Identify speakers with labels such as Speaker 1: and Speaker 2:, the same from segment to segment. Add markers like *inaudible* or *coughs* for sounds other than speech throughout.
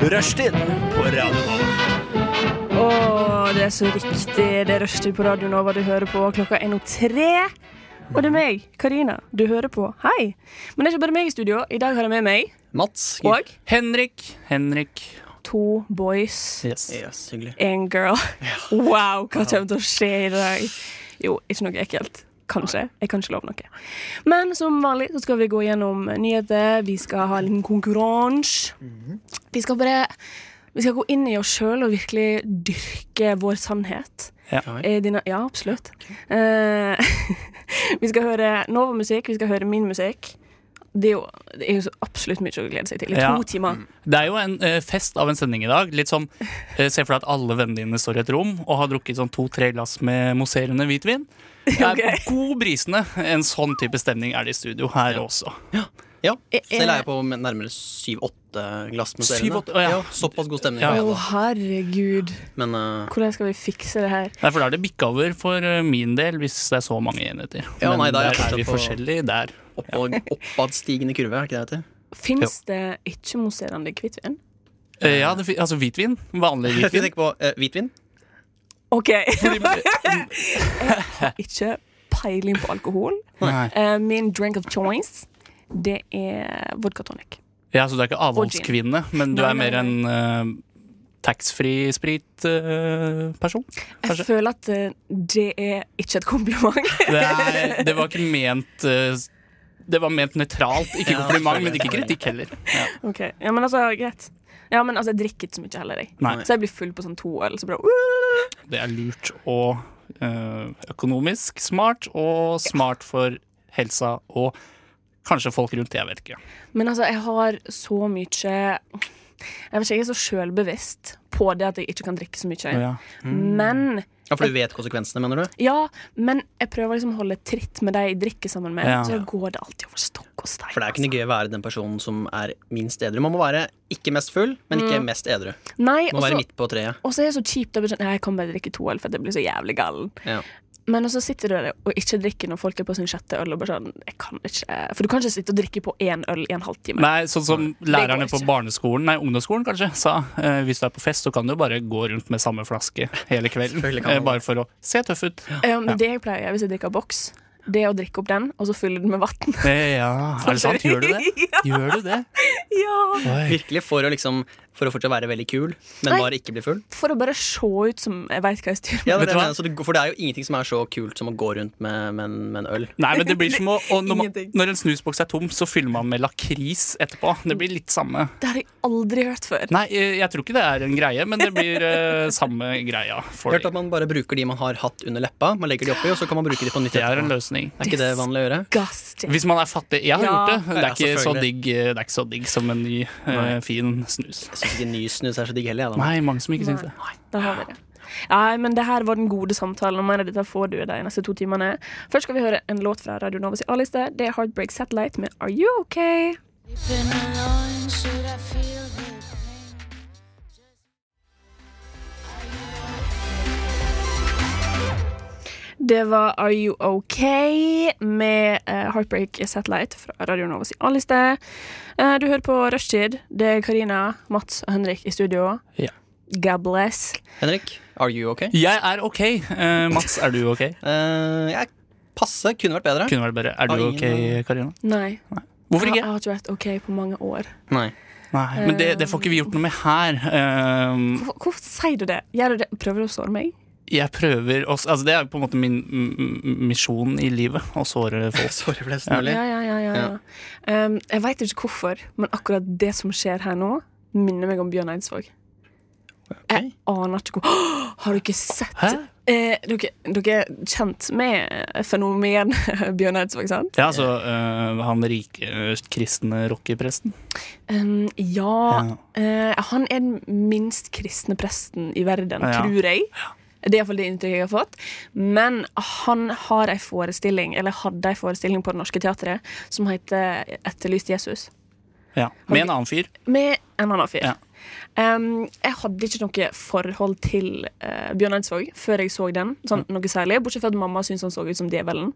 Speaker 1: Rushtid på Radio Nova.
Speaker 2: Å, det er så riktig. Det er rushtid på Radio Nova du hører på. Klokka er nå tre. Og det er meg, Karina, du hører på. Hei. Men det er ikke bare meg i studio. I dag har jeg med meg
Speaker 3: Mats.
Speaker 2: og
Speaker 4: Henrik. Henrik.
Speaker 2: to boys,
Speaker 3: Yes.
Speaker 1: Yes, hyggelig.
Speaker 2: én girl. Wow, hva kommer til å skje i dag? Jo, ikke noe ekkelt. Kanskje. Jeg kan ikke love noe. Men som vanlig så skal vi gå gjennom nyheter. Vi skal ha en liten konkurranse. Vi skal bare Vi skal gå inn i oss sjøl og virkelig dyrke vår sannhet. Eh, dine, ja, absolutt. Eh, *laughs* vi skal høre Nova-musikk, vi skal høre min musikk. Det er jo, det er jo så absolutt mye å glede seg til. I
Speaker 4: Ja.
Speaker 2: to timer.
Speaker 4: Det er jo en eh, fest av en sending i dag. Litt sånn, eh, Se for deg at alle vennene dine står i et rom og har drukket sånn to-tre glass med mousserende
Speaker 3: *laughs*
Speaker 4: hvitvin. Det er
Speaker 2: Ok.
Speaker 4: god brisende. En sånn type stemning er det i studio her også.
Speaker 3: Ja.
Speaker 2: er-
Speaker 3: Selv er jeg på med nærmere syv-åtte glass med
Speaker 4: Syv,
Speaker 3: seriene.
Speaker 4: åtte, å, ja.
Speaker 3: Såpass god stemning.
Speaker 4: Ja,
Speaker 2: Å,
Speaker 4: ja,
Speaker 3: har jeg da.
Speaker 2: herregud.
Speaker 3: Men eh,
Speaker 2: Hvordan skal vi fikse det her?
Speaker 4: Nei, for Da er det bikka over for eh, min del, hvis det er så mange enheter.
Speaker 3: Ja,
Speaker 4: Men
Speaker 3: nei, da er jeg
Speaker 4: der er vi
Speaker 3: fortsatt på-
Speaker 4: forskjellige der.
Speaker 3: oppad, oppadstigende kurve, er ikke det det heter?
Speaker 2: Fins det ikke mousserende hvitvin?
Speaker 4: Eh, ja, det, fi- altså hvitvin.
Speaker 3: *laughs*
Speaker 4: Vanlig
Speaker 3: Skal vi
Speaker 4: hvitvin.
Speaker 3: tenke på eh, hvitvin?
Speaker 2: OK. *laughs* ikke peiling på alkohol.
Speaker 4: Nei.
Speaker 2: Eh, min drink of choice, det er vodka tonic.
Speaker 4: Ja, så du er ikke avholdskvinne, men du
Speaker 2: Nei,
Speaker 4: er
Speaker 2: nei,
Speaker 4: mer en uh,
Speaker 3: *laughs*
Speaker 4: taxfree-sprit-person?
Speaker 2: Jeg
Speaker 4: Kanskje.
Speaker 2: føler at eh, det er ikke et kompliment.
Speaker 4: det, er- det var ikke ment eh, Det var ment nøytralt. Ikke
Speaker 3: Ja,
Speaker 4: kompliment, men
Speaker 3: selvfølgelig.
Speaker 4: ikke kritikk heller. Ja.
Speaker 2: Ok, ja, men altså, greit. Ja, men altså, jeg drikker ikke så mye heller, jeg.
Speaker 4: Nei.
Speaker 2: Så jeg blir full på sånn to øl, så bare uh!
Speaker 4: Det er lurt og eh, økonomisk smart, og smart for helsa og kanskje folk rundt. Jeg vet ikke.
Speaker 2: Men altså, jeg har så mye Jeg vet ikke, jeg er så sjølbevisst på det at jeg ikke kan drikke så mye.
Speaker 4: Ja. Mm.
Speaker 2: Men
Speaker 3: Ja, For du vet konsekvensene, mener du?
Speaker 2: ja, men jeg prøver liksom å holde tritt med de jeg drikker sammen med.
Speaker 4: Ja.
Speaker 2: Så går det alltid over stokk og stein. altså.
Speaker 3: For det er jo ikke noe gøy å være den personen som er minst edru. Man må være ikke mest full, men ikke mest edru.
Speaker 2: altså. Nei,
Speaker 3: Må være
Speaker 2: også,
Speaker 3: midt på treet.
Speaker 2: og så er det så kjipt å bli sånn Nei, jeg kan bare drikke to øl, for at jeg blir så jævlig gallen.
Speaker 3: Ja.
Speaker 2: Men også sitter du der og ikke drikker når folk er på sin sjette øl, og bare sånn Jeg kan ikke For du kan ikke sitte og drikke på én øl i en halvtime.
Speaker 4: Nei, sånn som lærerne på
Speaker 2: ikke.
Speaker 4: barneskolen, nei, ungdomsskolen kanskje, sa eh, hvis du er på fest, så kan du jo bare gå rundt med samme flaske hele kvelden.
Speaker 3: Selvfølgelig kan man
Speaker 4: eh, bare for å se tøff ut.
Speaker 2: Ja, men det jeg pleier å gjøre hvis jeg drikker boks, det er å drikke opp den, og så fylle den med vann.
Speaker 4: Eh, ja, er det sant? Gjør du
Speaker 2: *laughs*
Speaker 4: det? Gjør du det?
Speaker 2: ja.
Speaker 4: Oi.
Speaker 3: Virkelig for å liksom For å fortsatt være veldig kul, men
Speaker 2: Nei.
Speaker 3: bare ikke bli full.
Speaker 2: For å bare se ut som jeg veit hva jeg styrer med.
Speaker 3: Ja, det er det
Speaker 4: Vet du
Speaker 3: jeg
Speaker 4: hva?
Speaker 3: mener, så det- for det er jo ingenting som er så kult som å gå rundt med, med, en- med en øl.
Speaker 4: Nei, men det blir som å og når, man,
Speaker 2: Ingenting.
Speaker 4: når en snusboks er tom, så fyller man med lakris etterpå. Det blir litt samme.
Speaker 2: Det har jeg aldri hørt før.
Speaker 4: Nei, eh, jeg tror ikke det er en greie, men det blir
Speaker 2: *laughs*
Speaker 4: eh, samme greia. For
Speaker 3: Jeg har hørt at man bare bruker de man har hatt under leppa. Man legger de oppi, og så kan man bruke de på nytt.
Speaker 4: det er en
Speaker 3: etterpå.
Speaker 4: løsning.
Speaker 3: Er ikke det vanlig å gjøre?
Speaker 2: Disgusting.
Speaker 4: Hvis man er fattig Jeg har
Speaker 2: Ja.
Speaker 4: gjort det.
Speaker 3: Ja,
Speaker 4: Det er ikke så
Speaker 3: selvfølgelig.
Speaker 4: digg, eh, det er ikke så digg som en ny, eh,
Speaker 3: Nei.
Speaker 4: fin snus.
Speaker 3: Jeg syns ikke ny snus er så digg heller. Jeg, da.
Speaker 4: Nei, mange som ikke syns det.
Speaker 2: Da har vi det. Nei, men det her var den gode samtalen. Og mer av dette får du de neste to timene. Først skal vi høre en låt fra Radio Novas A-liste. Det er Heartbreak Satellite med Are You Okay?
Speaker 5: Been alone, should I feel the pain?
Speaker 2: Det var Are You OK med eh, Heartbreak Satellite fra Radio Novas A-liste. Eh, du hører på Rushtid. Det er Karina, Mats og Henrik i studio.
Speaker 4: Ja.
Speaker 2: God bless.
Speaker 3: Henrik, are you okay?
Speaker 4: Jeg er OK. Eh, Mats, er du OK?
Speaker 3: Eh, jeg passe. Kunne vært bedre.
Speaker 4: Kunne vært bedre. Er du
Speaker 3: Har ingen-
Speaker 4: OK, Karina?
Speaker 2: Nei,
Speaker 4: Hvorfor
Speaker 2: jeg,
Speaker 4: ikke?
Speaker 2: jeg har ikke vært OK på mange år.
Speaker 3: Nei.
Speaker 4: Nei, men det, det får ikke vi gjort noe med her. Eh,
Speaker 2: Hvorfor, hvorfor sier du det? Gjør du det? Prøver du å såre meg?
Speaker 4: jeg prøver også, altså Det er jo på en måte min m- m- misjon i livet, å såre folk.
Speaker 3: *laughs* Sorry, flest mulig.
Speaker 2: Ja, ja, ja. ja, ja. Um, jeg veit ikke hvorfor, men akkurat det som skjer her nå, minner meg om Bjørn Eidsvåg. Jeg aner ikke hvor Har dere sett
Speaker 4: Hæ?
Speaker 2: Eh, dere, dere er kjent med fenomenet *laughs* Bjørn Eidsvåg, sant?
Speaker 4: Ja, altså eh, han rike eh, kristne rockepresten.
Speaker 2: Um, ja.
Speaker 4: Ja.
Speaker 2: eh, han er den minst kristne presten i verden,
Speaker 4: Ja.
Speaker 2: tror jeg. Det er iallfall det inntrykket jeg har fått. Men han har ei forestilling, eller hadde ei forestilling på Det Norske Teatret som heter 'Etterlyst Jesus'.
Speaker 4: Ja. Med en annen fyr.
Speaker 2: Med en annen fyr.
Speaker 4: Ja.
Speaker 2: Um, jeg hadde ikke noe forhold til eh, Bjørn Eidsvåg før jeg så den. Sånn, noe særlig, Bortsett fra at mamma syntes han så ut som djevelen.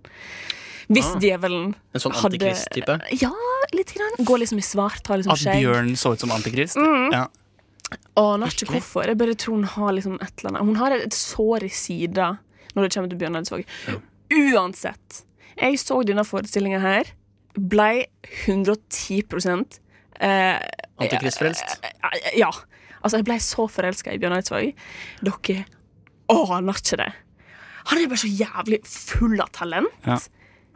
Speaker 2: Hvis djevelen
Speaker 3: En sånn
Speaker 2: hadde-
Speaker 3: antikrist-type?
Speaker 4: Ah,
Speaker 2: Ja, litt. Grann. Går liksom i svart, har liksom
Speaker 4: At
Speaker 2: skjegg. Mm.
Speaker 4: Bjørn så ut som antikrist? Ja.
Speaker 2: Aner ikke hvorfor. Jeg bare tror hun har liksom et eller annet Hun har et sår i sida når det kommer til Bjørn Eidsvåg. Uansett. Jeg så denne forestillinga her. Blei 110 eh,
Speaker 3: Antikristfrelst.
Speaker 2: Ja. Altså, jeg blei så forelska i Bjørn Eidsvåg. Dere aner ikke det. Han er bare så jævlig full av talent.
Speaker 4: Ja.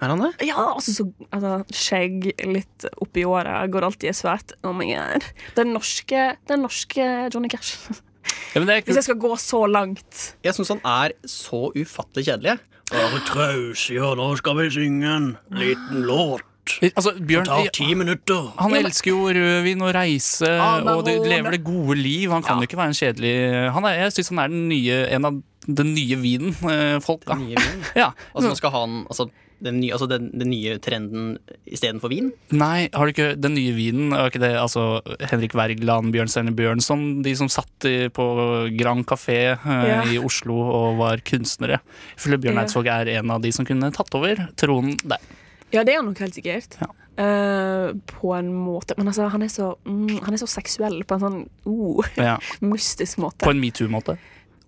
Speaker 3: Er han det?
Speaker 2: Ja, altså, så, altså skjegg litt oppi åra går alltid i svært. Oh my god. Den norske, den norske Johnny Cash. *laughs*
Speaker 4: Ja, men det er
Speaker 2: Hvis
Speaker 4: kult.
Speaker 2: jeg skal gå så langt.
Speaker 3: Jeg syns han er så ufattelig kjedelig. jeg.
Speaker 1: Bare traus, ja, nå skal vi synge en liten låt.
Speaker 4: Altså, Bjørn
Speaker 1: Tar ti minutter.
Speaker 4: han elsker jo rødvin og reise
Speaker 2: Ah,
Speaker 4: og det, lever det gode liv. Han kan jo ikke være en kjedelig han er, Jeg syns han er den nye, en av den nye vinen. eh, Folk, da.
Speaker 3: Nye
Speaker 4: *laughs*
Speaker 3: vin.
Speaker 4: Ja.
Speaker 3: Altså, nå skal han altså, den nye, altså, den, den nye trenden istedenfor vin.
Speaker 4: Nei, har du ikke den nye vinen? Var ikke det altså Henrik Wergeland, Bjørn Steinar Bjørnson, de som satt i- på Grand Café eh,
Speaker 2: Ja.
Speaker 4: i Oslo og var kunstnere? Jeg føler Bjørn
Speaker 2: Ja.
Speaker 4: Eidsvåg er en av de som kunne tatt over tronen der.
Speaker 2: Ja, det er han nok helt sikkert.
Speaker 4: Ja.
Speaker 2: Eh, på en måte. Men altså, han er så, mm, han er så seksuell på en sånn oh,
Speaker 4: Ja.
Speaker 2: *laughs* mystisk måte.
Speaker 4: På en metoo-måte.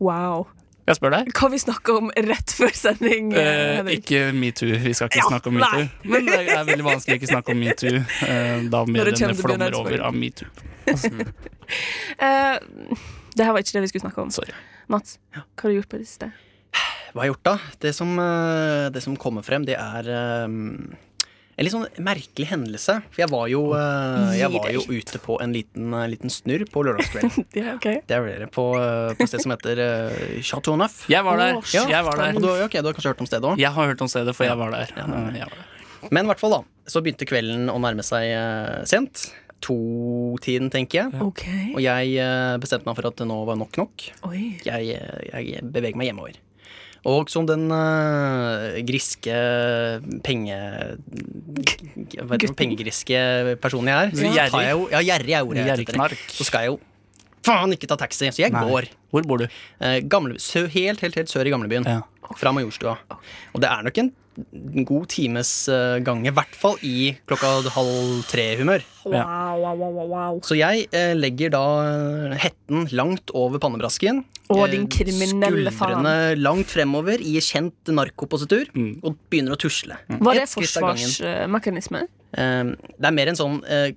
Speaker 2: Wow.
Speaker 4: Jeg spør deg.
Speaker 2: Hva vi snakka om rett før sending, eh,
Speaker 4: Eh,
Speaker 2: Henrik?
Speaker 4: ikke metoo. Vi skal ikke
Speaker 2: Ja,
Speaker 4: snakke om
Speaker 2: nei.
Speaker 4: metoo. *laughs* Men det er veldig vanskelig å ikke snakke om metoo eh, da
Speaker 2: det kommer
Speaker 4: mediene
Speaker 2: til Bjørn
Speaker 4: flommer
Speaker 2: Eidsvåg.
Speaker 4: over av metoo.
Speaker 2: Eh, det her var ikke det vi skulle snakke om.
Speaker 4: Sorry.
Speaker 2: Mats, hva har du gjort på det siste?
Speaker 3: Hva har jeg gjort da? Det som, eh, det som kommer frem, det er eh, en litt sånn merkelig hendelse. For jeg var jo, eh, jeg
Speaker 2: Gi
Speaker 3: var
Speaker 2: deg
Speaker 3: jo ute på en liten, eh, liten snurr på
Speaker 2: *laughs*
Speaker 3: lørdagskvelden.
Speaker 2: Ja, ok.
Speaker 3: Det er dere på, eh, på et sted som heter eh, Chateau Neuf.
Speaker 4: Jeg var der.
Speaker 2: Å, shit,
Speaker 4: Jeg var
Speaker 3: Og
Speaker 4: der.
Speaker 3: du, har- ok, du har kanskje hørt om stedet òg?
Speaker 4: Jeg har hørt om stedet, for jeg var der. Eh, Jeg var der.
Speaker 3: Men i hvert fall, da. Så begynte kvelden å nærme seg eh, sent. To-tiden, tenker jeg.
Speaker 2: Ok.
Speaker 3: Og jeg eh, bestemte meg for at nå var nok nok.
Speaker 2: Oi.
Speaker 3: jeg, jeg beveger meg hjemover. Og som den eh, griske penge... g- Hva heter det? Pengegriske personen jeg er. Så
Speaker 4: Ja.
Speaker 3: tar jeg jo, ja, gjerrig er ordet. jeg er ute etter.
Speaker 4: Gjerrigknark.
Speaker 3: Så skal jeg jo faen ikke ta taxi, så jeg går.
Speaker 4: Hvor bor du?
Speaker 3: Eh, gamle, sø, helt, helt, helt sør i gamlebyen.
Speaker 4: Ja.
Speaker 3: Fra Majorstua. Og det er nok en god times eh, gang, i hvert fall i klokka halv tre-humør.
Speaker 2: Wow, wow, wow, wow, wow.
Speaker 3: Så jeg eh, legger da eh, hetten langt over pannebrasken.
Speaker 2: Å,
Speaker 3: eh,
Speaker 2: din kriminelle faen.
Speaker 3: Skuldrene langt fremover i kjent narkopositur,
Speaker 4: Mm.
Speaker 3: og begynner å tusle.
Speaker 2: Var det
Speaker 3: Ett skritt av gangen.
Speaker 2: forsvarsmekanisme?
Speaker 3: Eh, det er mer en sånn eh,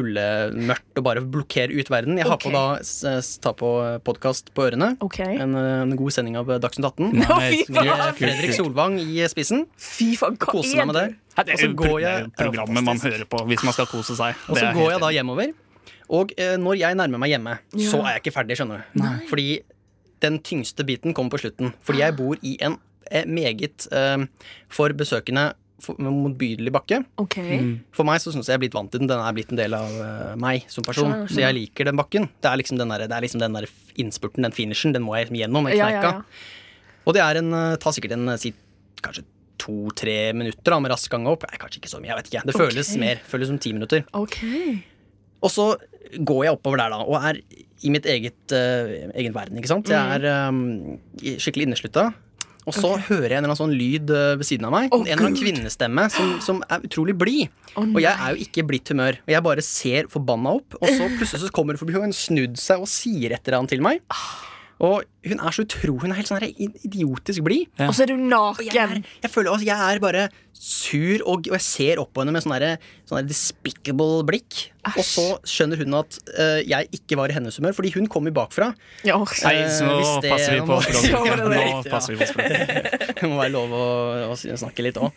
Speaker 3: antikuldemørkt og bare blokkere ut verden. Jeg har
Speaker 2: Ok.
Speaker 3: på da s- s- tar på podkast på ørene.
Speaker 2: Ok.
Speaker 3: En, eh, en god sending av Dagsnytt 18.
Speaker 2: Å, fy
Speaker 4: Nei,
Speaker 2: *laughs* faen!
Speaker 3: Med Fredrik Solvang i spissen.
Speaker 2: Fy faen, hva
Speaker 3: Koser meg
Speaker 2: er
Speaker 3: med det.
Speaker 2: du?
Speaker 4: Nei, Det
Speaker 3: Og
Speaker 4: er
Speaker 3: så
Speaker 4: jo
Speaker 3: går
Speaker 4: pro- det er jo
Speaker 3: jeg-
Speaker 4: programmet man hører på hvis man skal kose seg.
Speaker 3: Og
Speaker 4: Det
Speaker 3: så
Speaker 4: er
Speaker 3: går
Speaker 4: helt
Speaker 3: jeg da
Speaker 4: enig.
Speaker 3: hjemover. Og eh, når jeg nærmer meg hjemme, så er jeg ikke ferdig, skjønner du. Fordi den tyngste biten kommer på slutten. Fordi jeg bor i en eh, meget eh, for besøkende for- motbydelig bakke.
Speaker 2: Ok.
Speaker 3: For meg så syns jeg jeg er blitt vant til den. Den er blitt en del av eh, meg som person.
Speaker 2: Skjønner, skjønner.
Speaker 3: Så jeg liker den bakken. Det er liksom den der, det er liksom den der innspurten, den finishen. Den må jeg liksom gjennom. Den
Speaker 2: Ja, ja,
Speaker 3: kneika.
Speaker 2: ja.
Speaker 3: Og det er en eh, tar sikkert en eh, si kanskje to-tre minutter da, med rask gang opp. Nei, kanskje ikke så mye. jeg vet ikke. Det føles
Speaker 2: Ok.
Speaker 3: mer. Føles som ti minutter.
Speaker 2: Ok.
Speaker 3: Og så går jeg oppover der da, og er i mitt eget eh, egen verden, ikke sant? Jeg er eh, skikkelig inneslutta. Og så hører jeg en eller annen sånn lyd eh, ved siden av meg. en eller annen kvinnestemme som, som er utrolig blid. og jeg er jo ikke blidt humør. Og jeg bare ser forbanna opp, og så plutselig så kommer hun forbi, og hun snudd seg og sier et eller annet til meg. Og hun er så utro. Hun er helt sånn her idiotisk blid.
Speaker 2: Og så er du
Speaker 3: Jeg, er,
Speaker 2: naken.
Speaker 3: jeg føler altså, jeg er bare sur, og, og jeg ser opp på henne med sånn derre- sånn der despicable blikk. Og så skjønner hun at eh, jeg ikke var i hennes humør, fordi hun kommer bakfra. *laughs*
Speaker 2: Ja.
Speaker 4: Nei,
Speaker 3: Eh,
Speaker 4: så nå
Speaker 3: hvis det-
Speaker 4: passer vi på
Speaker 3: nå-
Speaker 4: språket.
Speaker 3: *laughs*
Speaker 4: Nå
Speaker 3: Ja.
Speaker 4: passer vi på språket.
Speaker 3: Det må være lov å, å si- snakke litt òg.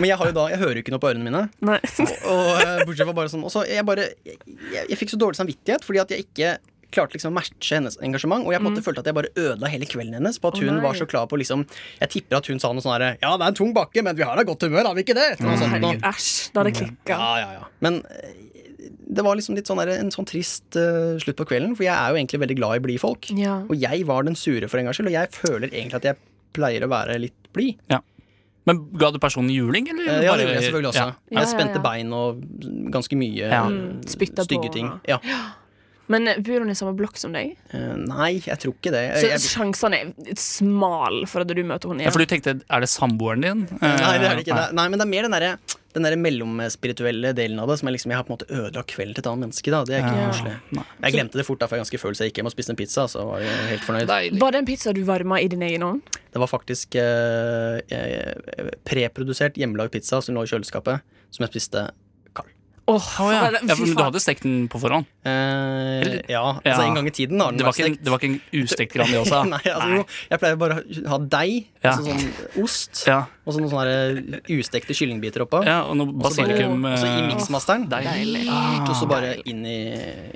Speaker 3: Men jeg, har jo da, jeg hører jo ikke noe på ørene mine.
Speaker 2: Nei.
Speaker 3: Og eh, bortsett fra bare sånn Og så jeg bare Jeg, jeg, jeg fikk så dårlig samvittighet fordi at jeg ikke klarte liksom å matche hennes engasjement. Og jeg på en måte følte at jeg bare ødela hele kvelden hennes på at hun
Speaker 2: Mm. nei.
Speaker 3: var så klar på liksom Jeg tipper at hun sa noe sånn herre Ja, det er en tung bakke, men vi har da godt humør, har vi ikke det?
Speaker 4: Mm.
Speaker 3: Noe sånt noe.
Speaker 2: Herregud, æsj. Da hadde jeg klikka.
Speaker 3: Ja, ja, ja. Men eh, det var liksom litt sånn der, en sånn trist eh, slutt på kvelden, for jeg er jo egentlig veldig glad i blide folk.
Speaker 2: Ja.
Speaker 3: Og jeg var den sure for en gangs skyld, og jeg føler egentlig at jeg pleier å være litt blid.
Speaker 4: Men ga du personen juling, eller?
Speaker 3: Eh, Ja,
Speaker 4: bare-
Speaker 3: det gjorde jeg selvfølgelig også.
Speaker 4: Ja.
Speaker 3: Jeg hadde
Speaker 2: Ja, ja,
Speaker 3: spente
Speaker 2: ja.
Speaker 3: bein og ganske mye
Speaker 4: Ja.
Speaker 3: eh,
Speaker 2: Spytta på
Speaker 3: stygge ting.
Speaker 2: og-
Speaker 3: Ja.
Speaker 2: Men eh, bor hun i samme blokk som deg?
Speaker 3: Eh, nei, jeg tror ikke det.
Speaker 2: Så
Speaker 3: Jeg, jeg,
Speaker 2: sjansene er smal for at du møter henne
Speaker 4: Eh, Ja,
Speaker 2: igjen.
Speaker 4: for du tenkte, er det samboeren din?
Speaker 3: *laughs* *laughs*
Speaker 4: Eh,
Speaker 3: nei, det er det ikke. Nei, nei, men det er mer den derre den der mellomspirituelle delen av det. Som er liksom, Jeg har på en måte ødelagt kvelden til et annet menneske. da Det er ikke
Speaker 2: Ja.
Speaker 3: koselig. Jeg glemte det fort, da, for jeg er ganske følelse jeg gikk hjem og spiste en pizza. Så var jeg helt fornøyd
Speaker 4: Deilig.
Speaker 2: Var det en pizza du varma i din egen ovn?
Speaker 3: Det var faktisk eh, eh, preprodusert hjemmelagd pizza som lå i kjøleskapet, som jeg spiste kald.
Speaker 2: Åh,
Speaker 4: Å, ja.
Speaker 2: faen,
Speaker 4: ja, for
Speaker 2: fy
Speaker 4: du
Speaker 2: faen.
Speaker 4: hadde stekt den på forhånd?
Speaker 3: Eh,
Speaker 4: Eller-
Speaker 3: ja, altså
Speaker 4: Ja.
Speaker 3: en gang i tiden har den
Speaker 4: Det var ikke en,
Speaker 3: vært stekt.
Speaker 4: det var ikke en ustekt
Speaker 3: *laughs*
Speaker 4: Grandiosa?
Speaker 3: Nei, altså, jo, jeg pleier bare å ha deig,
Speaker 4: Ja.
Speaker 3: altså sånn ost,
Speaker 4: Ja,
Speaker 3: og så noen sånne der ustekte kyllingbiter oppå.
Speaker 4: ja, og noe
Speaker 3: Og så bare-
Speaker 4: basilikum.
Speaker 3: og så i
Speaker 4: eh,
Speaker 3: miksmasteren. Ah.
Speaker 4: Deilig. Ah.
Speaker 3: Og så bare inn i,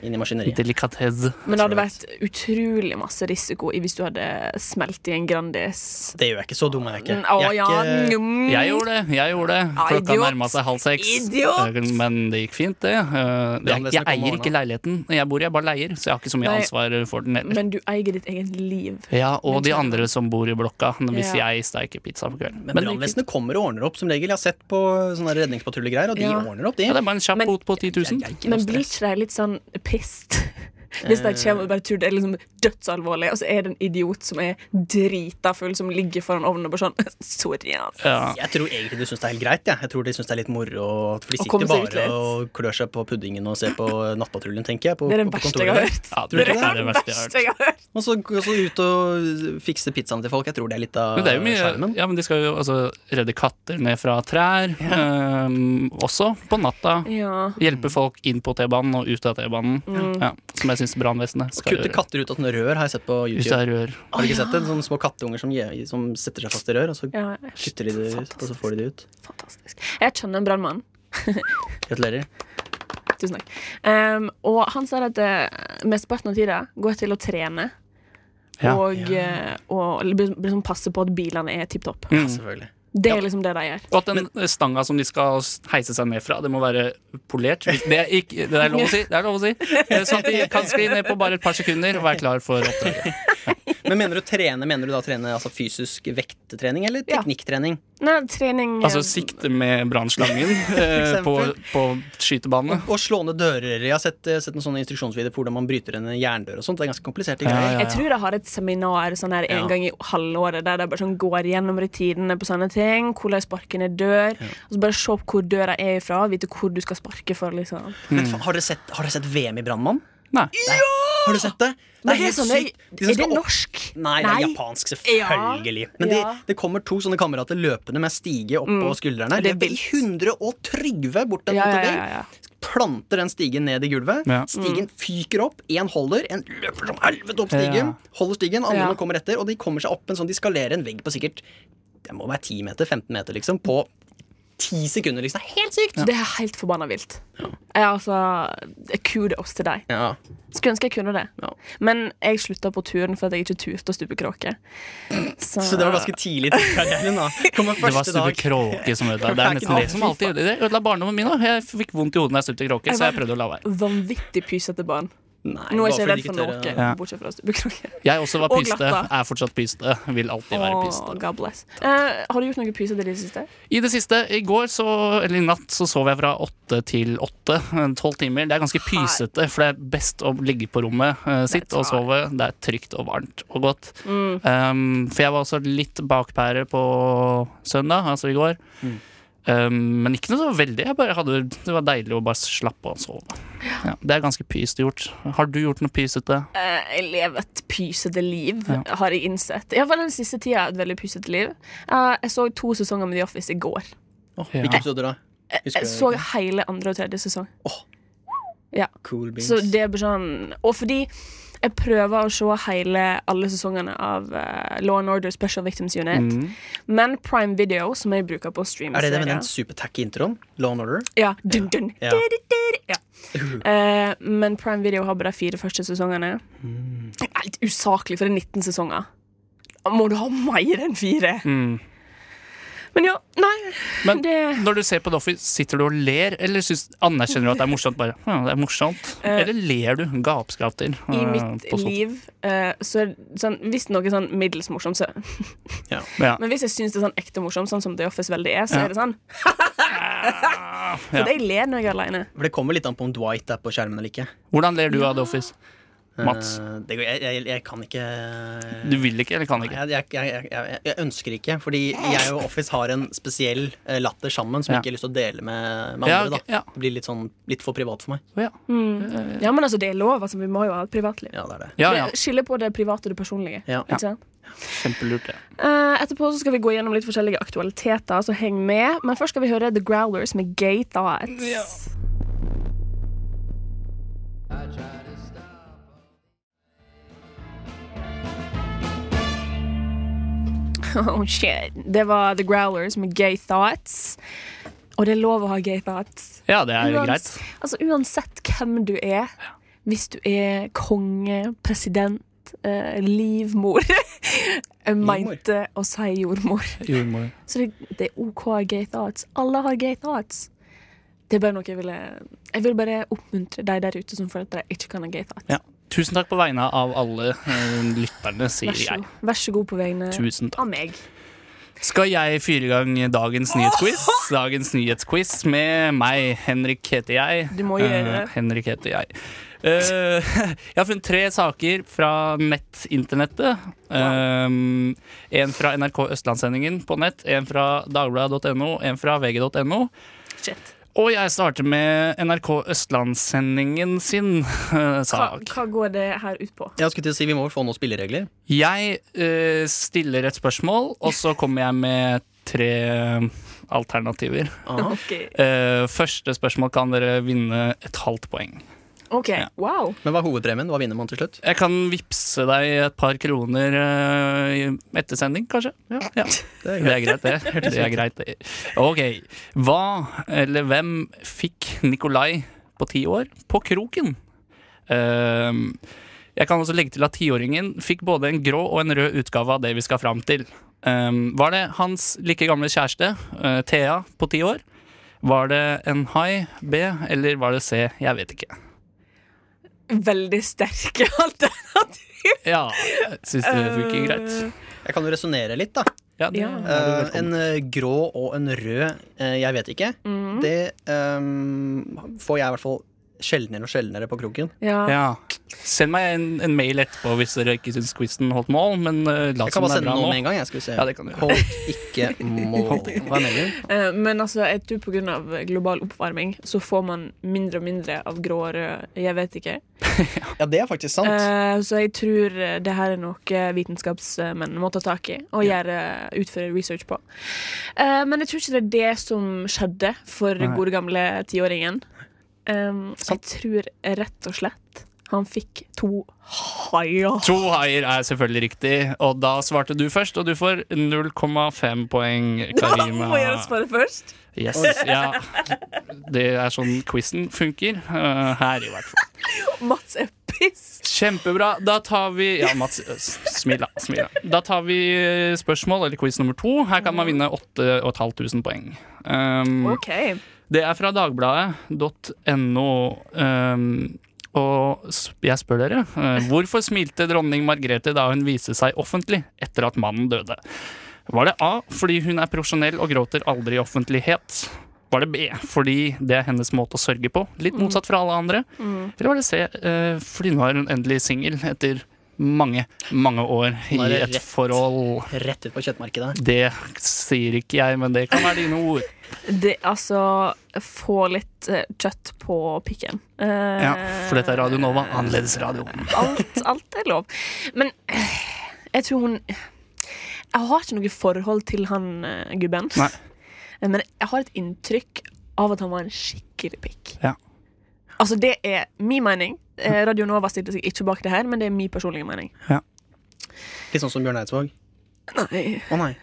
Speaker 3: inn i maskineriet.
Speaker 4: Delikatesse.
Speaker 2: Men det hadde vært utrolig masse risiko i hvis du hadde smelt i en Grandis.
Speaker 3: Det gjør jeg ikke. Så dum er jeg ikke.
Speaker 2: Mm, Å
Speaker 3: Jeg
Speaker 2: ja,
Speaker 3: er ikke
Speaker 2: mm.
Speaker 4: Jeg gjorde det. jeg gjorde det
Speaker 2: Ja,
Speaker 4: Klokka
Speaker 2: Ah, idiot.
Speaker 4: nærma seg halv seks.
Speaker 2: Idiot.
Speaker 4: Eh, Men det gikk fint, det. Eh, Jeg,
Speaker 3: det
Speaker 4: jeg
Speaker 3: som kommer
Speaker 4: eier ikke leiligheten jeg bor i, jeg bare leier. Så jeg har ikke så mye
Speaker 2: Nei.
Speaker 4: ansvar for den heller.
Speaker 2: Men du eier ditt eget liv.
Speaker 4: Ja, Og de andre som bor i blokka, hvis
Speaker 2: Ja.
Speaker 4: jeg steiker pizza på kvelden.
Speaker 3: Men brannvesenet kommer og ordner opp som regel. Jeg har sett på sånne redningspatruljegreier, og de
Speaker 2: Ja.
Speaker 3: ordner opp, de.
Speaker 4: ja, det er bare en kjapp
Speaker 2: Men-
Speaker 4: bot på 10 000.
Speaker 3: Jeg er ikke
Speaker 2: Men
Speaker 3: noe
Speaker 2: blir
Speaker 3: stress.
Speaker 2: ikke de litt sånn pissed? *laughs* Hvis de kommer
Speaker 4: Eh.
Speaker 2: og bare tror det er liksom dødsalvorlig, og så er det en idiot som er drita full, som ligger foran ovnen og bare sånn *laughs* Sorry, ass.
Speaker 4: Ja.
Speaker 3: *laughs* Jeg tror egentlig de syns det er helt greit. Ja. Jeg tror de syns det er litt moro. For de
Speaker 2: Å komme
Speaker 3: sitter
Speaker 2: seg ut
Speaker 3: bare
Speaker 2: litt.
Speaker 3: og klør seg på puddingen og ser på Nattpatruljen, tenker jeg. På,
Speaker 2: Det er det
Speaker 3: på
Speaker 2: verste
Speaker 3: kontoret
Speaker 2: jeg har
Speaker 3: der.
Speaker 2: hørt.
Speaker 4: Ja,
Speaker 3: Tror du
Speaker 2: Det
Speaker 3: ikke
Speaker 2: er det verste jeg har hørt.
Speaker 3: Og så, og så ut og fikse pizzaen til folk. Jeg tror det er litt av
Speaker 4: Men det er jo mye,
Speaker 3: skjermen.
Speaker 4: ja, men de skal jo altså redde katter ned fra trær, eh, også på natta.
Speaker 2: Ja.
Speaker 4: Hjelpe folk inn på T-banen og ut av T-banen,
Speaker 2: Mm.
Speaker 4: ja, som jeg syns brannvesenet skal
Speaker 3: Kutte
Speaker 4: gjøre.
Speaker 3: katter ut av sånne rør har jeg sett på
Speaker 4: Ut
Speaker 3: YouTube.
Speaker 4: av rør.
Speaker 3: Har du ikke sett det? Sånne små kattunger som, je- som setter seg fast i rør, og så
Speaker 2: ja.
Speaker 3: kutter de det ut, og så får de det ut.
Speaker 2: Fantastisk. Jeg kjenner en brannmann.
Speaker 3: Gratulerer.
Speaker 2: Tusen takk. Em, og han sier at eh, mesteparten av tida går til å trene.
Speaker 4: Ja.
Speaker 2: Og, eh, og eller bli- bli sånn passe på at bilene er tipp topp.
Speaker 4: Mm.
Speaker 3: Mm. Ja, selvfølgelig.
Speaker 2: Det er liksom det de gjør.
Speaker 4: Og at den stanga som de skal heise seg ned fra, det må være polert. Hvis- Det er, ikke, det er lov å si. Det er lov å si. Eh, Sånn at de kan skli ned på bare et par sekunder og være klar for oppdraget.
Speaker 3: Men mener du trene, mener du da trene altså fysisk vekttrening eller
Speaker 2: Ja.
Speaker 3: teknikktrening?
Speaker 2: Nei, trening eh,
Speaker 4: Altså sikte med brannslangen eh, på, på skytebanene.
Speaker 3: Og slå ned dører. Jeg har sett, sett noen sånne instruksjonsvideoer på hvordan man bryter en jerndør og sånt. Det er ganske kompliserte greier.
Speaker 4: ja,
Speaker 2: Jeg tror jeg har et seminar sånn her en
Speaker 3: Ja.
Speaker 2: gang i halvåret der de bare sånn går gjennom rutinene på sånne ting. Hvordan sparke ned dør. Og så bare se opp hvor døra er ifra, vite hvor du skal sparke for. liksom
Speaker 3: Men
Speaker 4: Mm.
Speaker 3: fa- har, dere sett, har dere sett VM i Brannmann?
Speaker 4: Nei.
Speaker 3: Nei. Har du sett det? Det
Speaker 2: Men det er, sånn, jeg-
Speaker 3: De som
Speaker 2: er det
Speaker 3: skal opp-
Speaker 2: norsk?
Speaker 3: Nei, det er japansk, selvfølgelig. Men de,
Speaker 2: Ja. Mm.
Speaker 3: det kommer to sånne kamerater løpende med stige oppå skuldrene.
Speaker 2: Det er
Speaker 3: Løper i
Speaker 2: vilt.
Speaker 3: 130 bort en
Speaker 2: Ja, ja,
Speaker 3: motorvei.
Speaker 2: ja, Mm. ja.
Speaker 3: Planter den stigen ned i gulvet.
Speaker 4: Ja.
Speaker 3: Stigen fyker opp. Én holder, en løper som helvete opp stigen.
Speaker 4: Ja.
Speaker 3: Holder stigen, andre
Speaker 2: Ja.
Speaker 3: man kommer etter, og de kommer seg opp en sånn, de skalerer en vegg på sikkert Det må være 10 meter, 15 meter, liksom. På 10 sekunder, liksom. Det er Helt sykt!
Speaker 2: Det er helt forbanna vilt. Jeg, altså, kudos til deg.
Speaker 3: Ja.
Speaker 2: Skulle ønske jeg kunne det.
Speaker 3: Ja.
Speaker 2: Men jeg slutta på turen for at jeg ikke turte å stupe kråke. Så,
Speaker 3: Så det var ganske tidlig i karrieren,
Speaker 2: *laughs*
Speaker 3: da. Kommer
Speaker 4: Det var
Speaker 3: første
Speaker 4: Stubbe
Speaker 3: dag.
Speaker 4: Kråke som ødela. Det er nesten det som alltid ødela- det ødela barndommen min òg. Jeg fikk vondt i hodet da jeg stupte kråke, så jeg prøvde å la være.
Speaker 2: vanvittig pysete barn.
Speaker 3: Nei,
Speaker 2: Nå
Speaker 3: bare
Speaker 2: er jeg ikke
Speaker 3: fordi
Speaker 2: redd
Speaker 3: de
Speaker 2: for
Speaker 3: ikke
Speaker 2: noe,
Speaker 3: tør å-
Speaker 4: Ja.
Speaker 2: bortsett fra å stupe kråke.
Speaker 4: Jeg også var
Speaker 2: Og
Speaker 4: pyste.
Speaker 2: glatta.
Speaker 4: Er fortsatt pyste. Vil alltid være
Speaker 2: Åh,
Speaker 4: pyste.
Speaker 2: God bless. Eh, har du gjort noe pysete i det siste?
Speaker 4: I det siste, i går, så, eller i natt, så sov jeg fra åtte til åtte. eh, Tolv timer. Det er ganske pysete, for det er best å ligge på rommet eh, sitt og sove. Det er trygt og varmt og godt. Um, for jeg var også litt bakpære på søndag, altså i går. Um, men ikke noe så veldig. Jeg bare hadde, det var deilig å bare slappe av og sove. Ja, det er ganske pysete gjort. Har du gjort noe pysete?
Speaker 2: Eh, jeg lever et pysete liv,
Speaker 4: Ja.
Speaker 2: har jeg innsett. Iallfall den siste tida. er Et veldig pysete liv. Eh, jeg så to sesonger med The Office i går.
Speaker 3: Åh,
Speaker 4: Ja.
Speaker 3: Hvilke episoder da? Husker
Speaker 2: Jeg
Speaker 3: du-
Speaker 2: så hele andre og tredje sesong.
Speaker 3: Cool beans.
Speaker 2: Så det er bare sånn Og fordi jeg prøver å se hele, alle sesongene av eh, Law and Order Special Victims Unit.
Speaker 4: Mm.
Speaker 2: Men Prime Video, som jeg bruker på å streame
Speaker 3: Mm. Er det det med
Speaker 2: serier-
Speaker 3: den supertacky introen? Law and Order?
Speaker 2: Ja. Dun, dun.
Speaker 3: Ja.
Speaker 2: Du, du, du, du. ja. Eh, men Prime Video har bare de fire første sesongene.
Speaker 3: Mm.
Speaker 2: Det er litt usaklig, for det er 19 sesonger. Må du ha mer enn fire?
Speaker 4: Mm.
Speaker 2: Men ja, nei.
Speaker 4: Men-
Speaker 2: det
Speaker 4: Når du ser på The Office, sitter du og ler, eller syns- anerkjenner du at det er morsomt? bare, ja, det er morsomt
Speaker 2: Eh,
Speaker 4: Eller ler du gapskrater?
Speaker 2: i
Speaker 3: Ah,
Speaker 4: eh,
Speaker 2: mitt
Speaker 4: på sofaen?
Speaker 2: liv eh, så er det sånn, Hvis noe er sånn middels morsomt, så
Speaker 4: Ja.
Speaker 2: Men hvis jeg syns det er sånn ekte morsomt, sånn som The Office veldig er, så
Speaker 4: Ja.
Speaker 2: er det sånn *laughs* For jeg ler når jeg er alene.
Speaker 3: For det kommer litt an på om Dwight er på skjermen eller ikke.
Speaker 4: Hvordan ler du av The Office? Mats?
Speaker 3: Eh, Det, går- jeg, jeg, jeg kan ikke
Speaker 4: Du vil ikke, eller kan ikke?
Speaker 3: jeg, jeg, jeg, jeg, jeg ønsker ikke, fordi jeg og Office har en spesiell eh, latter sammen som jeg
Speaker 4: Ja.
Speaker 3: ikke har lyst til å dele med, med
Speaker 4: Ja,
Speaker 3: andre.
Speaker 4: ok, ja.
Speaker 3: Da. Det blir litt, sånn, litt for privat for meg.
Speaker 4: Å, ja.
Speaker 2: Ja, men altså, det er lov. Altså, vi må jo ha et privatliv.
Speaker 3: Ja, det er det.
Speaker 4: ja,
Speaker 2: *laughs*
Speaker 4: ja.
Speaker 2: Skille på det private og det personlige.
Speaker 3: Ja.
Speaker 2: Ikke sant?
Speaker 4: Kjempelurt, det.
Speaker 2: Eh, etterpå så skal vi gå gjennom litt forskjellige aktualiteter, så heng med. Men først skal vi høre The Growlers med Gay Thoughts. *laughs* Oh shit. Det var The Growlers med Gay Thoughts. Og det er lov å ha gay thoughts.
Speaker 4: Ja, det er jo
Speaker 2: Uans-
Speaker 4: greit.
Speaker 2: Altså, uansett hvem du er, hvis du er konge, president, eh, livmor *laughs* eh, Jeg mente å si jordmor.
Speaker 4: Jordmor.
Speaker 2: Så det, det er OK å ha gay thoughts. Alle har gay thoughts. Det er bare noe jeg ville Jeg vil bare oppmuntre deg der ute som føler at dere ikke kan ha gay thoughts.
Speaker 4: Ja. Tusen takk på vegne av alle eh, lytterne, sier
Speaker 2: Vær så,
Speaker 4: jeg.
Speaker 2: god. Vær så god på vegne
Speaker 4: Tusen takk.
Speaker 2: av meg.
Speaker 4: Skal jeg fyre i gang dagens nyhetsquiz? Dagens nyhetsquiz med meg. Henrik heter jeg.
Speaker 2: Du må gjøre det.
Speaker 4: Eh, Henrik heter jeg. Eh, *laughs* jeg har funnet tre saker fra nett-internettet. Um, en fra NRK Østlandssendingen på nett, en fra dagbladet.no, en fra vg.no.
Speaker 2: Shit.
Speaker 4: Og jeg starter med NRK Østlandssendingen sin eh,
Speaker 2: Hva,
Speaker 4: sak.
Speaker 2: hva går det her ut på?
Speaker 3: Jeg skulle til å si Vi må vel få noen spilleregler.
Speaker 4: Jeg eh, stiller et spørsmål, og så kommer jeg med tre alternativer.
Speaker 2: OK.
Speaker 4: Eh, første spørsmål kan dere vinne et halvt poeng.
Speaker 2: Ok, Wow.
Speaker 3: Men hva er hovedpremien? Hva vinner man til slutt?
Speaker 4: Jeg kan vippse deg et par kroner eh, i- etter sending, kanskje. Ja.
Speaker 3: Det er
Speaker 4: Det er greit, det. det, er greit, det. Ok. Hva eller hvem fikk Nikolai på ti år på kroken? Ehm, jeg kan også legge til at tiåringen fikk både en grå og en rød utgave av det vi skal fram til. Ehm, var det hans like gamle kjæreste, eh, Thea, på ti år? Var det en hai, B, eller var det C? Jeg vet ikke.
Speaker 2: Veldig *laughs* sterke alternativ.
Speaker 4: Ja, syns det funker greit.
Speaker 3: Jeg kan jo resonnere litt, da.
Speaker 4: Ja, det
Speaker 2: Ja.
Speaker 4: er du
Speaker 3: Eh,
Speaker 4: velkommen.
Speaker 3: en eh, grå og en rød eh, Jeg vet ikke. Det eh, får jeg i hvert fall sjeldnere og sjeldnere på kroken.
Speaker 2: Ja.
Speaker 4: Ja. Send meg en, en mail etterpå hvis dere ikke syns quizen holdt mål, men eh, la
Speaker 3: Jeg kan
Speaker 4: som
Speaker 3: bare
Speaker 4: det er
Speaker 3: sende
Speaker 4: bra
Speaker 3: noe med
Speaker 4: nå.
Speaker 3: en gang. Jeg skal vi se.
Speaker 4: Ja, det kan du gjøre.
Speaker 3: Holdt ikke mål. Hva mener du?
Speaker 2: Eh, Men altså, jeg tror på grunn av global oppvarming så får man mindre og mindre av grå og rød. Jeg vet ikke.
Speaker 3: Ja, det er faktisk sant.
Speaker 2: Eh, så jeg tror eh, det her er noe vitenskapsmenn må ta tak i og gjøre, utføre research på. Eh, men jeg tror ikke det er det som skjedde for
Speaker 4: Nei.
Speaker 2: gode gamle tiåringen. Um, jeg tror rett og slett han fikk to haier.
Speaker 4: To haier er selvfølgelig riktig, og da svarte du først, og du får 0,5 poeng,
Speaker 2: *laughs*
Speaker 4: Karima.
Speaker 2: Må jeg svare først?
Speaker 4: Yes, ja. Det er sånn quizen funker. eh, her, i hvert fall.
Speaker 2: Mats er piss.
Speaker 4: Kjempebra. Da tar vi Ja, Mats, s- smil, da. Smil, da. Da tar vi eh, spørsmål, eller quiz nummer to. Her kan man vinne 8500 poeng. Um,
Speaker 2: OK.
Speaker 4: Det er fra dagbladet.no. ehm, og s- jeg spør dere eh, Hvorfor smilte dronning Margrethe da hun viste seg offentlig etter at mannen døde? Var det A fordi hun er profesjonell og gråter aldri i offentlighet? Var det B fordi det er hennes måte å sørge på? Litt
Speaker 3: Mm.
Speaker 4: motsatt fra alle andre. Eller var det C eh, fordi nå er hun endelig singel etter mange, mange år i
Speaker 3: Nå er det
Speaker 4: et
Speaker 3: rett.
Speaker 4: forhold?
Speaker 3: Rett ut på kjøttmarkedet.
Speaker 4: Det sier ikke jeg, men det kan være dine ord.
Speaker 2: Det, altså Få litt eh, kjøtt på pikken. Eh,
Speaker 4: Ja, for dette er Radio Nova, annerledes radio. *laughs*
Speaker 2: alt, alt er lov. Men eh, jeg tror hun Jeg har ikke noe forhold til han eh, gubben.
Speaker 4: Nei.
Speaker 2: Eh, Men jeg har et inntrykk av at han var en skikkelig pikk.
Speaker 4: Ja.
Speaker 2: Altså, det er min mening. Eh, Radio Nova stilte seg ikke bak det her, men det er min personlige mening.
Speaker 3: Litt sånn som Bjørn Eidsvåg.
Speaker 2: Nei.
Speaker 3: Å nei.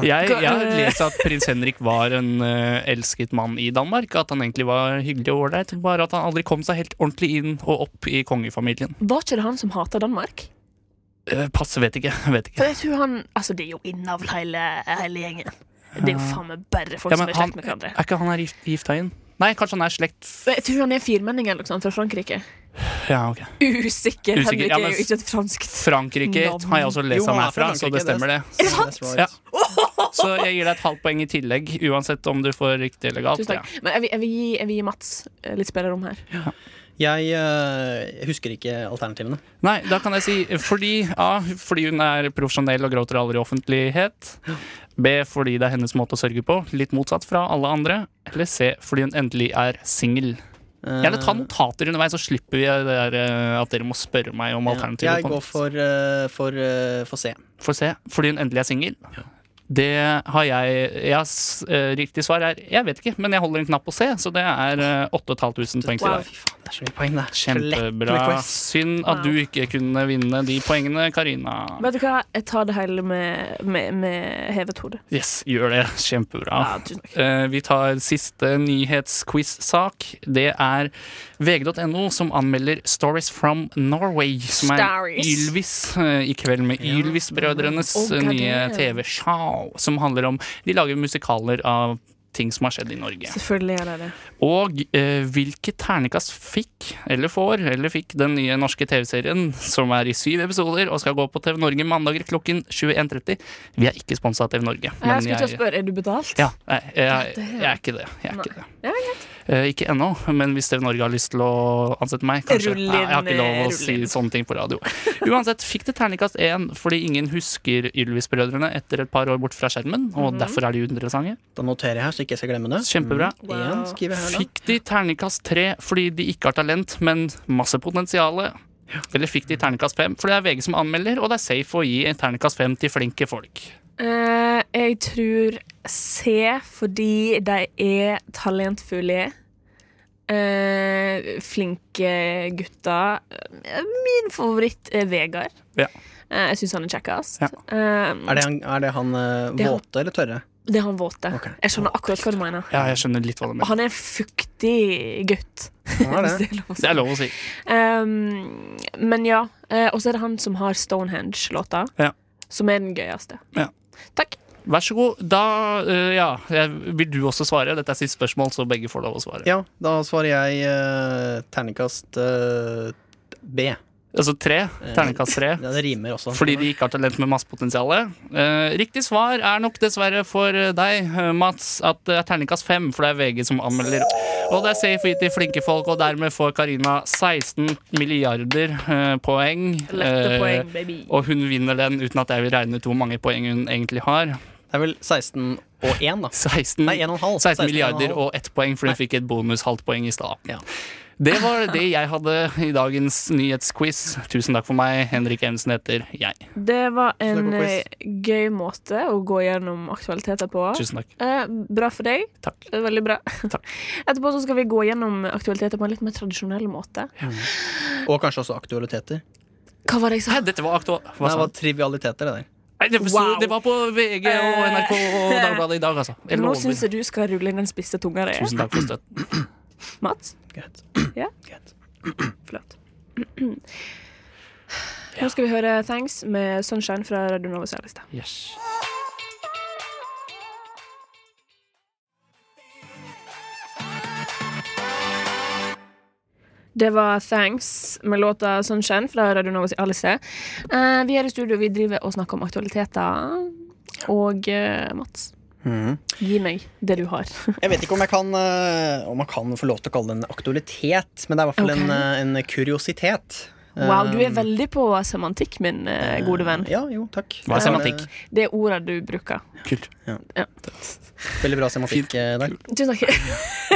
Speaker 4: Jeg,
Speaker 2: Ga-
Speaker 4: jeg har
Speaker 2: eh.
Speaker 4: lest at prins Henrik var en eh, elsket mann i Danmark. At han egentlig var hyggelig og ålreit, bare at han aldri kom seg helt ordentlig inn og opp i kongefamilien.
Speaker 2: Var ikke det han som hata Danmark?
Speaker 4: Eh, pass, vet ikke. *laughs* vet ikke.
Speaker 2: For jeg tror han Altså, det er jo innavl hele, hele gjengen. Det er jo faen meg bare folk
Speaker 4: Ja,
Speaker 2: som
Speaker 4: men
Speaker 2: er
Speaker 4: han,
Speaker 2: slekt med hverandre.
Speaker 4: er ikke han her gift, gifta inn? Nei, kanskje han er slekt
Speaker 2: Jeg tror han er firmenning eller noe sånt fra Frankrike.
Speaker 4: Ja, ok.
Speaker 2: Usikker.
Speaker 4: Usikker,
Speaker 2: Henrik
Speaker 4: ja,
Speaker 2: er
Speaker 4: men-
Speaker 2: jo ikke et franskt
Speaker 4: *laughs* Frankrike
Speaker 2: Navn.
Speaker 4: har jeg også lest
Speaker 3: Jo,
Speaker 4: han
Speaker 3: han
Speaker 4: er
Speaker 3: er
Speaker 4: fra,
Speaker 3: fra
Speaker 4: så det
Speaker 3: Frankrike,
Speaker 4: stemmer det.
Speaker 2: Er det sant?
Speaker 3: That's right.
Speaker 4: Ja. Så jeg gir deg et halvt poeng i tillegg, uansett om du får riktig eller galt.
Speaker 2: Tusen takk.
Speaker 4: Ja.
Speaker 2: Men jeg vil, jeg, vil gi, jeg vil gi Mats eh, litt spillerom her.
Speaker 3: Jeg eh, husker ikke alternativene.
Speaker 4: Nei, da kan jeg si fordi A. Fordi hun er profesjonell og gråter aldri i offentlighet. B. Fordi det er hennes måte å sørge på. Litt motsatt fra alle andre. Eller C. Fordi hun endelig er singel. Gjerne
Speaker 3: Eh.
Speaker 4: ta notater underveis, så slipper vi det der, eh, at dere må spørre meg om alternativer.
Speaker 3: Jeg
Speaker 4: på
Speaker 3: går
Speaker 4: nett.
Speaker 3: for, eh, for, eh, for C.
Speaker 4: Får se. Fordi hun endelig er singel. Det har jeg, jeg har s- eh, Riktig svar er Jeg vet ikke, men jeg holder en knapp på C, så det er eh, 8500 poeng til
Speaker 2: Wow.
Speaker 4: deg.
Speaker 3: Fy faen, det er så mye poeng, det. er så lett med
Speaker 4: Kjempebra.
Speaker 3: quiz.
Speaker 4: Synd at
Speaker 2: Wow.
Speaker 4: du ikke kunne vinne de poengene, Karina.
Speaker 2: Vet du hva, jeg tar det hele med, med, med hevet hode.
Speaker 4: Yes, gjør det. Kjempebra.
Speaker 2: Ja, tusen takk.
Speaker 4: Eh, Vi tar siste nyhetsquiz-sak. Det er vg.no som anmelder Stories from Norway, som er
Speaker 2: Stories.
Speaker 4: Ylvis, eh, i kveld med Ylvis-brødrenes
Speaker 2: Oh,
Speaker 4: eh, nye
Speaker 2: goddamn.
Speaker 4: TV-show, som handler om De lager musikaler av ting som har skjedd i Norge.
Speaker 2: Selvfølgelig gjør jeg det.
Speaker 4: Og eh, hvilke ternekast fikk, eller får, eller fikk den nye norske TV-serien, som er i syv episoder og skal gå på TV Norge mandager klokken 21.30. Vi er ikke sponsa av TV Norge. men
Speaker 2: Jeg skulle til å spørre, er du betalt?
Speaker 4: ja, nei, jeg,
Speaker 2: det er-
Speaker 4: jeg er ikke det. Jeg er
Speaker 2: Nei.
Speaker 4: ikke det.
Speaker 2: Ja, greit.
Speaker 4: Eh, ikke ennå, men hvis TV Norge har lyst til å ansette meg, kanskje.
Speaker 2: Rull inn,
Speaker 4: Nei, jeg har ikke lov å
Speaker 2: rull
Speaker 4: si
Speaker 2: inn.
Speaker 4: sånne ting på radio. Uansett fikk det terningkast én fordi ingen husker Ylvis-brødrene etter et par år bort fra skjermen,
Speaker 2: Mhm.
Speaker 4: og derfor er de uinteressante.
Speaker 3: Da noterer jeg her, så ikke jeg skal glemme det. Mm.
Speaker 4: Kjempebra.
Speaker 2: Wow.
Speaker 3: En skriver jeg her, da.
Speaker 4: Fikk de terningkast tre fordi de ikke har talent, men masse potensial? Eller fikk de terningkast fem? For det er VG som anmelder, og det er safe å gi en terningkast fem til flinke folk.
Speaker 2: Eh, jeg tror C, fordi de er talentfulle. Eh, flinke gutter. Eh, Min favoritt er Vegard.
Speaker 4: Ja.
Speaker 2: Eh, jeg syns han er kjekkest.
Speaker 4: Ja.
Speaker 2: Eh,
Speaker 3: Er det han, er det han eh,
Speaker 2: Det er han.
Speaker 3: våte eller tørre?
Speaker 2: det er han våte.
Speaker 3: Ok.
Speaker 2: Jeg skjønner akkurat hva du mener.
Speaker 4: Ja, jeg skjønner litt hva du
Speaker 2: Og
Speaker 4: mener.
Speaker 2: han er en fuktig gutt.
Speaker 3: Han er
Speaker 2: *laughs* hvis
Speaker 3: det.
Speaker 2: det er lov å
Speaker 4: Det er lov å
Speaker 2: si.
Speaker 4: si.
Speaker 2: Um, men ja. eh, Og så er det han som har Stonehenge-låta,
Speaker 4: Ja.
Speaker 2: som er den gøyeste.
Speaker 4: Ja.
Speaker 2: Takk.
Speaker 4: Vær så god. Da eh, ja, jeg, vil du også svare? Dette er siste spørsmål, så begge får lov å svare.
Speaker 3: Ja, da svarer jeg eh, terningkast eh, B.
Speaker 4: Altså tre. Terningkast tre.
Speaker 3: Ja, det rimer også.
Speaker 4: Fordi de ikke har talent med masse potensial. Eh, riktig svar er nok dessverre for deg, eh, Mats, at det er terningkast fem, for det er VG som anmelder. Og det er safe gitt til flinke folk, og dermed får Karina 16 milliarder eh, poeng.
Speaker 2: Lette
Speaker 4: Eh,
Speaker 2: poeng, baby.
Speaker 4: og hun vinner den uten at jeg vil regne ut hvor mange poeng hun egentlig har.
Speaker 3: Det er vel 16 og 1, da.
Speaker 4: 16,
Speaker 3: Nei, en og en halv.
Speaker 4: 16
Speaker 3: 16
Speaker 4: milliarder
Speaker 3: og en halv.
Speaker 4: og ett poeng, fordi hun fikk et bonus halvt poeng i stad.
Speaker 3: Ja.
Speaker 4: Det var det jeg hadde i dagens nyhetsquiz. Tusen takk for meg. Henrik Evensen heter jeg.
Speaker 2: Det var en
Speaker 3: Snakk om quiz.
Speaker 2: eh, gøy måte å gå gjennom aktualiteter på.
Speaker 4: Tusen takk.
Speaker 2: Eh, bra for deg.
Speaker 4: Takk.
Speaker 2: Eh, Veldig bra. *laughs* Etterpå så skal vi gå gjennom aktualiteter på en litt mer tradisjonell måte.
Speaker 3: Og kanskje også aktualiteter.
Speaker 2: Hva var det jeg sa?
Speaker 4: Hæ, dette var aktuelt.
Speaker 3: Nei, det var trivialiteter, det der.
Speaker 4: Nei, det, så,
Speaker 2: Wow.
Speaker 4: det var på VG og
Speaker 3: Eh.
Speaker 4: NRK og Dagbladet i dag, altså. Jeg
Speaker 2: Nå
Speaker 4: lover.
Speaker 2: syns jeg du skal rulle inn den spisse tunga di.
Speaker 4: Tusen takk for støtten.
Speaker 2: Mats?
Speaker 3: Greit.
Speaker 2: Ja?
Speaker 3: Greit.
Speaker 2: Flott. *clears throat* Nå skal vi høre Thanks med Sunshine fra Radio Nova Særligste.
Speaker 4: Yes.
Speaker 2: Det var Thanks med låta Sunshine fra Radio Nova Alice. Eh, vi er i studio, vi driver og snakker om aktualiteter. Og eh, Mats, gi meg det du har. *laughs*
Speaker 3: Jeg vet ikke om, jeg kan, eh, om man kan få lov til å kalle det en aktualitet, men det er i hvert fall
Speaker 2: Ok.
Speaker 3: en, eh, en kuriositet.
Speaker 2: Wow, du er
Speaker 3: Eh,
Speaker 2: veldig på semantikk, min eh, gode venn.
Speaker 3: Ja, jo, takk.
Speaker 4: Hva
Speaker 3: Jeg
Speaker 4: er
Speaker 3: har,
Speaker 4: semantikk?
Speaker 3: eh,
Speaker 2: Det er ordene du bruker.
Speaker 4: Kult.
Speaker 3: Veldig bra semantikk eh, der.
Speaker 2: Tusen takk.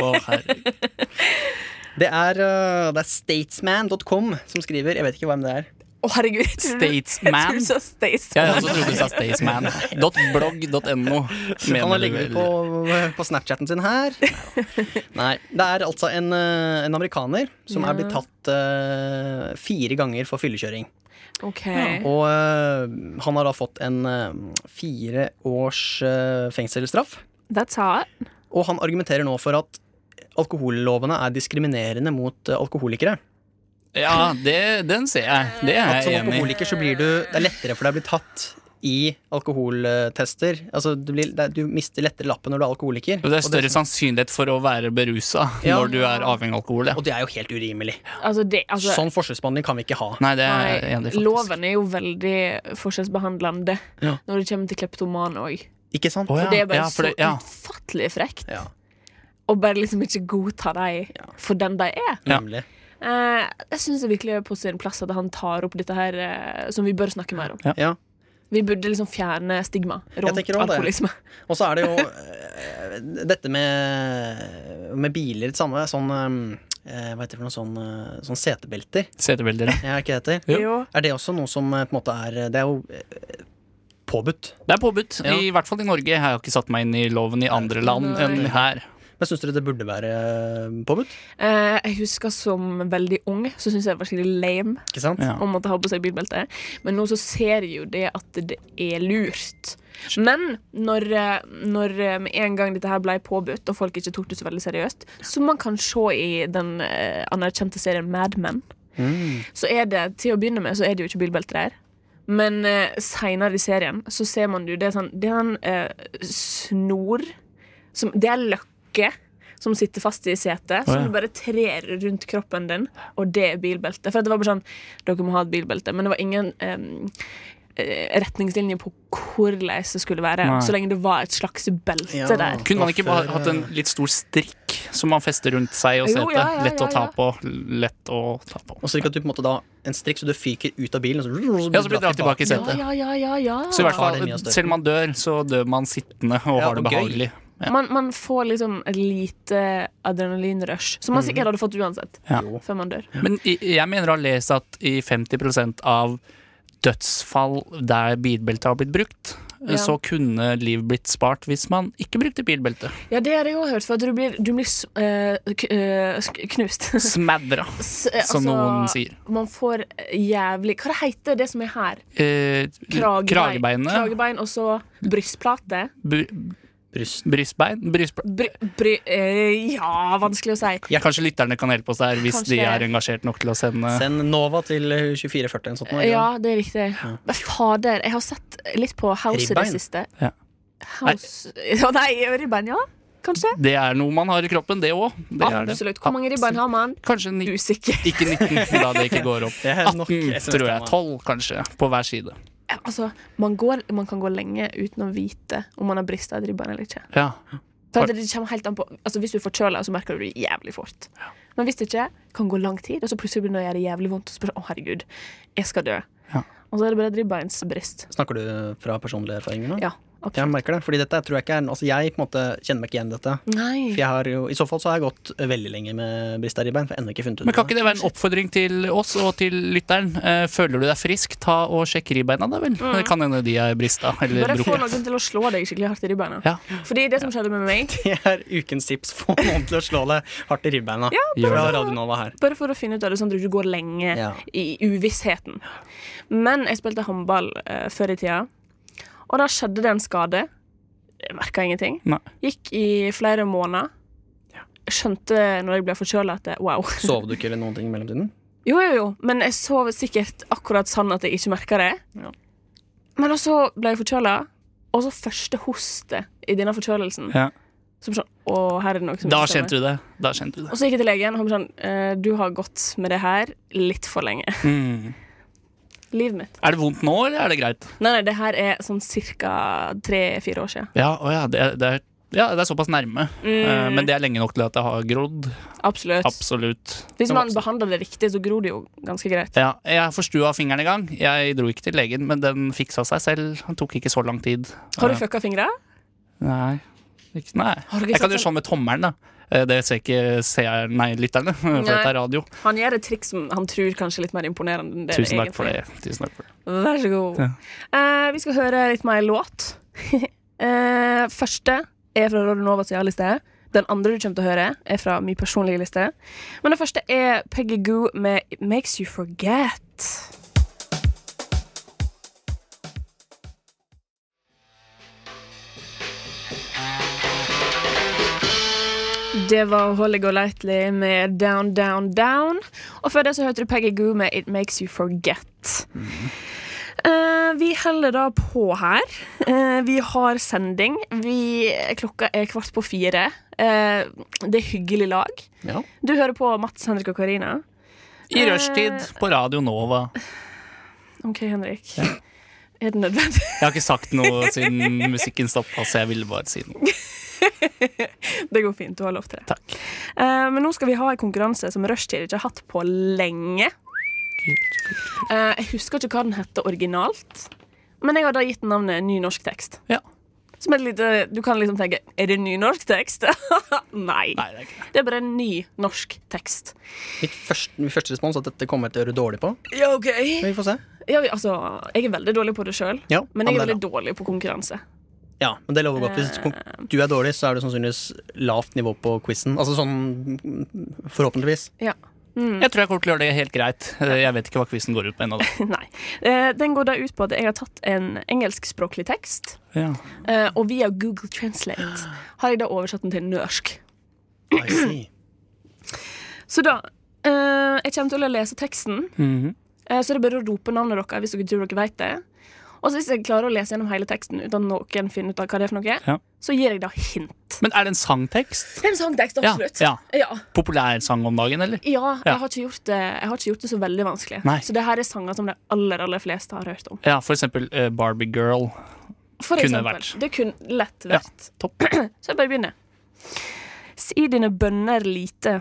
Speaker 4: Å, herregud.
Speaker 3: Det er, eh, det er statesman.com som skriver. Jeg vet ikke hvem det er.
Speaker 2: Å, herregud. *laughs* jeg trodde- Jeg
Speaker 4: Statesman.
Speaker 2: trodde du sa States.
Speaker 4: Jeg også trodde du sa Staysman. Blogg.no.
Speaker 3: Han har
Speaker 4: mener du
Speaker 3: ligget
Speaker 4: vel.
Speaker 3: på, på Snapchatten sin her. *laughs* Nei. Det er altså en, eh, en amerikaner som
Speaker 2: Ja.
Speaker 3: er blitt tatt eh, fire ganger for fyllekjøring.
Speaker 2: OK.
Speaker 3: Og eh, han har da fått en eh, fire års eh, fengselsstraff.
Speaker 2: That's hot.
Speaker 3: Og han argumenterer nå for at alkohollovene er diskriminerende mot eh, alkoholikere.
Speaker 4: Ja, det, den ser jeg. Det er
Speaker 3: At som
Speaker 4: jeg enig i.
Speaker 3: alkoholiker så blir du Det er lettere for deg å bli tatt i alkoholtester. Altså, du, blir, det er- du mister lettere lappen når du er alkoholiker.
Speaker 4: Og Det er
Speaker 3: Og
Speaker 4: større sannsynlighet for å være berusa
Speaker 3: Ja.
Speaker 4: når du er avhengig av alkohol. Ja.
Speaker 3: og det er jo helt urimelig.
Speaker 2: Altså, det, altså
Speaker 3: Sånn forskjellsbehandling kan vi ikke ha.
Speaker 4: Nei, det eh, er jeg
Speaker 2: Nei,
Speaker 4: enig i, faktisk.
Speaker 2: loven er jo veldig forskjellsbehandlende
Speaker 3: Ja.
Speaker 2: når det kommer til kleptomane òg.
Speaker 3: Ikke sant?
Speaker 4: Å,
Speaker 2: For det er bare
Speaker 4: ja, for det-
Speaker 2: så
Speaker 4: ja.
Speaker 2: utfattelig frekt.
Speaker 3: Ja,
Speaker 2: Og bare liksom ikke godta dem for den de er.
Speaker 4: Ja.
Speaker 3: nemlig.
Speaker 2: Eh, jeg syns det virkelig er på sin plass at han tar opp dette her, eh, som vi bør snakke mer om.
Speaker 3: Ja.
Speaker 2: Vi burde liksom fjerne stigma rundt
Speaker 3: tenker også det.
Speaker 2: alkoholisme.
Speaker 3: Og så er det jo eh, dette med, med biler det samme. Sånn eh, Hva heter det for noe sånn, eh, sånn setebelter?
Speaker 4: Setebelter.
Speaker 3: Ja, er ikke det heter?
Speaker 4: Jo.
Speaker 2: Jo.
Speaker 3: Er det også noe som eh, på en måte er Det er jo eh, påbudt.
Speaker 4: Det er påbudt.
Speaker 3: Ja.
Speaker 4: I hvert fall i Norge. Jeg har jo ikke satt meg inn i loven i andre land enn her.
Speaker 3: Men syns dere det burde være eh, påbudt?
Speaker 2: Eh, jeg husker som veldig ung, så syntes jeg det var skikkelig lame
Speaker 3: Ikke sant?
Speaker 4: Ja.
Speaker 2: å måtte ha på seg bilbelte. Men nå så ser jeg jo det at det er lurt. Men når, eh, når eh, med en gang dette her ble påbudt, og folk ikke tok det så veldig seriøst, som man kan se i den eh, anerkjente serien Mad Men, så er det til å begynne med så er det jo ikke bilbelte der. Men eh, seinere i serien så ser man jo det er sånn Det er en eh, snor som, Det er løkke som sitter fast i setet,
Speaker 4: ja.
Speaker 2: som du bare trer rundt kroppen din, og det er bilbelte. For det var bare sånn Dere må ha et bilbelte. Men det var ingen em, eh, retningslinjer på hvordan det skulle være,
Speaker 4: Nei.
Speaker 2: så lenge det var et slags belte
Speaker 3: Ja.
Speaker 2: der.
Speaker 4: Kunne man ikke
Speaker 3: Fra
Speaker 4: bare
Speaker 3: før,
Speaker 4: hatt en litt stor strikk som man fester rundt seg og
Speaker 2: Jo,
Speaker 4: setet?
Speaker 2: ja, ja,
Speaker 4: Lett å
Speaker 2: ja,
Speaker 4: ta
Speaker 2: ja.
Speaker 4: på. Lett å ta på.
Speaker 3: Og så ikke at du på en måte da en strikk så du fyker ut av bilen, og så,
Speaker 4: Ja, så blir det dratt tilbake i
Speaker 2: Ja,
Speaker 4: setet.
Speaker 2: ja, ja, ja, ja.
Speaker 4: Så i hvert
Speaker 3: Har
Speaker 4: fall,
Speaker 3: det mye å støtte.
Speaker 4: selv om man dør, så dør man sittende og
Speaker 3: Ja,
Speaker 4: har det
Speaker 3: og gøy.
Speaker 4: behagelig. Ja.
Speaker 2: Man, man får liksom et lite adrenalinrush, som man sikkert hadde fått uansett.
Speaker 4: Mm. Ja.
Speaker 2: Før man dør.
Speaker 4: Men i- jeg mener å ha lest at i 50 av dødsfall der bilbelte har blitt brukt,
Speaker 2: Ja.
Speaker 4: så kunne liv blitt spart hvis man ikke brukte bilbelte.
Speaker 2: Ja, det har jeg òg hørt, for at du blir, du blir s- eh, k- eh, sk- knust.
Speaker 4: *laughs* Smadra,
Speaker 2: S- eh,
Speaker 4: som
Speaker 2: *laughs* altså,
Speaker 4: noen sier.
Speaker 2: Man får jævlig Hva det heter det som er her?
Speaker 4: Eh,
Speaker 2: Kragebein.
Speaker 4: kragebeinet.
Speaker 2: Kragebein og så brystplate.
Speaker 4: bry-
Speaker 3: Bryst.
Speaker 4: brystbein? Brystbein.
Speaker 2: Bry, bry, eh, ja, vanskelig å si.
Speaker 4: Kanskje lytterne kan hjelpe oss der, hvis de
Speaker 2: Kanskje.
Speaker 4: er engasjert nok til å sende
Speaker 3: Send Nova til eh, 2440 eller noe sånt. nå, ikke sant?
Speaker 2: Ja, det er riktig. Men Fader, jeg har sett litt på House i det
Speaker 3: Ribbein.
Speaker 2: siste.
Speaker 4: Ja.
Speaker 2: House Å nei, *laughs* ribbein, ja? Kanskje?
Speaker 4: Det er noe man har i kroppen, det òg.
Speaker 2: Absolutt. Hvor mange ribbein har man?
Speaker 4: Kanskje ni,
Speaker 2: Usikker.
Speaker 4: ikke 19, da det ikke går opp.
Speaker 3: *laughs* Det er
Speaker 4: 18,
Speaker 3: nok SMS-tema.
Speaker 4: tror jeg. 12, kanskje. På hver side.
Speaker 2: Altså, man, går, man kan gå lenge uten å vite om man har brista et ribbein eller ikke.
Speaker 4: Ja.
Speaker 2: For at det kommer helt an på Altså Hvis du er forkjøla, så merker du det jævlig fort. Men hvis det ikke, kan gå lang tid, og så plutselig begynner det å gjøre jævlig vondt. Og så spør du, å herregud, jeg skal dø.
Speaker 4: Ja.
Speaker 2: Og så er det bare et ribbeinsbrist.
Speaker 3: Snakker du fra personlige erfaringer nå?
Speaker 2: Ja.
Speaker 3: Jeg
Speaker 2: Absolutt.
Speaker 3: merker det. Fordi dette tror jeg ikke er Altså, jeg på en måte kjenner meg ikke igjen i dette. For
Speaker 2: Nei.
Speaker 3: jeg har jo, I så fall så har jeg gått eh, veldig lenge med brista ribbein. For jeg har ennå ikke funnet ut
Speaker 4: Men kan ikke det være en oppfordring til oss og til lytteren? Eh, føler du deg frisk, ta og sjekk ribbeina, da vel. Det kan hende de er brista eller
Speaker 2: Mm. Bare få
Speaker 4: brukket.
Speaker 2: noen til å slå deg skikkelig hardt i ribbeina.
Speaker 4: Ja.
Speaker 2: Fordi det som skjedde med meg
Speaker 3: *laughs* Det er ukens tips. Få noen til å slå deg hardt i ribbeina. Ja,
Speaker 4: gjør
Speaker 3: Fra
Speaker 4: det.
Speaker 3: Radio Nova her.
Speaker 2: Bare for å finne ut av det, sånn at du ikke går lenge
Speaker 3: Ja.
Speaker 2: i uvissheten. Men jeg spilte håndball eh, før i tida, og da skjedde det en skade. Jeg merka ingenting.
Speaker 4: Nei.
Speaker 2: Gikk i flere måneder. Skjønte når jeg ble forkjøla at det, wow. *laughs*
Speaker 3: Sov du ikke eller noen ting i mellomtiden?
Speaker 2: Jo, jo, jo, men jeg sov sikkert akkurat sånn at jeg ikke merka det. Men også ble jeg forkjøla, og så første hostet i denne forkjølelsen.
Speaker 4: Ja.
Speaker 2: Så ble jeg sånn, å, her er det noe som
Speaker 4: Da
Speaker 2: ikke stemmer.
Speaker 4: kjente du det. Da kjente du det.
Speaker 2: Og så gikk jeg til legen, og han ble sånn eh, Du har gått med det her litt for lenge. *laughs*
Speaker 4: Mm.
Speaker 2: Livet mitt.
Speaker 4: Er det vondt nå, eller er det greit?
Speaker 2: Nei, nei, det her er sånn ca. tre-fire år siden.
Speaker 4: Ja, å ja, det, er- det er ja, det er såpass nærme, Eh,
Speaker 2: Mm.
Speaker 4: men det er lenge nok til at det har grodd.
Speaker 2: Absolutt.
Speaker 4: Absolutt.
Speaker 2: Hvis man
Speaker 4: absolutt.
Speaker 2: behandler det riktig, så gror det jo ganske greit.
Speaker 4: Ja, jeg forstua fingeren i gang. Jeg dro ikke til legen, men den fiksa seg selv. Den tok ikke så lang tid.
Speaker 2: Har du fucka fingra?
Speaker 4: Nei. Ikke, nei.
Speaker 2: Har du ikke
Speaker 4: Jeg kan
Speaker 2: sett
Speaker 4: gjøre sånn med tommelen, da. Eh, Det ser ikke seer, nei, lytterne, *laughs* for
Speaker 2: Nei.
Speaker 4: dette er radio.
Speaker 2: Han gjør et triks som han tror kanskje er litt mer imponerende enn det
Speaker 4: Tusen
Speaker 2: det
Speaker 4: takk for
Speaker 2: egentlig er.
Speaker 4: det. Tusen takk for det.
Speaker 2: Vær så god.
Speaker 4: Ja.
Speaker 2: Eh, vi skal høre litt mer låt. *laughs* Eh, første er fra Radio Novas ja-liste. Den andre du kommer til å høre, er fra min personlige liste. Men den første er Peggy Goo med It Makes You Forget. Det var Holly Golightly med Down, Down, Down. Og før det så hørte du Peggy Goo med It Makes You Forget. Eh, vi holder da på her. Eh, vi har sending. Vi, klokka er kvart på fire. Eh, det er hyggelig lag.
Speaker 3: Ja.
Speaker 2: Du hører på Mats, Henrik og Karina.
Speaker 4: I rushtid på Radio Nova.
Speaker 2: OK, Henrik. Er det nødvendig? *laughs*
Speaker 4: Jeg har ikke sagt
Speaker 3: *laughs*
Speaker 4: noe siden musikken stoppa, så jeg ville bare si noe.
Speaker 2: Det går fint. Du har lov til det.
Speaker 4: Takk.
Speaker 2: Eh, men nå skal vi ha en konkurranse som Rushtid ikke har hatt på lenge. Eh, jeg husker ikke hva den heter originalt, men jeg har da gitt den navnet Ny norsk tekst.
Speaker 4: Ja.
Speaker 2: Som et lite, du kan liksom tenke Er det ny norsk tekst? *laughs* Nei.
Speaker 4: Nei, det er ikke det.
Speaker 2: Det er bare en ny norsk tekst.
Speaker 3: Mitt første, min første respons er at dette kommer jeg til å gjøre dårlig på.
Speaker 2: Ja, OK.
Speaker 3: Men vi får se.
Speaker 2: Ja, vi- altså, jeg er veldig dårlig på det sjøl,
Speaker 3: Ja,
Speaker 2: men jeg
Speaker 3: ja, men det Eh.
Speaker 2: er veldig
Speaker 3: er bra.
Speaker 2: dårlig på konkurranse.
Speaker 3: ja, men det lover godt. Hvis kon- du er dårlig, så er det sannsynligvis lavt nivå på quizen. Altså sånn mm,
Speaker 4: *clears throat*
Speaker 3: forhåpentligvis.
Speaker 2: Ja. *laughs*
Speaker 3: Mm.
Speaker 4: Jeg tror jeg kommer til å gjøre det helt greit. Eh, Jeg vet ikke hva quizen går ut på ennå. da.
Speaker 2: Nei. Eh, den går da ut på at jeg har tatt en engelskspråklig tekst, eh, og via Google Translate har jeg da oversatt den til norsk.
Speaker 3: I see.
Speaker 2: Så da eh, Jeg kommer til å lese teksten,
Speaker 4: Mhm.
Speaker 2: eh, så det er bare å rope navnet deres hvis dere tror dere vet det. Og så hvis jeg klarer å lese gjennom hele teksten uten at noen finner ut av hva det er for noe,
Speaker 4: Ja.
Speaker 2: så gir jeg da hint.
Speaker 4: Men er det en sangtekst?
Speaker 2: Det er en sangtekst,
Speaker 4: Ja,
Speaker 2: absolutt.
Speaker 4: ja.
Speaker 2: ja.
Speaker 4: Populær sang om dagen, eller? Ja.
Speaker 2: Ja, jeg har ikke gjort det, jeg har ikke gjort det så veldig vanskelig.
Speaker 4: Nei.
Speaker 2: Så det her er sanger som de aller aller fleste har hørt om.
Speaker 4: Ja, for eksempel eh, Barbie Girl.
Speaker 2: For
Speaker 4: Kunne
Speaker 2: eksempel,
Speaker 4: vært.
Speaker 2: Det kunne lett
Speaker 4: Ja.
Speaker 2: vært.
Speaker 4: Topp.
Speaker 2: Så jeg bare begynner. Si dine bønner lite.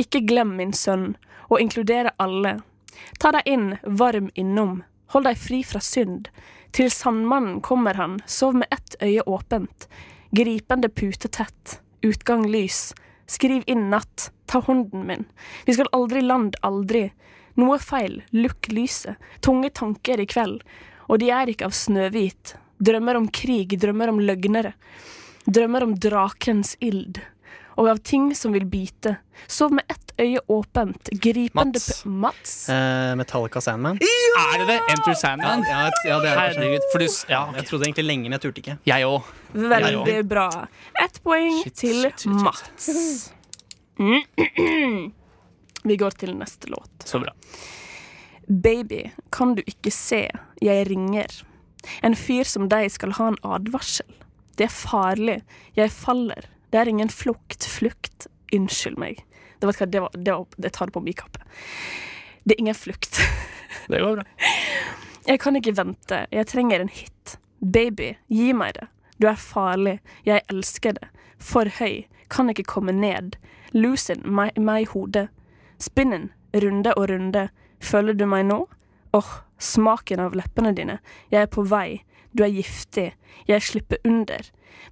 Speaker 2: Ikke glem min sønn, og inkludere alle. Ta deg inn, varm innom. Hold deg fri fra synd. Til Sandmannen kommer han, sov med ett øye åpent. Gripende pute tett. Utgang lys. Skriv inn natt. Ta hånden min. Vi skal aldri land, aldri. Noe feil, lukk lyset. Tunge tanker i kveld. Og de er ikke av snøhvit. Drømmer om krig, drømmer om løgnere. Drømmer om drakens ild, og av ting som vil bite. Sov med ett øye åpent, gripende
Speaker 4: Mats.
Speaker 2: p- Mats?
Speaker 3: Eh, Metallica Sandman.
Speaker 4: Er det det? Enter Sandman?
Speaker 3: Ja, ja, det er det kanskje.
Speaker 4: Herregud. For du s- Ja,
Speaker 3: Jeg
Speaker 4: ok.
Speaker 3: trodde egentlig lenge, men jeg turte ikke.
Speaker 4: jeg òg.
Speaker 2: Veldig bra. Ett poeng
Speaker 4: Shit,
Speaker 2: til
Speaker 4: shit, shit, shit.
Speaker 2: Mats. Vi går til neste låt.
Speaker 4: Så bra.
Speaker 2: Baby, kan du ikke se, jeg ringer. En fyr som deg skal ha en advarsel. Det er farlig, jeg faller. Det er ingen flukt, flukt. Unnskyld meg. Det, vet du hva, det, var, det, var, det tar det på bikappet. Det er ingen flukt.
Speaker 4: Det går bra.
Speaker 2: Jeg kan ikke vente, jeg trenger en hit. Baby, gi meg det. Du er farlig, jeg elsker det. For høy, kan ikke komme ned. Loosen meg, meg i hodet. Spinnen, runde og runde. Føler du meg nå? Åh, smaken av leppene dine. Jeg er på vei, du er giftig. Jeg slipper under.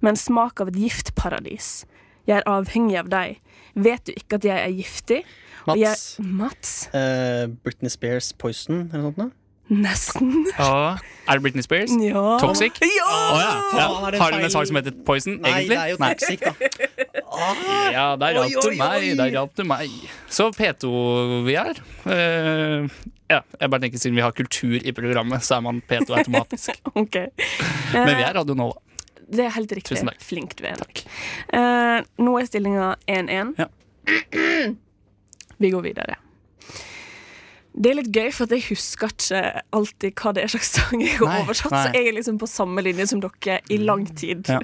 Speaker 2: Med en smak av et giftparadis. Jeg er avhengig av deg. Vet du ikke at jeg er giftig? Og
Speaker 3: Mats.
Speaker 2: Jeg, Mats?
Speaker 3: Eh, Britney Spears Poison eller noe sånt? nå?
Speaker 2: Nesten.
Speaker 4: Ja. Er det Britney Spears?
Speaker 2: Ja.
Speaker 4: Toxic?
Speaker 2: Ja!
Speaker 4: Å ja. ja.
Speaker 3: Faen, er det
Speaker 4: Har hun
Speaker 3: feil?
Speaker 4: en sang som heter Poison?
Speaker 3: Nei,
Speaker 4: egentlig?
Speaker 3: det er jo toxic, da.
Speaker 4: Ja, der
Speaker 3: Oi,
Speaker 4: hjalp du
Speaker 3: oi,
Speaker 4: meg.
Speaker 3: oi.
Speaker 4: Der hjalp du meg. Så P2 vi er. Eh, ja, jeg bare tenker Siden vi har kultur i programmet, så er man P2
Speaker 3: *laughs*
Speaker 4: automatisk.
Speaker 2: *laughs* Ok.
Speaker 4: Men vi er Radio Nova.
Speaker 2: Det er helt riktig.
Speaker 4: Tusen takk.
Speaker 2: Flink du er. Henrik. Eh, nå er stillinga 1-1.
Speaker 4: Ja.
Speaker 2: *clears throat* Vi går videre. Det er litt gøy, for at jeg husker ikke alltid hva det er slags sang jeg har
Speaker 4: Nei,
Speaker 2: oversatt.
Speaker 4: nei. Mm.
Speaker 2: Så jeg er liksom på samme linje som dere i lang tid.
Speaker 4: Ja.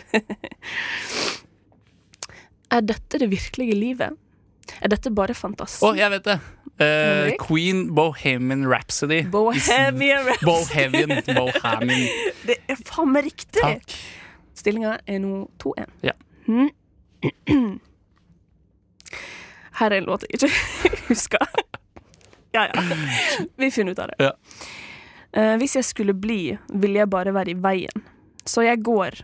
Speaker 2: *laughs* er dette det virkelige livet? Er dette bare fantasi?
Speaker 4: Å, jeg vet det! Eh,
Speaker 2: Henrik?
Speaker 4: Queen Bohemian Rhapsody.
Speaker 2: Bohemian Rhapsody.
Speaker 4: *laughs* Bohemian. Bohemian.
Speaker 2: Det er faen meg riktig!
Speaker 4: Takk.
Speaker 2: Stillinga er nå 2-1.
Speaker 4: Ja.
Speaker 2: Mm. *clears throat* Her er en låt jeg ikke *laughs* husker. Ja, ja. Vi finner ut av det.
Speaker 4: Ja.
Speaker 2: Eh, hvis jeg skulle bli, ville jeg bare være i veien. Så jeg går.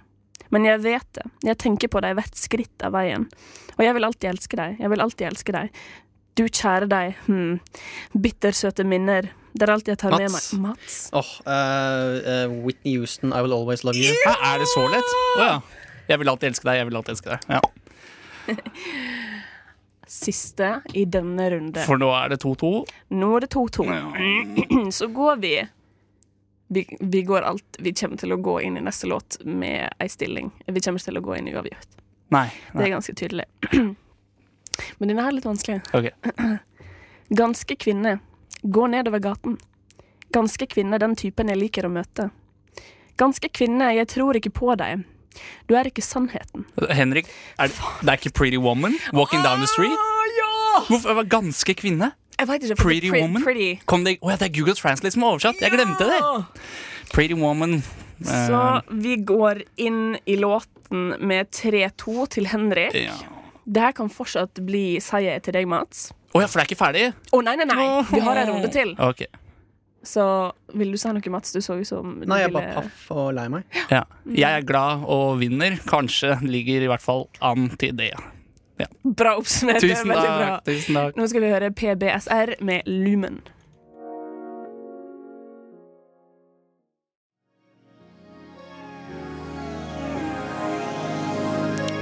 Speaker 2: Men jeg vet det. Jeg tenker på deg hvert skritt av veien. Og jeg vil alltid elske deg. Jeg vil alltid elske deg. Du kjære deg. Hmm. Bittersøte minner. Det er alt jeg tar med meg.
Speaker 3: Mats.
Speaker 2: Mats.
Speaker 3: *laughs* Åh, eh, eh, Whitney Houston, I Will Always Love You.
Speaker 4: Hæ, er det så lett? Å ja. Jeg vil alltid elske deg, jeg vil alltid elske deg. Ja.
Speaker 2: Siste i denne runde.
Speaker 4: For nå er det 2-2.
Speaker 2: Nå er det 2-2. *clears throat* Så går vi vi, vi, går alt, vi kommer til å gå inn i neste låt med ei stilling. Vi kommer ikke til å gå inn i uavgjort.
Speaker 4: Nei.
Speaker 2: Det
Speaker 4: nei.
Speaker 2: er ganske tydelig. *clears throat* Men denne her er litt vanskelig.
Speaker 4: Ok.
Speaker 2: *clears throat* Ganske kvinne. Gå nedover gaten. Ganske kvinne, den typen jeg liker å møte. Ganske kvinne, jeg tror ikke på deg. Du er ikke sannheten.
Speaker 4: Henrik, er det, det er ikke Pretty Woman? Walking down the street?
Speaker 2: ja!
Speaker 4: Hvorfor, jeg var ganske kvinne?
Speaker 2: Jeg vet ikke. for-
Speaker 4: Ah, Pretty
Speaker 2: pre-
Speaker 4: Woman.
Speaker 2: Pretty.
Speaker 4: Kom det, Åja, det er Google Translate som har oversatt! Jeg glemte det!
Speaker 2: Ja.
Speaker 4: Pretty Woman. eh,
Speaker 2: Så vi går inn i låten med 3-2 til Henrik.
Speaker 4: Eh, ja.
Speaker 2: Det her kan fortsatt bli seier til deg, Mats.
Speaker 4: Åja, for det er ikke ferdig?
Speaker 2: Å nei, nei, nei! Vi har en runde til.
Speaker 4: Ok.
Speaker 2: Så vil du si noe, Mats? Du så ut som du
Speaker 3: Nei, jeg er
Speaker 2: ville
Speaker 3: bare paff og lei meg.
Speaker 4: Ja. Jeg er glad og vinner. Kanskje ligger i hvert fall an til det.
Speaker 2: Bra oppsummert. det er
Speaker 4: Tusen
Speaker 2: veldig bra.
Speaker 4: takk! Tusen takk.
Speaker 2: Nå skal vi høre PBSR med Lumen.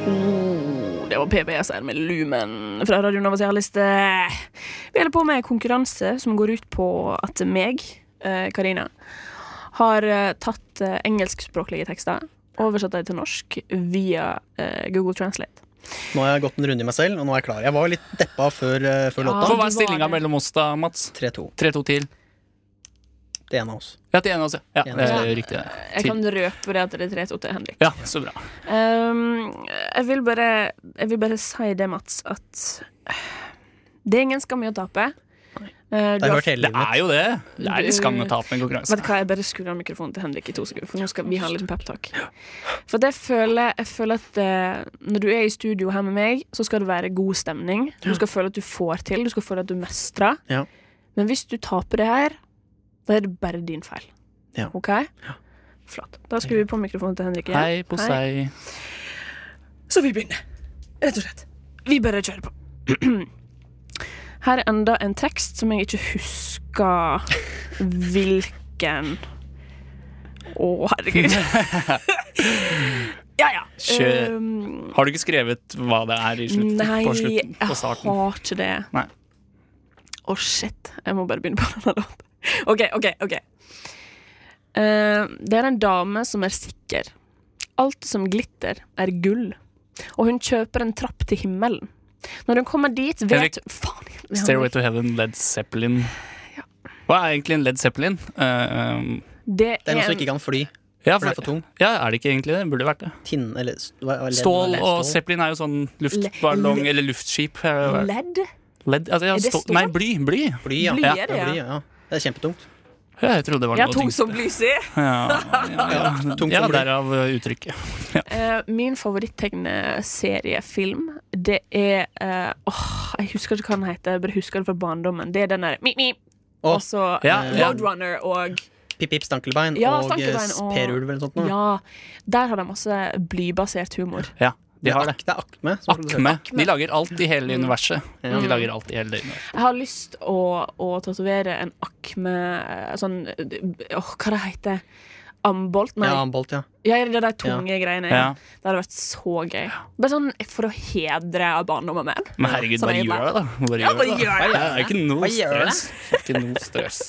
Speaker 2: Oh, Det var PBSR med Lumen fra Radio Novas liste. Vi holder på med konkurranse som går ut på at meg, eh, Karina, har eh, tatt eh, engelskspråklige tekster, oversatt dem til norsk via eh, Google Translate.
Speaker 3: Nå har jeg gått en runde i meg selv, og nå er jeg klar. Jeg var litt deppa før, eh, før
Speaker 2: Ja.
Speaker 3: låta.
Speaker 4: Hva
Speaker 2: du
Speaker 4: er stillinga
Speaker 2: var det.
Speaker 4: mellom oss da, Mats?
Speaker 3: 3-2.
Speaker 4: 3-2 til?
Speaker 3: Det ene av oss.
Speaker 4: Ja, til en av oss, ja. ja
Speaker 3: En av
Speaker 4: det
Speaker 3: oss.
Speaker 4: er riktig. det.
Speaker 2: Jeg kan røpe det at det er 3-2 til Henrik.
Speaker 4: Ja, så bra.
Speaker 2: Ehm, jeg, vil bare, jeg vil bare si det, Mats, at det er ingen skam i å tape. Eh,
Speaker 3: Det har
Speaker 2: du
Speaker 3: jeg
Speaker 2: har-
Speaker 3: hørt hele
Speaker 4: Det
Speaker 3: livet.
Speaker 4: er jo det. Det er litt skam å tape en
Speaker 2: Vet du
Speaker 4: konkurranse.
Speaker 2: hva, Jeg bare skrur av mikrofonen til Henrik i to sekunder, for nå skal vi ha en liten peptalk. For det jeg føler, jeg føler at eh, når du er i studio her med meg, så skal det være god stemning. Du skal føle at du får til, du skal føle at du mestrer.
Speaker 3: Ja.
Speaker 2: Men hvis du taper det her, da er det bare din feil.
Speaker 3: Ja.
Speaker 2: OK? Flott. Da skrur vi på mikrofonen til Henrik igjen.
Speaker 4: Hei, Posei.
Speaker 2: Så vi begynner. Rett og slett. Vi bare kjører på. *clears throat* Her er enda en tekst som jeg ikke husker hvilken Å, herregud. ja, ja.
Speaker 4: Kjør.
Speaker 2: Um,
Speaker 4: Har du ikke skrevet hva det er i slutten?
Speaker 2: nei,
Speaker 4: på
Speaker 2: jeg
Speaker 4: slutten? På
Speaker 2: har
Speaker 4: starten?
Speaker 2: ikke det.
Speaker 4: Nei.
Speaker 2: Å, shit. Jeg må bare begynne på denne låten. OK, OK, OK. Eh, det er en dame som er sikker. Alt som glitter, er gull. Og hun kjøper en trapp til himmelen. Når hun kommer dit, vet
Speaker 4: Henrik.
Speaker 2: Faen, jeg- ja,
Speaker 4: Stairway to Heaven, Led Zeppelin. Hva er egentlig en Led Zeppelin? Eh, um,
Speaker 2: Det
Speaker 3: Det er noen
Speaker 2: er
Speaker 3: som ikke
Speaker 2: en,
Speaker 3: kan fly,
Speaker 4: ja,
Speaker 3: for det er for tung.
Speaker 4: ja, er det ikke egentlig det? Burde det vært det.
Speaker 3: Tinn, eller, s- hva- hva- ledd-
Speaker 4: Stål
Speaker 3: ledd-
Speaker 4: og
Speaker 3: stål.
Speaker 4: Zeppelin er jo sånn
Speaker 2: Le-
Speaker 4: luftballong eller luftskip. eh,
Speaker 2: ledd.
Speaker 4: Led, altså, ja,
Speaker 2: Er det
Speaker 4: stål-
Speaker 2: stål?
Speaker 4: Nei, bly. Bly.
Speaker 3: Bly, ja.
Speaker 2: Bly
Speaker 3: ja.
Speaker 2: er det, ja.
Speaker 3: bly, ja. Det er kjempetungt.
Speaker 4: Jeg trodde det var
Speaker 2: Ja,
Speaker 4: noe
Speaker 2: tung
Speaker 4: tyngst.
Speaker 2: som blysi.
Speaker 4: Ja, ja, ja.
Speaker 3: Tungt
Speaker 4: ja
Speaker 3: som bly.
Speaker 4: derav eh, uttrykket.
Speaker 2: Eh, min favoritttegneseriefilm, det er eh, åh, Jeg husker ikke hva den heter, jeg bare husker det fra barndommen. Det er den der Mip, mip.
Speaker 3: Åh,
Speaker 2: Og så
Speaker 4: ja,
Speaker 2: eh,
Speaker 4: ja.
Speaker 2: Roadrunner og
Speaker 3: Pip Pip Stankelbein
Speaker 2: Ja,
Speaker 3: og eh,
Speaker 2: Stankelbein og-
Speaker 3: Sperulv eller noe sånt. nå.
Speaker 2: Ja. Der har de masse blybasert humor.
Speaker 4: Ja, de
Speaker 3: det,
Speaker 4: har
Speaker 3: er
Speaker 4: det.
Speaker 3: ak, det er Akme. som produserer.
Speaker 4: Akme. De lager alt i hele universet. De lager alt i hele det universet.
Speaker 2: Jeg har lyst å, å tatovere en akme eh, Sånn eh, åh, Hva det heter Ambolt? Nei,
Speaker 3: Ja,
Speaker 2: ja.
Speaker 3: Bolt, ja.
Speaker 2: det er de tunge greiene.
Speaker 4: Ja.
Speaker 2: Det hadde vært så gøy. Bare sånn for å hedre barndommen min. Sånn
Speaker 4: Men herregud,
Speaker 2: Som
Speaker 4: bare
Speaker 2: jeg
Speaker 4: gjør det, da. Bare
Speaker 2: Ja, bare
Speaker 4: gjør det.
Speaker 2: gjør det.
Speaker 4: da. Ja, det er ikke noe
Speaker 3: Bare gjør det.
Speaker 4: stress. Ikke noe stress.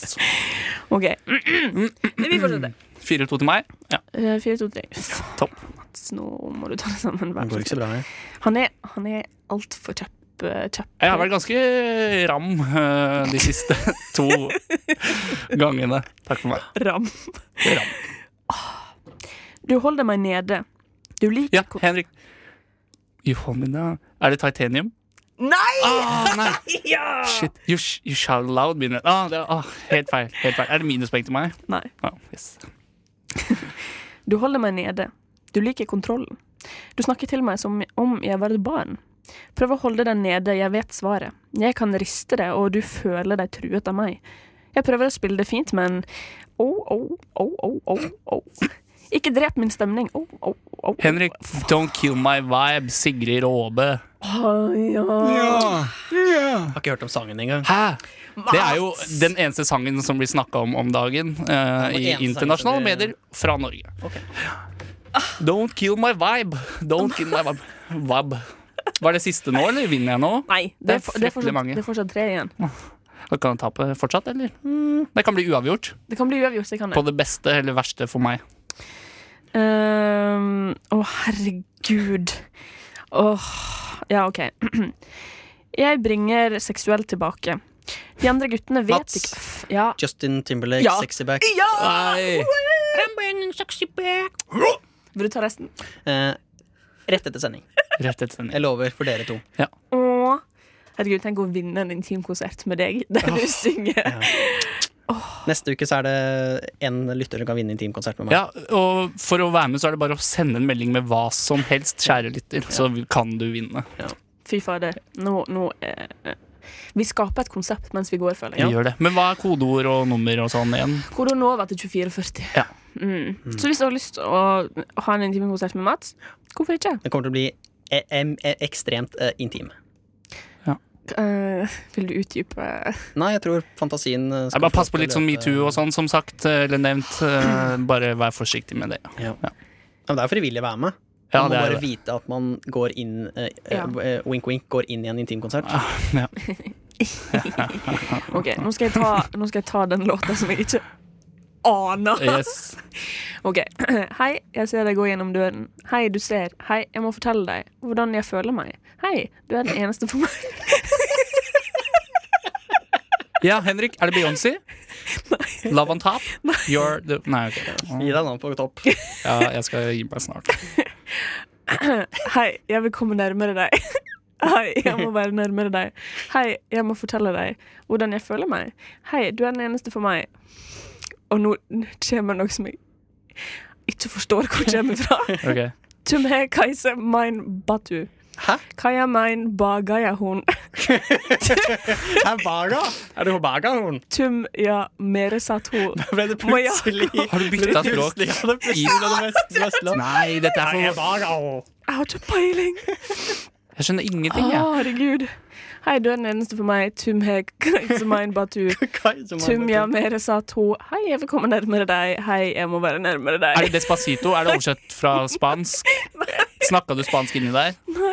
Speaker 2: OK. *clears throat* Vi fortsetter.
Speaker 4: 4-2 til meg. Ja,
Speaker 2: Eh, Fire, to, tre. Faen,
Speaker 4: topp.
Speaker 2: Mats, Nå må du ta det sammen.
Speaker 3: Det
Speaker 2: Vær
Speaker 3: går
Speaker 2: så
Speaker 3: ikke så
Speaker 2: snill.
Speaker 3: bra. Jeg.
Speaker 2: Han er, han er altfor kjapp. eh, kjapp.
Speaker 4: Jeg har vært ganske ram eh, de *laughs* siste to gangene. Takk for meg.
Speaker 2: Ram. *laughs* Ah.
Speaker 4: Ram.
Speaker 2: Du holder meg nede. Du liker
Speaker 4: Ja, Henrik. You hold me down. Er det Titanium?
Speaker 2: Nei!
Speaker 4: Ah, *laughs* nei.
Speaker 2: Ja!
Speaker 4: Shit. You, sh you shout loud begynner ah, det, ah, helt, feil, helt feil. Er det minuspoeng til meg?
Speaker 2: Nei.
Speaker 4: Ah, yes.
Speaker 2: Du holder meg nede. Du liker kontrollen. Du snakker til meg som om jeg var et barn. Prøv å holde deg nede, jeg vet svaret. Jeg kan riste det, og du føler deg truet av meg. Jeg prøver å spille det fint, men Å, å, å, å, å, å. Ikke drep min stemning. Å, å, å.
Speaker 4: Henrik, Don't Kill My Vibe, Sigrid Råbe.
Speaker 2: Å, ja.
Speaker 3: Har ikke hørt om sangen engang.
Speaker 4: Hæ? Det er jo den eneste sangen som blir snakka om om dagen eh,
Speaker 3: den
Speaker 4: i
Speaker 3: eneste
Speaker 4: internasjonale
Speaker 3: sangen som blir-
Speaker 4: medier fra Norge. Don't kill my vibe. Don't kill my vibe. Vab. Var det siste nå, eller vinner jeg nå?
Speaker 2: Nei, det er, for- det,
Speaker 4: fryktelig
Speaker 2: er fortsatt,
Speaker 4: mange.
Speaker 2: det er fortsatt tre igjen.
Speaker 4: Da Kan jeg tape fortsatt, eller? Det kan bli uavgjort.
Speaker 2: Det kan bli uavgjort, det kan
Speaker 4: På
Speaker 2: det.
Speaker 4: det beste eller verste for meg.
Speaker 2: Ehm, Å, herregud. Åh, ja, OK. *clears throat* Jeg bringer seksuelt tilbake. De andre guttene vet
Speaker 3: Mats.
Speaker 2: ikke F- Ja.
Speaker 3: Justin Timberlake,
Speaker 2: Ja.
Speaker 3: Sexy Back.
Speaker 4: Nei.
Speaker 2: Vil du ta resten?
Speaker 3: Eh, rett etter sending.
Speaker 4: Rett etter sending.
Speaker 3: Jeg lover for dere to.
Speaker 2: Og Herregud, tenk å vinne en intimkonsert med deg *laughs* der du synger.
Speaker 3: Neste uke så er det en lytter som kan vinne intimkonsert med meg.
Speaker 4: Ja, og for å være med så er det bare å sende en melding med hva som helst, kjære lytter, så kan du vinne.
Speaker 2: Fy fader. Nå, nå eh, eh. Vi skaper et konsept mens vi går, føler
Speaker 4: Vi
Speaker 2: jeg.
Speaker 4: Gjør det. Men hva er kodeord og nummer og sånn igjen?
Speaker 2: Hvordan nå var til 2440?
Speaker 4: Ja.
Speaker 2: Mm. Så hvis du har lyst til å ha en intimkonsert med Mats, hvorfor ikke?
Speaker 3: Den kommer til å bli e em- e ekstremt eh, intim.
Speaker 2: Eh, vil du utdype
Speaker 3: Nei, jeg tror fantasien eh,
Speaker 4: Jeg
Speaker 3: skal eh,
Speaker 4: bare
Speaker 3: få
Speaker 4: pass på litt sånn
Speaker 3: løpe-
Speaker 4: metoo og sånn, som sagt, eller nevnt. Eh, Bare vær forsiktig med det.
Speaker 3: Ja, men det er jo frivillig å være med.
Speaker 4: Ja,
Speaker 3: man må
Speaker 4: det
Speaker 3: bare
Speaker 4: er det.
Speaker 3: vite at man går inn eh, eh,
Speaker 2: Ja.
Speaker 3: eh, Wink, wink, går inn i en intimkonsert.
Speaker 4: *laughs* Ja.
Speaker 2: OK, nå skal jeg ta, nå skal jeg ta den låta som jeg ikke aner.
Speaker 4: Yes.
Speaker 2: OK. *clears throat* Hei, jeg ser deg gå gjennom døden. Hei, du ser. Hei, jeg må fortelle deg hvordan jeg føler meg. Hei, du er den eneste for meg.
Speaker 4: Ja, Henrik, er det Beyoncé? Love on top? You're the Nei, ok.
Speaker 3: Gi deg nå på topp.
Speaker 4: Ja, jeg skal gi meg snart.
Speaker 2: *clears throat* Hei, jeg vil komme nærmere deg. *laughs* Hei, jeg må være nærmere deg. Hei, jeg må fortelle deg hvordan jeg føler meg. Hei, du er den eneste for meg. Og nå kommer noe som jeg ikke forstår hvor kommer fra.
Speaker 4: *laughs* Ok.
Speaker 2: Tume kaise mein batu.
Speaker 3: Hæ?
Speaker 2: Kaja mein bagaya hun.
Speaker 3: Er Baga? Er du på Baga, horn?
Speaker 2: Tum ja mere sato.
Speaker 3: Ble det
Speaker 2: Må jeg-
Speaker 3: plutselig
Speaker 4: Har du byttet
Speaker 3: Ble det
Speaker 4: språk?
Speaker 3: plutselig- Ja, det plutselig ble det vest- Vestland.
Speaker 4: Nei, dette er
Speaker 3: Nei,
Speaker 4: for
Speaker 3: Baga, å.
Speaker 2: Jeg har ikke peiling.
Speaker 4: Jeg skjønner ingenting, jeg.
Speaker 2: Å, Herregud. Hei, du er den eneste for meg. Tum he kaise mein batu.
Speaker 3: Kai, som er-
Speaker 2: Tum ja mere sato. Hei, jeg vil komme nærmere deg. Hei, jeg må være nærmere deg.
Speaker 4: Er det Despacito? Er det oversett fra spansk? Snakka du spansk inni der?
Speaker 2: Nei.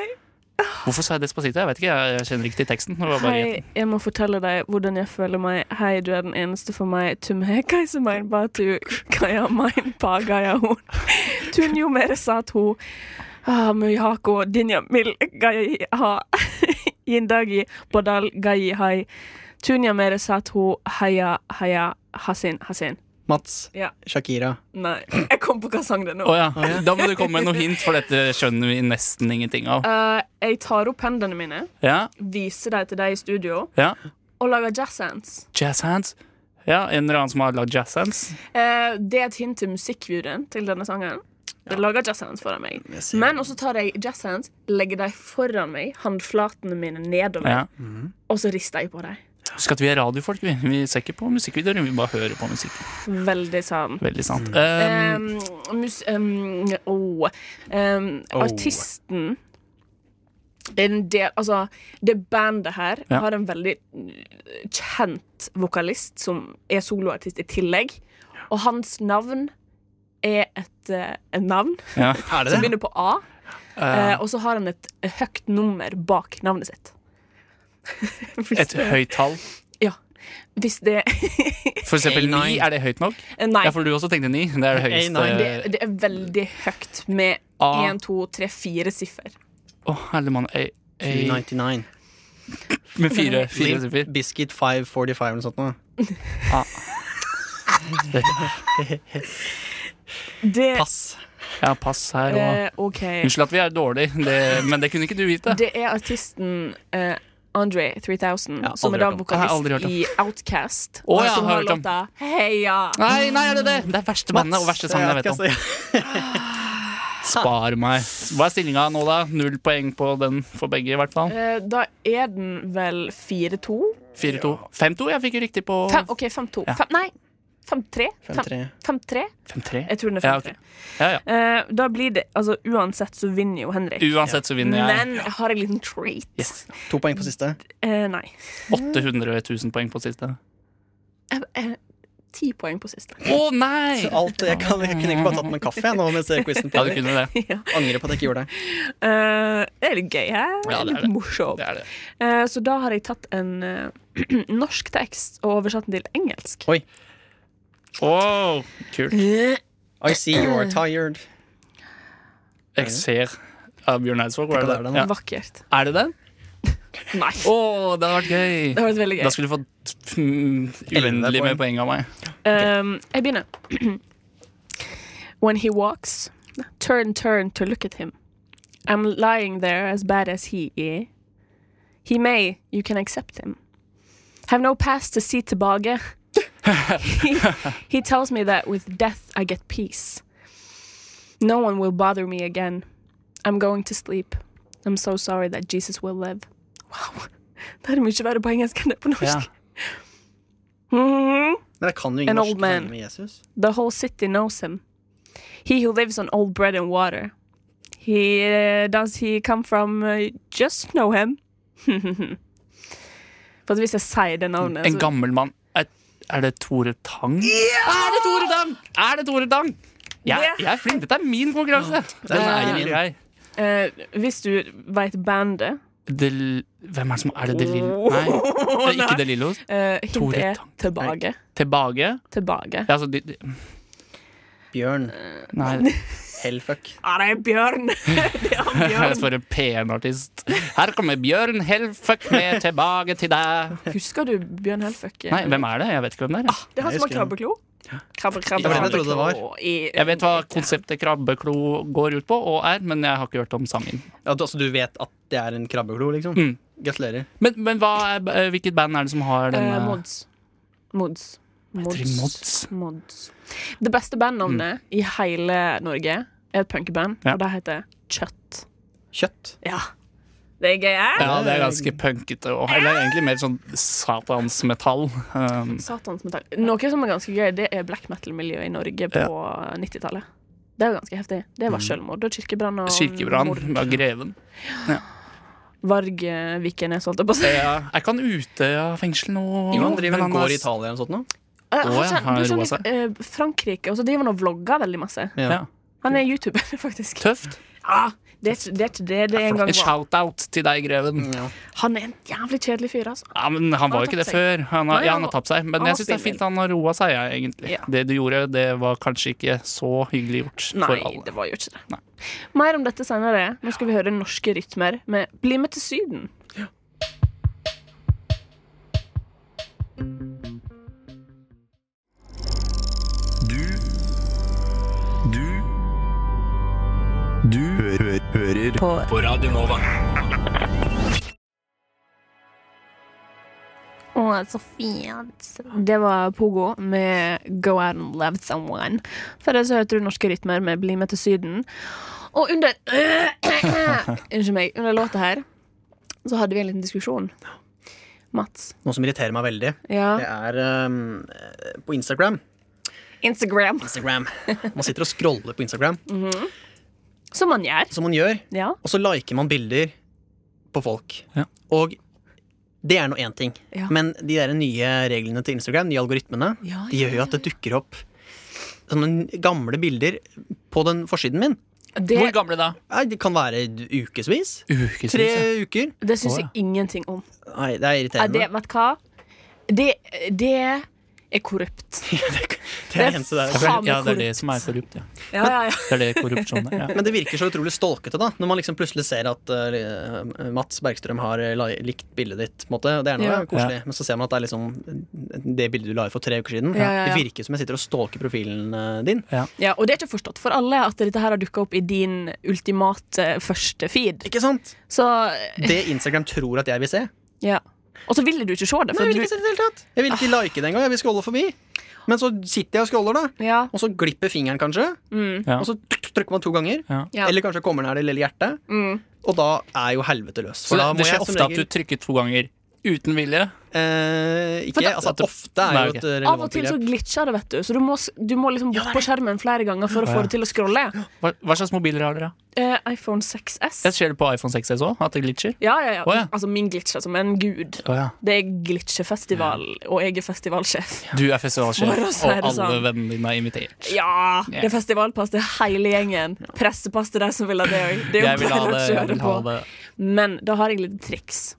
Speaker 4: Hvorfor sa jeg Despacito? Jeg vet ikke, jeg kjenner ikke til teksten. Det var bare
Speaker 2: Hei, jeg må fortelle deg hvordan jeg føler meg. Hei, du er den eneste for meg. Tum *laughs* he kaise mein batu. Kaja mein pagaya *laughs* hun. Tun jo mere sato. Ah, Muyhako dinja mil gai ha. *laughs* Yindagi bodal gai hai. Tun ja mere sato. Heia, heia. Hasin, hasin.
Speaker 3: Mats.
Speaker 2: Ja.
Speaker 3: Shakira.
Speaker 2: Nei, jeg kom på hva sang det er nå.
Speaker 4: Å ja. Da må du komme med noe hint, for dette skjønner vi nesten ingenting av.
Speaker 2: Eh, jeg tar opp hendene mine,
Speaker 4: Ja,
Speaker 2: viser dem til deg i studio,
Speaker 4: ja.
Speaker 2: og lager jazz hands.
Speaker 4: Jazz hands. Ja, en eller annen som har lagd jazz hands.
Speaker 2: Eh, det er et hint til musikkvideoen til denne sangen. Jeg lager jazzhands foran meg. Men også tar jeg jazzhands, legger dem foran meg, håndflatene mine nedover,
Speaker 4: Ja.
Speaker 2: og så rister jeg på dem.
Speaker 4: Husk at vi er radiofolk, vi. Vi ser ikke på musikkvideoer, vi bare hører på musikk.
Speaker 2: Veldig sånn sant.
Speaker 4: Veldig sant. Um,
Speaker 2: Um, mus... Um, oh. um, Artisten det er en del, altså, det bandet her
Speaker 4: Ja.
Speaker 2: har en veldig mm, kjent vokalist som er soloartist i tillegg. Og hans navn er et, eh, et navn
Speaker 4: ja.
Speaker 3: Er
Speaker 2: som
Speaker 3: det det?
Speaker 2: begynner på A.
Speaker 4: Eh,
Speaker 2: Eh, og så har han et høyt nummer bak navnet sitt. *laughs* hvis,
Speaker 4: et høyt tall.
Speaker 2: hvis det
Speaker 4: For eksempel
Speaker 3: A9.
Speaker 4: ni, er det høyt nok?
Speaker 2: eh, Nei,
Speaker 4: Ja, for du også tenkte ni. Det er det høyeste.
Speaker 3: A9,
Speaker 2: det, det er veldig høyt med
Speaker 4: A.
Speaker 2: én, to, tre, fire siffer.
Speaker 4: Å, herlemann. A- A-
Speaker 3: 299.
Speaker 4: Med *laughs* fire, fire
Speaker 3: Limp
Speaker 4: siffer.
Speaker 3: Biscuit 545 eller noe sånt. nå.
Speaker 2: Det
Speaker 3: Pass.
Speaker 4: Ja, pass her og
Speaker 2: eh, OK.
Speaker 4: Unnskyld at vi er dårlige, det, men det kunne ikke du vite.
Speaker 2: Det er artisten eh, Andre 3000,
Speaker 3: Ja,
Speaker 2: som
Speaker 3: aldri
Speaker 2: er da
Speaker 3: hørt om.
Speaker 4: Nei, aldri hørt
Speaker 2: vokalist
Speaker 4: om.
Speaker 2: i Outcast.
Speaker 4: Å,
Speaker 2: og
Speaker 4: ja,
Speaker 2: som
Speaker 4: har
Speaker 2: har
Speaker 4: hørt om.
Speaker 2: låta Heia!
Speaker 4: Nei, nei, er det det? Det er verste bandet og verste sangen jeg vet om.
Speaker 3: hva skal
Speaker 4: Spar meg. Hva er stillinga nå, da? Null poeng på den for begge, i hvert fall.
Speaker 2: Eh, da er den vel 4-2?
Speaker 4: 4-2. 5-2? Jeg fikk jo riktig på
Speaker 2: Fem- OK, 5-2.
Speaker 4: Ja.
Speaker 2: Fem- Nei, 5-3. Fem-
Speaker 3: 5-3.
Speaker 2: 5-3?
Speaker 4: 5-3.
Speaker 2: Jeg tror den er 5-3.
Speaker 4: Ja, ok. Ja, ja.
Speaker 2: Eh, da blir det Altså uansett så vinner jo Henrik.
Speaker 4: Uansett så vinner jeg.
Speaker 2: Men jeg har en liten treat.
Speaker 4: Yes.
Speaker 3: To poeng på siste.
Speaker 2: Eh, nei.
Speaker 4: 800 000 poeng på siste.
Speaker 2: Eh, eh, Ti poeng på siste.
Speaker 4: Å nei!
Speaker 3: Alt, jeg, kan, jeg kunne ikke bare tatt meg en kaffe jeg, nå mens quizen
Speaker 4: Ja, du
Speaker 3: pågår.
Speaker 4: kunne det.
Speaker 3: Angrer på at jeg ikke gjorde det.
Speaker 2: Eh, det er litt gøy, hæ?
Speaker 4: Ja, det er
Speaker 2: litt
Speaker 4: det.
Speaker 2: morsomt.
Speaker 4: Det er det.
Speaker 2: Eh, så da har jeg tatt en eh, *clears throat* norsk tekst og oversatt den til engelsk.
Speaker 3: Oi.
Speaker 4: Wow, kult.
Speaker 3: I see you're tired.
Speaker 4: Jeg ser uh, Bjørn Eidsvåg.
Speaker 3: Tenk
Speaker 4: Var
Speaker 3: at
Speaker 4: det
Speaker 3: det er den,
Speaker 4: den?
Speaker 3: da.
Speaker 4: Ja.
Speaker 2: Vakkert.
Speaker 4: Er det den?
Speaker 2: Nei.
Speaker 4: Å, det har vært gøy!
Speaker 2: Det har vært veldig gøy.
Speaker 4: Da skulle du fått mm, uendelig med poeng av meg.
Speaker 2: Um, jeg begynner. *clears throat* When he walks, turn, turn to look at him. I'm lying there as bad as he is. eh? He may, you can accept him. Have no past to see tilbake. *laughs* he, he tells me that with death I get peace. No one will bother me again. I'm going to sleep. I'm so sorry that Jesus will live. Wow. *laughs* Det er mye verre på engelsk enn det er på
Speaker 4: Ja.
Speaker 2: norsk. *laughs* Mhm.
Speaker 3: Men jeg kan jo ingen
Speaker 2: An old
Speaker 3: norsk
Speaker 2: man.
Speaker 3: tegning med Jesus.
Speaker 2: The whole city knows him. He who lives on old bread and water. He uh, does he come from uh, just know him? *laughs* For at hvis jeg sier det navnet
Speaker 4: En
Speaker 2: så-
Speaker 4: gammel mann. Er, er det Tore Tang? Er det Tore Tang?! Er det Tore Tang? Jeg,
Speaker 2: Det-
Speaker 4: jeg er flink. Dette er min konkurranse.
Speaker 3: Den er
Speaker 4: Den
Speaker 3: min.
Speaker 4: jeg.
Speaker 2: Eh, Hvis du veit bandet
Speaker 4: Del, hvem er det som Er det De Lillo?
Speaker 2: Oh,
Speaker 4: Nei, det er
Speaker 2: nei.
Speaker 4: ikke De Lillos.
Speaker 2: eh, Hintet
Speaker 4: Tore
Speaker 2: er
Speaker 4: Tang.
Speaker 2: tilbake.
Speaker 4: Tilbake.
Speaker 2: Tilbake.
Speaker 4: Ja, altså, de, de,
Speaker 3: Bjørn.
Speaker 4: nei, *laughs*
Speaker 3: Hellfuck.
Speaker 2: Ah, det er Bjørn! *laughs* det er han
Speaker 4: jeg
Speaker 2: Bjørn.
Speaker 4: for en pen-artist. Her kommer Bjørn Hellfuck med 'Tilbake til deg'.
Speaker 2: Husker du Bjørn Helfuck?
Speaker 4: Nei, hvem er det? Jeg vet ikke hvem det er. jeg.
Speaker 2: Det er han
Speaker 3: Jeg
Speaker 2: som har
Speaker 3: husker han.
Speaker 2: krabbeklo? Krabbe, krabbe,
Speaker 4: Det var
Speaker 3: jeg
Speaker 4: det
Speaker 3: trodde det
Speaker 2: krabbeklo i-
Speaker 4: Jeg vet hva konseptet krabbeklo går ut på og er, men jeg har ikke hørt om sangen.
Speaker 3: Ja, du, altså, du vet at det er en krabbeklo, liksom?
Speaker 4: Mm.
Speaker 3: Gratulerer.
Speaker 4: Men, men hva er, eh, hvilket band er det som har den?
Speaker 2: Eh,
Speaker 4: eh,
Speaker 2: mods. Mods.
Speaker 4: heter de? Mods? Mm.
Speaker 2: Mods. Det beste bandnavnet i hele Norge er et punkband,
Speaker 4: Ja.
Speaker 2: og det heter Kjøtt.
Speaker 3: Kjøtt.
Speaker 2: Ja. Det er gøy, eh?
Speaker 4: Ja, det er ganske punkete. Og, eller egentlig mer sånn satansmetall. Um,
Speaker 2: Satans metall. Noe som er ganske gøy, det er black metal-miljøet i Norge på 90-tallet. Det er jo ganske heftig. Det var selvmord og kirkebrann og
Speaker 4: Mm. Kirkebrann
Speaker 2: mord.
Speaker 4: av Greven.
Speaker 2: Vargviken er solgt opp. Altså.
Speaker 4: Ja, er ikke han ute av fengsel nå?
Speaker 3: Jo, han driver og
Speaker 4: Men har-
Speaker 3: går i Italia eller noe sånt nå.
Speaker 2: Eh,
Speaker 4: Å, ja,
Speaker 2: han
Speaker 4: han
Speaker 2: kjenner, du
Speaker 4: roer
Speaker 2: skjønner, eh, Frankrike, og så driver han og vlogger veldig masse.
Speaker 4: Ja.
Speaker 2: Han er youtuber, *laughs* faktisk.
Speaker 4: Tøft.
Speaker 2: Ja, det er ikke det er ikke det det en
Speaker 4: En
Speaker 2: gang var.
Speaker 4: *laughs* shout-out til deg, Greven.
Speaker 3: Mm, Ja.
Speaker 2: Han er en jævlig kjedelig fyr, altså.
Speaker 4: Ja, men Han var jo ikke det før. Han har,
Speaker 2: Nei,
Speaker 4: ja, han
Speaker 2: han
Speaker 4: har
Speaker 2: var-
Speaker 4: tapt seg. Men
Speaker 2: han var
Speaker 4: jeg syns det er fint han har roa seg, jeg, egentlig.
Speaker 2: Ja.
Speaker 4: Det du gjorde, det var kanskje ikke så hyggelig gjort for
Speaker 2: Nei,
Speaker 4: alle.
Speaker 2: det var jo ikke det.
Speaker 4: Nei.
Speaker 2: Mer om dette senere. Nå skal vi høre norske rytmer med Bli med til Syden.
Speaker 6: Du Du Du hø hø hører på. på Radio Nova.
Speaker 2: Å, så fint. Det var Pogo med Go Out and Love Someone. Før det så hørte du norske rytmer med Bli med til Syden. Og under *coughs* Unnskyld meg. Under låta her så hadde vi en liten diskusjon. Mats.
Speaker 3: Noe som irriterer meg veldig, det
Speaker 2: Ja.
Speaker 3: er ehm, eh, på Instagram.
Speaker 2: Instagram.
Speaker 3: Instagram. Man sitter og scroller på Instagram,
Speaker 2: Som man gjør.
Speaker 3: som man gjør,
Speaker 2: Ja.
Speaker 3: og så liker man bilder på folk.
Speaker 4: Ja.
Speaker 3: Og det er nå én ting,
Speaker 2: Ja.
Speaker 3: men de der nye reglene til Instagram, de algoritmene,
Speaker 2: Ja,
Speaker 3: de gjør jo at det dukker opp sånne gamle bilder på den forsiden min.
Speaker 2: Det,
Speaker 4: Hvor gamle da?
Speaker 3: Nei, Det kan være ukevis.
Speaker 4: Ukevis.
Speaker 3: Tre
Speaker 4: ja.
Speaker 3: uker.
Speaker 2: det syns jeg ingenting om.
Speaker 3: Nei, det er
Speaker 2: Ja, det,
Speaker 3: irriterende.
Speaker 2: vet du hva? Det, det er korrupt.
Speaker 3: Det er det eneste der.
Speaker 2: faen meg
Speaker 4: Ja, det er det som er korrupt. Ja.
Speaker 2: Ja, ja, ja.
Speaker 4: Det er det korrupsjon er. Ja.
Speaker 3: Men det virker så utrolig stolkete, da, når man liksom plutselig ser at eh, Mats Bergstrøm har eh, la- likt bildet ditt. på en måte, og Det er noe
Speaker 2: Ja.
Speaker 3: koselig, men så ser man at det er liksom det bildet du la ut for tre uker siden.
Speaker 2: Ja, ja, ja.
Speaker 3: Det virker som jeg sitter og stalker profilen eh, din.
Speaker 2: Ja, og det er ikke forstått for alle at dette her har dukka opp i din ultimate eh, første feed.
Speaker 3: Ikke sant?
Speaker 2: Så eh,
Speaker 3: Det Instagram tror at jeg vil se.
Speaker 2: ja. Og så vil du ikke se det.
Speaker 3: Nei,
Speaker 2: For
Speaker 3: jeg vil
Speaker 2: du, Ah.
Speaker 3: ikke se det i det hele tatt. Jeg vil ikke like det engang. Jeg vil scrolle forbi. Men så sitter jeg og scroller, da.
Speaker 2: ja.
Speaker 3: Og så glipper fingeren, kanskje.
Speaker 4: Ja.
Speaker 3: Og så tryk- trykker man to ganger.
Speaker 4: Ja.
Speaker 2: Mm. Ja.
Speaker 3: Eller kanskje kommer den her det lille hjertet.
Speaker 2: Mm.
Speaker 3: Og da er jo helvete løs.
Speaker 4: Så
Speaker 3: For
Speaker 4: det,
Speaker 3: da må
Speaker 4: det skjer
Speaker 3: jeg som
Speaker 4: ofte at
Speaker 3: regel-
Speaker 4: du trykker to ganger uten vilje.
Speaker 3: Eh, ikke,
Speaker 4: For da-
Speaker 3: altså
Speaker 4: at det-
Speaker 3: ofte er
Speaker 4: Nei,
Speaker 3: jo
Speaker 4: ok.
Speaker 3: et
Speaker 2: Av og
Speaker 3: relevant
Speaker 2: til så
Speaker 3: begrep.
Speaker 2: glitcher det, vet du. Så du må, s- du må liksom bort på skjermen flere ganger for å få det til å scrolle.
Speaker 4: Hva, hva slags mobiler har dere?
Speaker 2: Eh, iPhone 6S.
Speaker 4: Jeg ser det på iPhone 6S òg, at det glitcher.
Speaker 2: Ja, ja, ja.
Speaker 4: Å, ja.
Speaker 2: Altså min glitcher som en gud. Det er glitchefestival, og jeg er festivalsjef.
Speaker 4: Du er festivalsjef,
Speaker 2: For å si
Speaker 4: og
Speaker 2: det
Speaker 4: alle
Speaker 2: sånn.
Speaker 4: vennene dine er invitert.
Speaker 2: Ja! Det er festivalpass til hele gjengen. Pressepass til de som vil ha det òg. Det er
Speaker 4: Jeg
Speaker 2: jo
Speaker 4: vil ha
Speaker 2: bare
Speaker 4: det.
Speaker 2: å
Speaker 4: Jeg
Speaker 2: kjøre
Speaker 4: vil ha
Speaker 2: på.
Speaker 4: det.
Speaker 2: Men da har jeg litt triks.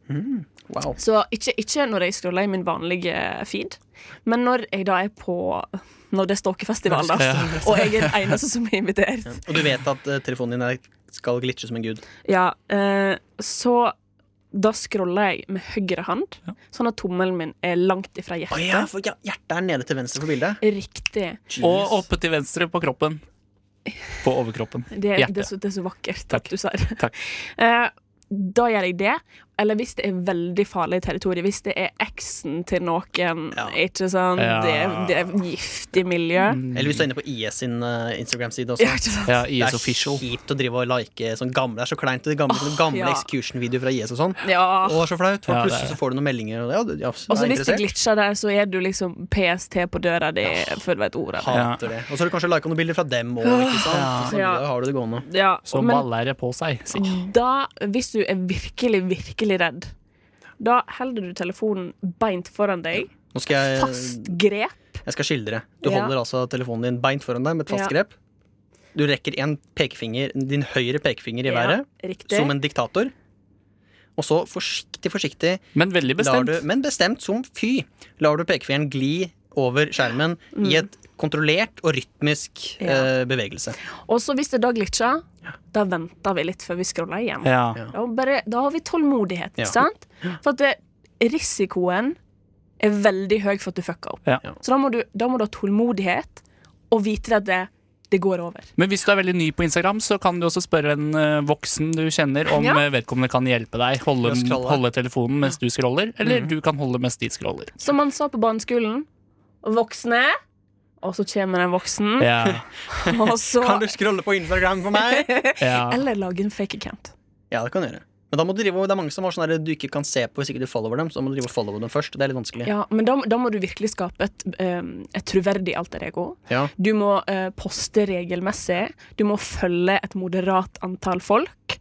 Speaker 3: Wow.
Speaker 2: Så ikke, ikke når jeg scroller i min vanlige feed, men når jeg da er på Når det er stalkefestival, da.
Speaker 4: Ja.
Speaker 2: Og jeg er den eneste som er invitert.
Speaker 3: Og du vet at eh, telefonen din er, skal glitche som en gud.
Speaker 2: Ja, eh, så da scroller jeg med høyre hand, sånn at tommelen min er langt ifra
Speaker 3: Å
Speaker 2: hjertet.
Speaker 3: ja, for ja, hjertet er nede til venstre for bildet.
Speaker 2: Riktig.
Speaker 4: Og oppe til venstre på kroppen. På overkroppen.
Speaker 2: Det, det, er
Speaker 4: Hjertet.
Speaker 2: *laughs* så, det er så vakkert
Speaker 4: Takk.
Speaker 2: at du sa det.
Speaker 4: Takk.
Speaker 2: Eh, da gjør jeg det. Eller hvis det er veldig farlig territorium. Hvis det er eksen til noen,
Speaker 3: Ja.
Speaker 2: ikke sant?
Speaker 4: Ja. Mm,
Speaker 2: Det, er- det er giftig miljø.
Speaker 3: Eller hvis du er inne på IS sin eh, Instagram-side også.
Speaker 2: *laughs* Ja, ikke sant?
Speaker 4: Ja,
Speaker 3: det
Speaker 4: IS
Speaker 3: er
Speaker 4: Official.
Speaker 3: kjipt å drive og like sånn gamle Det er så kleint. De gamle, sånne gamle
Speaker 2: ja.
Speaker 3: execution-videoer fra IS og sånn.
Speaker 2: Ja.
Speaker 3: Å, så flaut. For
Speaker 4: Ja, det er-
Speaker 3: plutselig så får du noen meldinger. Og det, ja, du- ja,
Speaker 2: Og så
Speaker 3: er
Speaker 2: hvis det
Speaker 3: interessert.
Speaker 2: glitcher der, så er du liksom PST på døra di før du vet ordet. av det.
Speaker 3: Hater det. Og så har du kanskje lika noen bilder fra dem òg, ikke sant. Så
Speaker 2: Ja.
Speaker 3: da har du det gående.
Speaker 2: Ja,
Speaker 4: Så
Speaker 2: men Mm.
Speaker 4: baller det på seg. sier jeg.
Speaker 2: da, hvis du er virkelig, virkelig redd, da holder du telefonen beint foran deg.
Speaker 3: Nå skal jeg,
Speaker 2: Fast grep.
Speaker 3: jeg skal skildre. Du
Speaker 2: Ja.
Speaker 3: holder altså telefonen din beint foran deg med et fast
Speaker 2: Ja.
Speaker 3: grep. Du rekker en pekefinger, din høyre pekefinger i
Speaker 2: Ja,
Speaker 3: været,
Speaker 2: riktig.
Speaker 3: som en diktator. Og så forsiktig, forsiktig,
Speaker 4: Men veldig
Speaker 3: lar
Speaker 4: bestemt.
Speaker 3: du, men bestemt som fy, lar du pekefingeren gli over skjermen
Speaker 2: Mm.
Speaker 3: i et kontrollert og rytmisk eh, bevegelse.
Speaker 2: Og så hvis det da glitcher, da venter vi litt før vi scroller igjen.
Speaker 4: Ja.
Speaker 3: Ja.
Speaker 2: Da, bare, da har vi tålmodighet,
Speaker 3: Ja.
Speaker 2: ikke sant? For at det, risikoen er veldig høy for at du fucker opp.
Speaker 4: Ja.
Speaker 2: Så da må, du, da må du ha tålmodighet og vite at det, det går over.
Speaker 4: Men hvis du er veldig ny på Instagram, så kan du også spørre en eh, voksen du kjenner om
Speaker 2: Ja.
Speaker 4: eh, vedkommende kan hjelpe deg. Holde,
Speaker 3: Med å scrolle.
Speaker 4: holde telefonen mens du scroller, eller du kan holde mens de scroller.
Speaker 2: Som man sa på barneskolen. Voksne. Og så kommer en voksen,
Speaker 4: Ja,
Speaker 2: *laughs* og så
Speaker 3: scrolle på Instagram for
Speaker 2: *laughs*
Speaker 3: meg?
Speaker 4: ja.
Speaker 2: Eller lage en fake account.
Speaker 3: ja, det kan du gjøre. Men da må du drive, det er mange som har sånn der du ikke kan se på hvis ikke du follower dem. Så da må du drive og followe dem først. Det er litt vanskelig.
Speaker 2: Ja, men da, da må du virkelig skape et, um, et troverdig alter ego.
Speaker 3: Ja.
Speaker 2: Du må eh, poste regelmessig. Du må følge et moderat antall folk.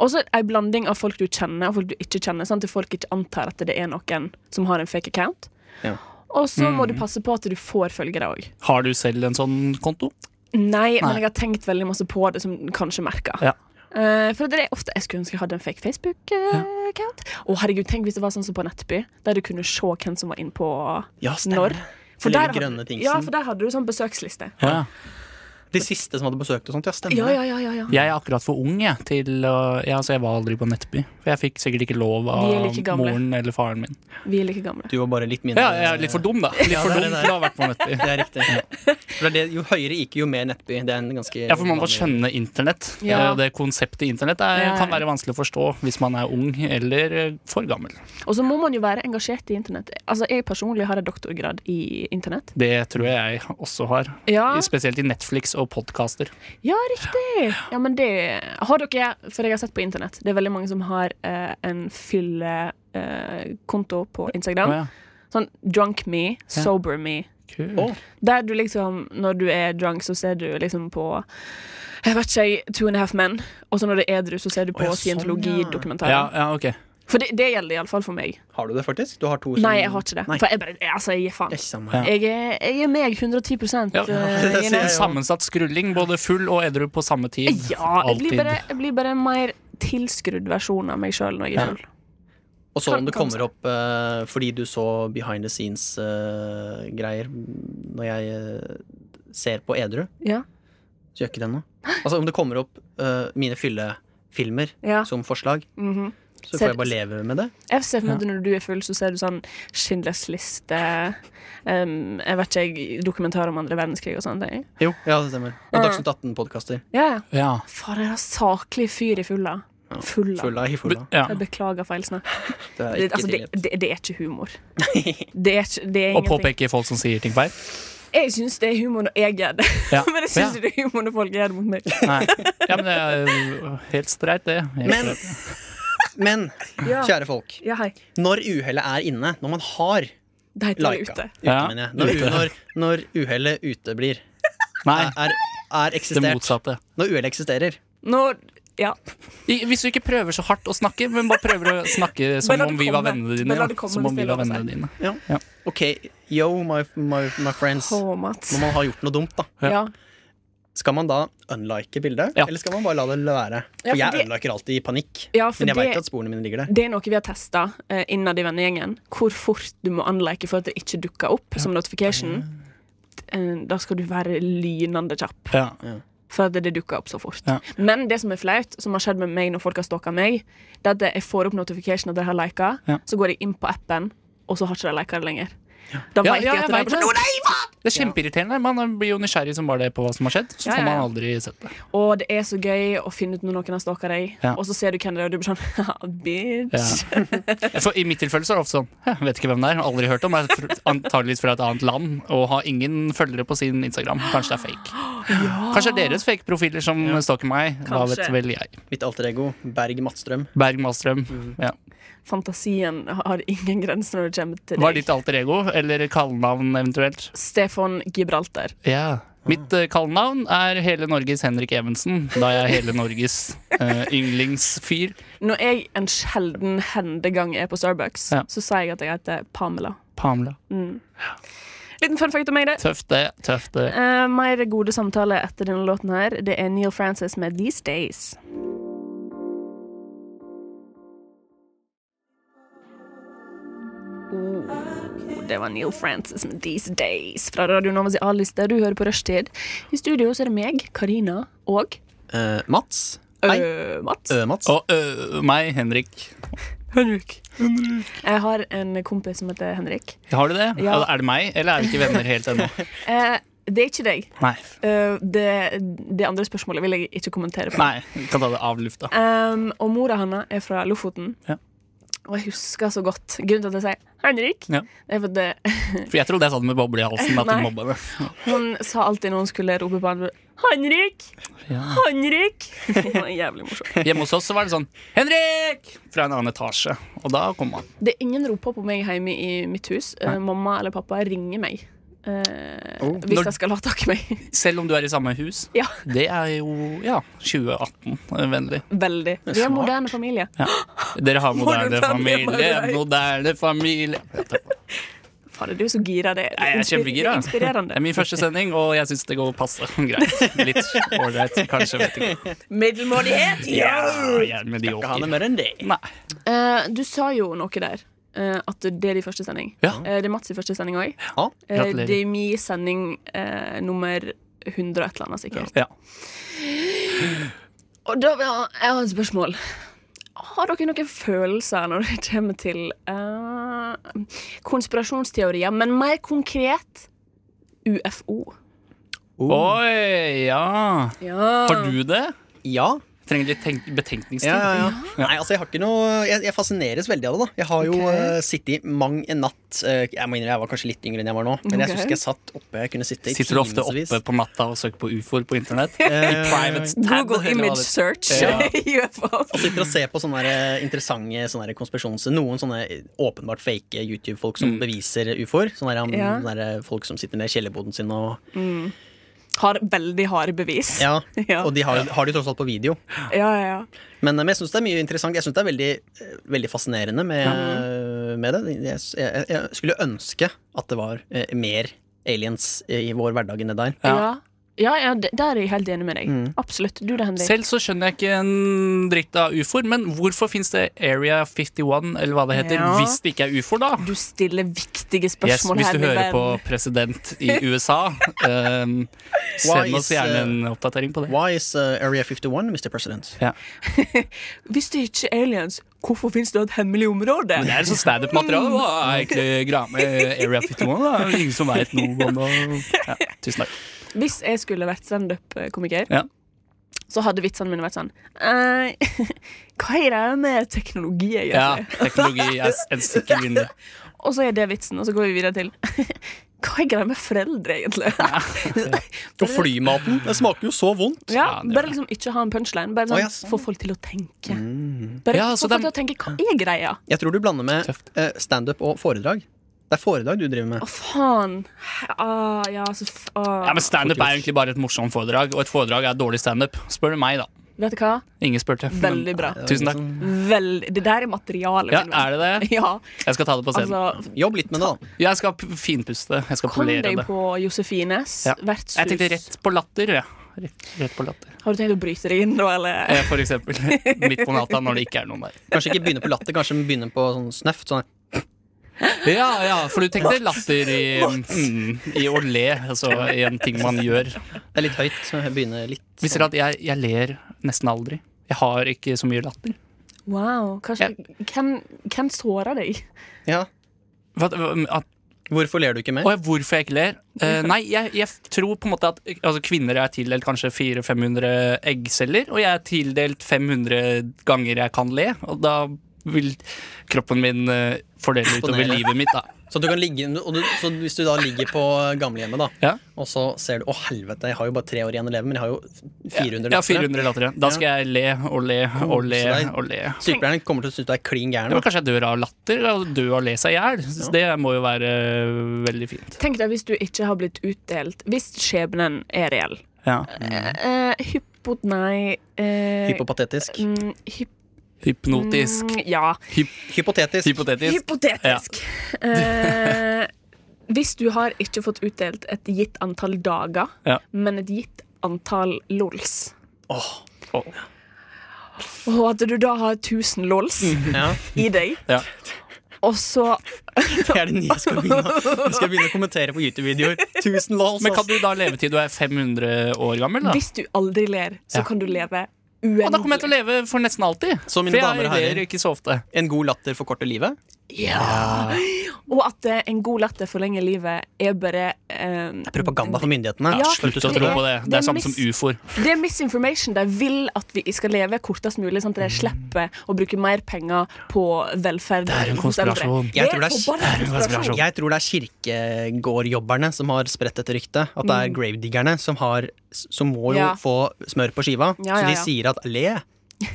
Speaker 2: Også en blanding av folk du kjenner og folk du ikke kjenner, sånn at folk ikke antar at det er noen som har en fake account.
Speaker 3: Ja.
Speaker 2: Og så må du passe på at du får følgere òg.
Speaker 4: Har du selv en sånn konto?
Speaker 2: Nei, men
Speaker 4: Nei.
Speaker 2: jeg har tenkt veldig masse på det, som du kanskje merker.
Speaker 4: Ja.
Speaker 2: Eh, for det er ofte Jeg skulle ønske jeg hadde en fake Facebook-account. Å herregud, Tenk hvis det var sånn som på Nettby, der du kunne se hvem som var inne på
Speaker 3: Ja, stemmer.
Speaker 2: når.
Speaker 3: Eller
Speaker 2: der
Speaker 3: de grønne
Speaker 2: hadde,
Speaker 3: tingsen.
Speaker 2: ja, for der hadde du sånn besøksliste.
Speaker 4: Ja.
Speaker 3: De siste som hadde besøkt og sånt, ja, stemmer
Speaker 2: Ja,
Speaker 3: det.
Speaker 2: ja, ja, ja, ja.
Speaker 4: Jeg er akkurat for ung jeg, til å ja, Så jeg var aldri på Nettby. For jeg fikk sikkert ikke lov
Speaker 2: Vi er
Speaker 4: av
Speaker 2: like gamle.
Speaker 4: moren eller faren min.
Speaker 2: Vi er like gamle.
Speaker 3: Du var bare litt mindre
Speaker 4: Ja, jeg er litt for dum, da. Litt
Speaker 3: Ja,
Speaker 4: for
Speaker 3: det er
Speaker 4: dum
Speaker 3: det
Speaker 4: til å ha vært på Nettby.
Speaker 3: Det er riktig. For det er det, jo høyere IQ, jo mer nettby. Det er en ganske
Speaker 4: Ja, for man må skjønne internett.
Speaker 2: Ja.
Speaker 4: Eh, Det konseptet internett er,
Speaker 2: Ja.
Speaker 4: kan være vanskelig å forstå hvis man er ung eller eh, for gammel.
Speaker 2: Og så må man jo være engasjert i internett. Altså, Jeg personlig har en doktorgrad i internett.
Speaker 4: Det tror jeg jeg også har.
Speaker 2: Ja,
Speaker 4: Spesielt i Netflix og podkaster.
Speaker 2: ja riktig! Ja, men det har dere, for jeg har sett på internett. Det er veldig mange som har eh, en fyllekonto på Instagram. Sånn drunk me, sober me.
Speaker 4: Kult.
Speaker 2: Der du liksom, når du er drunk, så ser du liksom på Jeg vet ikke, Two and a Half Men. Og så når du er edru, så ser du på
Speaker 3: Å, ja, sånn, ja.
Speaker 2: scientologidokumentaren.
Speaker 4: Ja, ja, ok.
Speaker 2: For det, det gjelder iallfall for meg.
Speaker 3: Har du det, faktisk? Du har to
Speaker 2: Nei, jeg har ikke det.
Speaker 3: Nei.
Speaker 2: For jeg bare Altså, jeg gir faen.
Speaker 3: Det er ikke samme
Speaker 4: Ja.
Speaker 3: her.
Speaker 2: Jeg er, jeg er meg 110
Speaker 4: Ja.
Speaker 2: eh,
Speaker 3: Det
Speaker 2: Ine.
Speaker 3: sier jeg jo.
Speaker 4: Sammensatt skrulling, både full og edru på samme tid.
Speaker 2: Eh, Ja, jeg blir bare, jeg blir bare en mer tilskrudd versjon av meg sjøl når jeg er full.
Speaker 3: Og så om det
Speaker 2: Kan- kanskje.
Speaker 3: kommer opp eh, fordi du så behind the scenes-greier når jeg eh, ser på edru,
Speaker 2: Ja.
Speaker 3: så gjør ikke det noe. Altså om det kommer opp eh, mine fyllefilmer
Speaker 2: Ja.
Speaker 3: som forslag,
Speaker 2: mhm.
Speaker 3: så
Speaker 2: Ser-
Speaker 3: får jeg bare leve med det.
Speaker 2: Jeg ser for meg at når du er full, så ser du sånn Schindlers liste em, Jeg vet ikke, jeg, dokumentar om andre verdenskrig og sånne ting.
Speaker 3: Jo, ja, det stemmer. Og Dagsnytt 18-podkaster.
Speaker 2: Ja, ja.
Speaker 4: Ja.
Speaker 2: Faen, jeg er saklig fyr i fulla. Fulla.
Speaker 3: Fulla i fulla.
Speaker 4: ja.
Speaker 2: Jeg beklager feilsnakk.
Speaker 3: Det er ikke
Speaker 2: Det, altså, det,
Speaker 3: tilgitt.
Speaker 2: det, det er ikke humor. Det er, ikke, det er
Speaker 4: Og
Speaker 2: ingenting.
Speaker 4: påpeke folk som sier ting feil.
Speaker 2: Jeg syns det er humor når jeg gjør det,
Speaker 4: Ja.
Speaker 2: *laughs* men jeg syns
Speaker 4: Ja.
Speaker 2: ikke det er humor når folk gjør det mot meg.
Speaker 4: Nei. Ja, men det er jo helt streit, det. Helt
Speaker 3: Men,
Speaker 4: streit.
Speaker 3: men,
Speaker 2: Ja.
Speaker 3: kjære folk,
Speaker 2: Ja, hei.
Speaker 3: når uhellet er inne, når man har
Speaker 2: Det heter det
Speaker 3: Laika.
Speaker 2: ute.
Speaker 3: Ute,
Speaker 4: Ja.
Speaker 3: mener jeg. Når, når, når uhellet uteblir,
Speaker 4: Nei,
Speaker 3: er, er
Speaker 4: det
Speaker 3: eksistert.
Speaker 4: motsatte.
Speaker 3: Når uhellet eksisterer.
Speaker 2: Når Ja.
Speaker 4: I- Hvis du ikke prøver så hardt å snakke, men bare prøver å snakke som
Speaker 2: Men la det
Speaker 4: om vi var
Speaker 2: komme.
Speaker 4: vennene dine.
Speaker 2: Men la
Speaker 4: Ja.
Speaker 2: det komme
Speaker 4: Som om vi
Speaker 2: hvis det er
Speaker 4: var
Speaker 2: lov å si.
Speaker 4: vennene dine.
Speaker 3: OK, yo, my, my, my friends.
Speaker 2: Å, Mats.
Speaker 3: Når man har gjort noe dumt, da.
Speaker 4: Ja.
Speaker 2: Ja.
Speaker 3: Skal man da unlike bildet,
Speaker 4: Ja.
Speaker 3: eller skal man bare la det være? For
Speaker 2: Ja, for
Speaker 3: jeg
Speaker 2: det-
Speaker 3: unliker alltid i panikk,
Speaker 2: Ja, for
Speaker 3: men jeg
Speaker 2: det-
Speaker 3: veit at sporene mine ligger der.
Speaker 2: Det er noe vi har testa eh, innad i vennegjengen. Hvor fort du må unlike for at det ikke dukker opp som notification. Eh, Da skal du være lynende kjapp,
Speaker 4: Ja.
Speaker 2: for at det dukker opp så fort.
Speaker 4: Ja.
Speaker 2: Men det som er flaut, som har skjedd med meg når folk har stalka meg, det er at jeg får opp notification at de har lika,
Speaker 4: Ja.
Speaker 2: så går jeg inn på appen, og så har ikke de lika det lenger. Da
Speaker 4: Ja,
Speaker 2: vet
Speaker 4: ja, jeg
Speaker 2: jeg at det
Speaker 4: vet
Speaker 2: er sånn,
Speaker 4: det.
Speaker 2: «Å, nei, faen!
Speaker 4: Det er kjempeirriterende. Man blir jo nysgjerrig som bare det på hva som har skjedd. Så
Speaker 2: Ja,
Speaker 4: får
Speaker 2: ja, ja.
Speaker 4: man aldri sett det.
Speaker 2: Og det er så gøy å finne ut når noen har stalka deg,
Speaker 4: Ja.
Speaker 2: og så ser du hvem det er, og du blir sånn *laughs* haha, bitch.
Speaker 4: For I mitt tilfelle så er det ofte sånn Jeg vet ikke hvem det er, har aldri hørt om. Er fr- antageligvis fra et annet land og har ingen følgere på sin Instagram. Kanskje det er fake. Kanskje det er deres fake-profiler som stalker meg. Da
Speaker 2: Kanskje.
Speaker 4: vet vel jeg.
Speaker 3: Mitt alter ego, Berg Matstrøm.
Speaker 4: Berg Malstrøm. Ja.
Speaker 2: Fantasien har ingen grenser når det kommer til
Speaker 4: Hva er
Speaker 2: deg.
Speaker 4: ditt alter ego? Eller kallenavn eventuelt?
Speaker 2: Stefan Gibraltar.
Speaker 4: Ja. Mitt eh, kallenavn er hele Norges Henrik Evensen, da jeg er hele Norges eh, yndlingsfyr.
Speaker 2: Når jeg en sjelden hendegang er på Starbucks,
Speaker 4: Ja.
Speaker 2: så sier jeg at jeg heter Pamela.
Speaker 4: Pamela.
Speaker 2: Liten fun fact om meg, det.
Speaker 4: Tøft det, tøft det.
Speaker 2: Eh, mer gode samtale etter denne låten her. Det er Neil Francis med These Days. Oh, det var Neil Francis med These Days fra Radio Novas A-liste. Du hører på Rushtid. I studio så er det meg, Karina og
Speaker 3: Eh, Mats. Hei.
Speaker 2: øh, Mats.
Speaker 3: Ø-Mats.
Speaker 4: Og øh, meg, Henrik.
Speaker 2: Henrik. Jeg har en kompis som heter Henrik.
Speaker 4: Har du det?
Speaker 2: Ja.
Speaker 4: Er det meg, eller er vi ikke venner helt ennå? *laughs*
Speaker 2: Eh, det er ikke deg.
Speaker 4: Nei.
Speaker 2: Eh, det, det andre spørsmålet vil jeg ikke kommentere på.
Speaker 4: Nei, vi kan ta det av lufta.
Speaker 2: Um, og mora hennes er fra Lofoten.
Speaker 4: Ja.
Speaker 2: Og jeg husker så godt grunnen til at jeg sier 'Henrik'.
Speaker 4: Ja.
Speaker 2: Det er fordi det,
Speaker 4: For jeg trodde jeg sa det med boble i halsen. At
Speaker 2: Nei.
Speaker 4: du mobba det.
Speaker 2: Hun sa alltid når hun skulle rope på andre 'Henrik!
Speaker 4: Ja.
Speaker 2: Henrik!' Det var jævlig morsomt.
Speaker 4: Hjemme hos oss så var det sånn 'Henrik!' fra en annen etasje. Og da kom han.
Speaker 2: Det er ingen roper på meg hjemme i mitt hus. Eh, mamma eller pappa ringer meg eh,
Speaker 4: Oh.
Speaker 2: hvis
Speaker 4: Når-
Speaker 2: jeg skal ha tak i meg. *laughs*
Speaker 4: Selv om du er i samme hus.
Speaker 2: ja,
Speaker 4: Det er jo ja, 2018-vennlig.
Speaker 2: veldig. Vi er en moderne familie.
Speaker 4: Dere har moderne
Speaker 2: Moderne
Speaker 4: familie,
Speaker 2: familie.
Speaker 4: moderne familie.
Speaker 2: Fader, du er så gira. Det
Speaker 4: Nei, jeg er
Speaker 2: inspir- det
Speaker 4: kjempegira.
Speaker 2: er
Speaker 4: Det *laughs* er
Speaker 2: inspirerende.
Speaker 4: min første sending, og jeg syns det går passe *laughs* greit. Litt ålreit, kanskje. Vet ikke.
Speaker 2: Middelmådighet!
Speaker 4: Ja, jeg
Speaker 3: Skal ikke
Speaker 4: er
Speaker 3: ha
Speaker 4: medioker.
Speaker 3: det mer enn det.
Speaker 4: Nei.
Speaker 2: Eh, du sa jo noe der. eh, at det er de første sending.
Speaker 4: Ja.
Speaker 2: Eh, det er Mats' i første sending òg.
Speaker 3: Ja.
Speaker 2: Eh,
Speaker 4: Gratulerer.
Speaker 2: Det er min sending eh, nummer 100 og et eller annet, sikkert.
Speaker 4: Ja.
Speaker 2: Og da vil jeg jeg har et spørsmål. Har dere noen følelser når det kommer til eh, konspirasjonsteorier, men mer konkret UFO?
Speaker 3: Oh.
Speaker 4: Oi, ja.
Speaker 2: Ja.
Speaker 4: Har du det?
Speaker 3: Ja.
Speaker 4: Trenger litt tenk- betenkningstid.
Speaker 3: Ja, ja, ja. Nei, altså, jeg har ikke noe Jeg, jeg fascineres veldig av det, da. Jeg har jo eh, sittet mang en natt eh, Jeg må innrømme jeg var kanskje litt yngre enn jeg var nå, men
Speaker 2: Ok.
Speaker 3: jeg husker jeg satt oppe. Jeg kunne sitte i
Speaker 4: Sitter du ofte
Speaker 3: timesvis.
Speaker 4: oppe på natta og søker på ufoer på internett?
Speaker 3: Eh,
Speaker 4: Private tab,
Speaker 2: Google
Speaker 4: eller hva
Speaker 2: image
Speaker 4: det-
Speaker 2: search *laughs*
Speaker 4: Ja.
Speaker 2: UFO.
Speaker 4: *laughs*
Speaker 3: Og sitter og ser på sånne der, eh, interessante sånne der konspirasjons... Noen sånne eh, åpenbart fake YouTube-folk
Speaker 4: Mm.
Speaker 3: som beviser ufoer. Sånne, der, um,
Speaker 2: Ja.
Speaker 3: sånne der folk som sitter nede i kjellerboden sin og
Speaker 2: Har veldig harde bevis.
Speaker 3: Ja.
Speaker 2: *laughs* Ja.
Speaker 3: Og de har, har de tross alt på video.
Speaker 2: ja, ja, ja.
Speaker 3: Men, men jeg syns det er mye interessant. Jeg syns det er veldig, eh, veldig fascinerende med, med det. Jeg, jeg, jeg skulle ønske at det var eh, mer aliens i vår hverdag enn det der.
Speaker 4: Ja. Mm.
Speaker 2: Ja, ja, ja d- der er jeg helt enig med deg. Absolutt. Du det, Henrik.
Speaker 4: Selv så skjønner jeg ikke en dritt av ufoer, men hvorfor fins det Area 51, eller hva det heter,
Speaker 2: Ja.
Speaker 4: hvis det ikke er ufoer, da?
Speaker 2: du stiller viktige
Speaker 4: Yes,
Speaker 2: spørsmål
Speaker 4: hvis
Speaker 2: her,
Speaker 4: du
Speaker 2: min
Speaker 4: hører
Speaker 2: venn.
Speaker 4: på president i USA, ehm, send
Speaker 3: Why
Speaker 4: oss
Speaker 3: is,
Speaker 4: gjerne
Speaker 3: uh,
Speaker 4: en oppdatering på det.
Speaker 3: Why is eh, Area 51, Mr. President?
Speaker 2: Hvis det ikke er aliens, hvorfor finnes det et hemmelig område?
Speaker 4: Det er sånn standup-materiale. Hva er egentlig greia med Area 51? Da? Det er Ingen som veit noe om det. Ja, tusen takk.
Speaker 2: Hvis jeg skulle vært standup-komiker,
Speaker 4: Ja.
Speaker 2: så hadde vitsene mine vært sånn «Eh, *laughs* Hva er det med teknologi,
Speaker 4: Ja,
Speaker 2: egentlig?
Speaker 4: teknologi er s- en sikker vinner.
Speaker 2: Og så er det vitsen, og så går vi videre til *laughs* Hva er greia med foreldre, egentlig?
Speaker 3: Og flymaten! Det smaker jo så vondt.
Speaker 2: *laughs* Ja,
Speaker 4: det er
Speaker 2: bare
Speaker 4: det.
Speaker 2: liksom ikke ha en punchline. Bare
Speaker 3: Å,
Speaker 2: sånn,
Speaker 3: ja, sånn.
Speaker 2: Få folk til å tenke. Bare
Speaker 4: Mm. Ja,
Speaker 2: få
Speaker 4: så
Speaker 2: folk
Speaker 4: dem-
Speaker 2: til å tenke Hva er greia?
Speaker 3: Jeg tror du blander med
Speaker 4: Tøft.
Speaker 3: eh, standup og foredrag. Det er foredrag du driver med.
Speaker 2: Å, faen. Ah, ja, så f ah.
Speaker 4: Ja, men Standup er egentlig bare et morsomt foredrag, og et foredrag er dårlig standup. Spør du meg, da.
Speaker 2: Vet du hva?
Speaker 4: Ingen spurte. men-
Speaker 2: Veldig bra.
Speaker 4: Tusen takk.
Speaker 3: Sånn,
Speaker 2: Vel, det der er materialet.
Speaker 4: Ja,
Speaker 2: min venn.
Speaker 4: er det det?
Speaker 2: Ja,
Speaker 4: Jeg skal ta det på scenen.
Speaker 2: altså
Speaker 3: Jobb litt med det, da.
Speaker 4: Jeg skal p- finpuste. Jeg skal
Speaker 2: Kom
Speaker 4: polere
Speaker 2: deg
Speaker 4: det.
Speaker 2: på Josefines
Speaker 4: Ja.
Speaker 2: vertshus.
Speaker 4: Jeg tenkte rett på latter. Ja. Rett, rett på latter.
Speaker 2: Har du tenkt å bryte deg inn, da, eller?
Speaker 4: Eh, For eksempel *laughs* midt på natta når det ikke er noen der.
Speaker 3: Kanskje ikke begynne på latter, kanskje begynne på sånn snøft. Sånn.
Speaker 4: Ja, ja, for du tenkte *laughs* latter i, mm, i å le, altså i en ting man gjør.
Speaker 3: Det er litt høyt. så jeg Begynner litt.
Speaker 4: Visste dere at jeg, jeg ler nesten aldri? Jeg har ikke så mye latter.
Speaker 2: Wow. Kanskje, hvem, hvem sårer deg?
Speaker 3: Ja.
Speaker 4: Hva- hva- At
Speaker 3: Hvorfor ler du ikke mer?
Speaker 4: Og jeg, hvorfor jeg ikke ler? Eh, nei, jeg, jeg tror på en måte at altså, kvinner er tildelt kanskje 400-500 eggceller, og jeg er tildelt 500 ganger jeg kan le, og da vil kroppen min eh, fordele utover
Speaker 3: Imponere.
Speaker 4: livet mitt, da.
Speaker 3: Så, du kan ligge, og du, så hvis du da ligger på gamlehjemmet, da,
Speaker 4: Ja.
Speaker 3: og så ser du Å, helvete, jeg har jo bare tre år igjen å leve, men jeg har jo 400
Speaker 4: Ja,
Speaker 3: lettere».
Speaker 4: 400 latter. Da skal jeg le og le og le
Speaker 3: Kose deg.
Speaker 4: og le.
Speaker 3: Sykepleieren kommer til å synes du er klin
Speaker 4: Ja,
Speaker 3: gæren.
Speaker 4: men kanskje jeg dør av latter og dør av å le seg i hjel. Det må jo være eh, veldig fint.
Speaker 2: Tenk deg hvis du ikke har blitt utdelt Hvis skjebnen er reell.
Speaker 4: Ja.
Speaker 2: Eh, hypo... Nei. eh,
Speaker 3: Hypopatetisk.
Speaker 2: mm, hyp-
Speaker 4: Hypnotisk.
Speaker 2: mm, Ja.
Speaker 3: Hypotetisk.
Speaker 4: Hypotetisk.
Speaker 2: Hypotetisk. Eh, hvis du har ikke fått utdelt et gitt antall dager,
Speaker 4: Ja.
Speaker 2: men et gitt antall lols
Speaker 3: Åh,
Speaker 2: Og at du da har 1000 lols
Speaker 3: ja.
Speaker 2: i deg,
Speaker 4: Ja.
Speaker 2: og så
Speaker 3: Det er det nye jeg skal begynne, jeg skal begynne å kommentere på YouTube-videoer. Tusen altså. lols.
Speaker 4: Men kan
Speaker 3: ass.
Speaker 4: du da leve til du er 500 år gammel? da?
Speaker 2: Hvis du aldri ler, så
Speaker 4: Ja.
Speaker 2: kan du leve
Speaker 4: Og da kommer jeg
Speaker 2: uendelig.
Speaker 4: til å leve for nesten alltid.
Speaker 3: Så, mine
Speaker 4: for
Speaker 3: damer
Speaker 4: jeg
Speaker 3: og herrer.
Speaker 4: ler ikke så ofte.
Speaker 3: En god latter forkorter livet.
Speaker 2: Og at eh, en god latter forlenger livet er bare eh,
Speaker 3: Propaganda for myndighetene.
Speaker 2: Ja,
Speaker 3: Slutt å
Speaker 4: Slutt å
Speaker 2: det
Speaker 4: tro
Speaker 2: er-
Speaker 4: på det.
Speaker 2: det
Speaker 4: Det
Speaker 2: er
Speaker 4: er samme som
Speaker 2: mis-
Speaker 4: ufoer.
Speaker 2: Det er misinformation. De vil at vi skal leve kortest mulig, sånn at de slipper å bruke mer penger på velferd.
Speaker 4: Mm. Det er en
Speaker 2: hos andre.
Speaker 4: konspirasjon.
Speaker 3: Jeg tror det er-
Speaker 2: forbannet
Speaker 4: det er en konspirasjon.
Speaker 3: Jeg tror det er kirkegårdjobberne som har spredt dette ryktet. At det er gravediggerne som, har, som må jo
Speaker 2: Mm. Ja.
Speaker 3: få smør på skiva.
Speaker 2: Ja, ja,
Speaker 3: Så de
Speaker 2: ja.
Speaker 3: sier at le.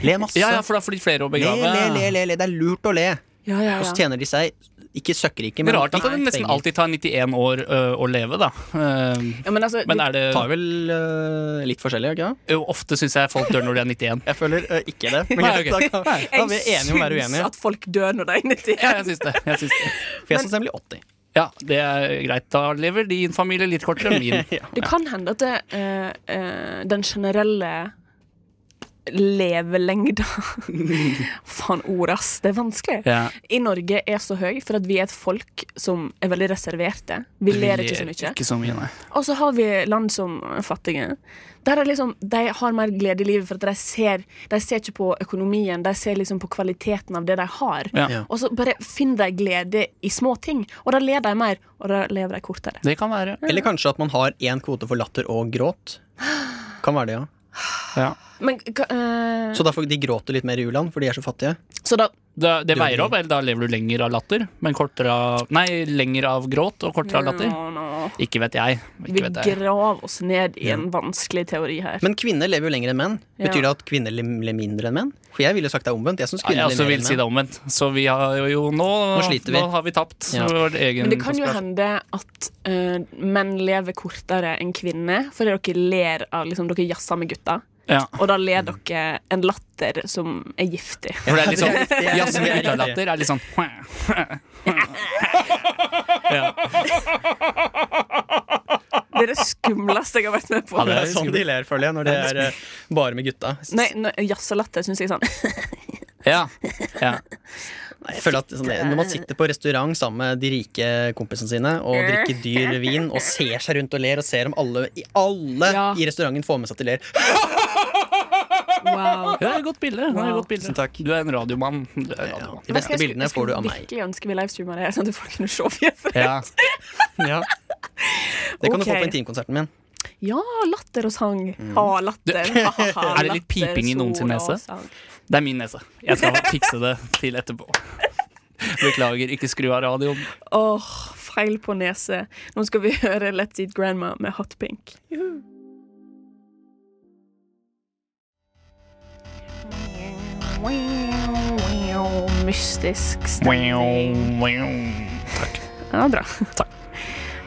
Speaker 3: Le masse.
Speaker 4: Ja, ja, for da får de flere å
Speaker 3: le,
Speaker 4: begrave.
Speaker 3: le, le, le, le. Det er lurt å le.
Speaker 2: Ja, ja,
Speaker 3: Og så
Speaker 2: ja.
Speaker 3: tjener de seg ikke søkkrike,
Speaker 4: Det
Speaker 3: men
Speaker 4: er rart at det
Speaker 3: litt
Speaker 4: nesten
Speaker 3: penger.
Speaker 4: alltid tar 91 år ø, å leve, da. Ehm,
Speaker 2: ja men altså,
Speaker 4: Men
Speaker 2: du-
Speaker 4: er det
Speaker 3: tar vel øh, litt forskjellig, ikke sant?
Speaker 4: jo, Ofte syns jeg folk dør når de er 91.
Speaker 3: Jeg føler øh, ikke det. Men
Speaker 4: *laughs* Nei,
Speaker 3: greit,
Speaker 4: ok.
Speaker 3: da, kan, da er vi enige om å være
Speaker 2: Jeg syns
Speaker 3: uenige.
Speaker 2: at folk dør når de er 90.
Speaker 4: Ja, jeg syns det. Jeg syns det.
Speaker 3: For jeg syns den blir 80.
Speaker 4: Ja, det er greit. Da lever din familie litt kortere enn min.
Speaker 2: Det kan hende at det, eh, eh, den generelle
Speaker 4: *laughs*
Speaker 2: levelengda Faen, ord, ass. Det er vanskelig.
Speaker 4: Ja.
Speaker 2: I Norge er så høy for at vi er et folk som er veldig reserverte. Vi ler ikke så mye.
Speaker 4: Ikke så mye, nei.
Speaker 2: Og så har vi land som er fattige. Der er liksom, De har mer glede i livet, for at de ser, de ser ikke på økonomien, de ser liksom på kvaliteten av det de har.
Speaker 4: Ja.
Speaker 3: Ja.
Speaker 2: Og så bare finner de glede i små ting, og da ler de mer, og da lever de kortere.
Speaker 4: Det kan være.
Speaker 3: Eller kanskje at man har én kvote for latter og gråt. Kan være det, ja.
Speaker 4: Ja.
Speaker 2: Men, hva, eh,
Speaker 3: Så derfor de gråter litt mer i u-land, for de er så fattige.
Speaker 2: så da
Speaker 4: Det, det veier opp, eller da lever du lenger av latter, men kortere av Nei, lenger av gråt og kortere av latter.
Speaker 2: Nå, nå.
Speaker 4: Ikke vet jeg.
Speaker 2: Vi
Speaker 4: Ikke vet jeg.
Speaker 2: graver oss ned i en vanskelig teori her.
Speaker 3: Men kvinner lever jo lenger enn menn. Betyr det
Speaker 2: Ja.
Speaker 3: at kvinner le- ler mindre enn menn? For jeg ville jo sagt det er omvendt. Jeg synes
Speaker 4: Ja,
Speaker 3: kvinner
Speaker 4: jeg
Speaker 3: ler
Speaker 4: også
Speaker 3: mer
Speaker 4: vil
Speaker 3: enn
Speaker 4: si det omvendt. Så vi har jo nå
Speaker 3: Nå sliter vi.
Speaker 4: Nå har vi tapt
Speaker 3: Ja.
Speaker 4: vår egen
Speaker 2: Men det kan jo
Speaker 4: konspirasjon.
Speaker 2: hende at eh, menn lever kortere enn kvinner, fordi dere ler av liksom, Dere jazzer med gutta.
Speaker 4: Ja.
Speaker 2: Og da ler dere en latter som er giftig.
Speaker 4: For det er litt
Speaker 3: Ja, det er
Speaker 4: sånn
Speaker 3: riktig.
Speaker 4: Jazz med
Speaker 3: Det er riktig.
Speaker 4: guttalatter er litt sånn *laughs*
Speaker 2: Det er det skumleste jeg har vært med på.
Speaker 4: Ja,
Speaker 3: Det
Speaker 4: det
Speaker 3: er sånn de ler, føler jeg, når det er eh, bare med gutta.
Speaker 2: Nei, nei, jazzelatter syns jeg er sånn.
Speaker 4: Ja. ja.
Speaker 3: Jeg føler at sånn, Når man sitter på restaurant sammen med de rike kompisene sine og drikker dyr vin og ser seg rundt og ler, og ser om alle, i- alle
Speaker 2: Ja.
Speaker 3: i restauranten får med seg at de ler *laughs*
Speaker 2: Wow.
Speaker 4: Det er et godt bilde. Det er et
Speaker 2: Wow.
Speaker 4: godt bilde.
Speaker 3: Tusen takk.
Speaker 4: Du er en radiomann. Du er en radiomann.
Speaker 3: De beste bildene får du av meg.
Speaker 2: Virkelig ønsker vi livestreama det, her, sånn at folk kunne se fjeset.
Speaker 4: Ja.
Speaker 3: Det kan du få
Speaker 2: Ok.
Speaker 3: på intimkonserten min.
Speaker 2: Ja, latter og sang. Ha, latter.
Speaker 4: *laughs*
Speaker 2: Ha, ha, ha,
Speaker 4: Mm. Er det litt
Speaker 2: latter,
Speaker 4: piping i noen sin
Speaker 2: sol og
Speaker 4: nese?
Speaker 2: sang.
Speaker 4: Det er min nese. Jeg skal fikse det til etterpå. Beklager, ikke skru av radioen.
Speaker 2: Åh, feil på nese. Nå skal vi *laughs* høre Let's Eat Grandma med Hot Pink. Mystisk stemning. Ja, bra. *laughs*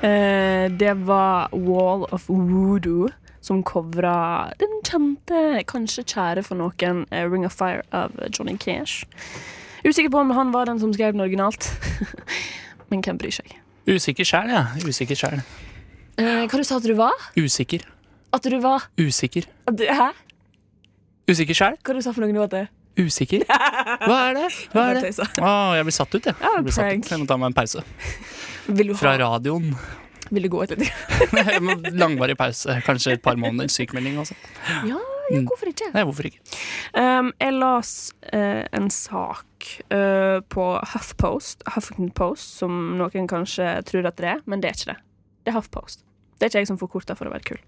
Speaker 2: Eh, det var Wall of Voodoo som covra den kjente, kanskje kjære for noen, eh, Ring of Fire av Johnny Cash. Usikker på om han var den som skrev den originalt, *laughs* men hvem bryr seg?
Speaker 4: Usikker sjæl, ja. Usikker sjæl.
Speaker 2: Eh, hva du sa at du var?
Speaker 4: Usikker.
Speaker 2: At du var
Speaker 4: Usikker.
Speaker 2: at du, Hæ?
Speaker 4: Usikker sjæl?
Speaker 2: Hva du sa for noe nå? at det-
Speaker 4: Usikker? Hva er det? Hva er det?
Speaker 2: Jeg tøysa.
Speaker 4: Å, jeg blir satt ut, jeg.
Speaker 2: Ja,
Speaker 4: jeg blir satt
Speaker 2: prank.
Speaker 4: ut. Jeg må ta meg en pause.
Speaker 2: Vil du,
Speaker 4: Fra
Speaker 2: ha,
Speaker 4: radioen. *laughs*
Speaker 2: vil du gå etter det?
Speaker 4: Langvarig pause. Kanskje et par måneder. Sykemelding også. Mm.
Speaker 2: Ja, ja, hvorfor ikke?
Speaker 4: Nei, hvorfor ikke?
Speaker 2: *laughs* Um, jeg las eh, en sak eh, på HuffPost, Huffington Post, som noen kanskje tror at det er, men det er ikke det. Det er HuffPost. Det er ikke jeg som forkorter for å være kul.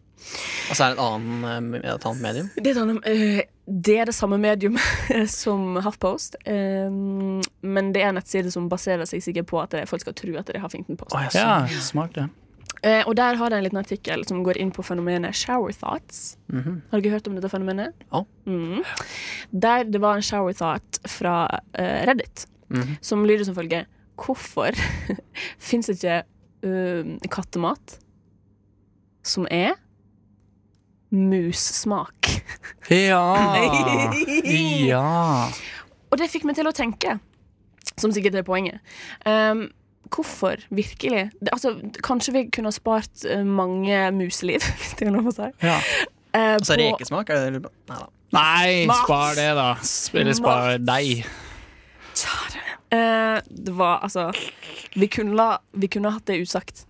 Speaker 3: Altså er det et annet, eh, et annet medium?
Speaker 2: Det er, sånn, eh, det, er det samme medium *laughs* som HuffPost, um, men det er en nettside som baserer seg sikkert på at det, folk skal tro at det er Huffington Post.
Speaker 3: Å, jeg så-
Speaker 4: Ja, smart, ja.
Speaker 2: Eh, og der har de en liten artikkel som går inn på fenomenet shower thoughts. Har du ikke hørt om dette fenomenet?
Speaker 3: Ja.
Speaker 2: Mhm. Der det var en shower thought fra eh, Reddit,
Speaker 3: Mhm.
Speaker 2: som lyder som følger Hvorfor *laughs* fins ikke um, kattemat som er mussmak?
Speaker 4: Ja. ja.
Speaker 2: Og det fikk meg til å tenke, som sikkert er poenget. Um, hvorfor virkelig? Det, altså, kanskje vi kunne ha spart eh, mange museliv, *laughs* hvis det er lov å si.
Speaker 4: Ja.
Speaker 2: Eh,
Speaker 3: Altså
Speaker 2: på-
Speaker 3: rekesmak? Er det, nei da.
Speaker 4: Nei,
Speaker 2: Mats!
Speaker 4: spar det, da. Eller spar
Speaker 2: Mats!
Speaker 4: deg.
Speaker 2: Eh, det var altså Vi kunne, la, vi kunne hatt det usagt.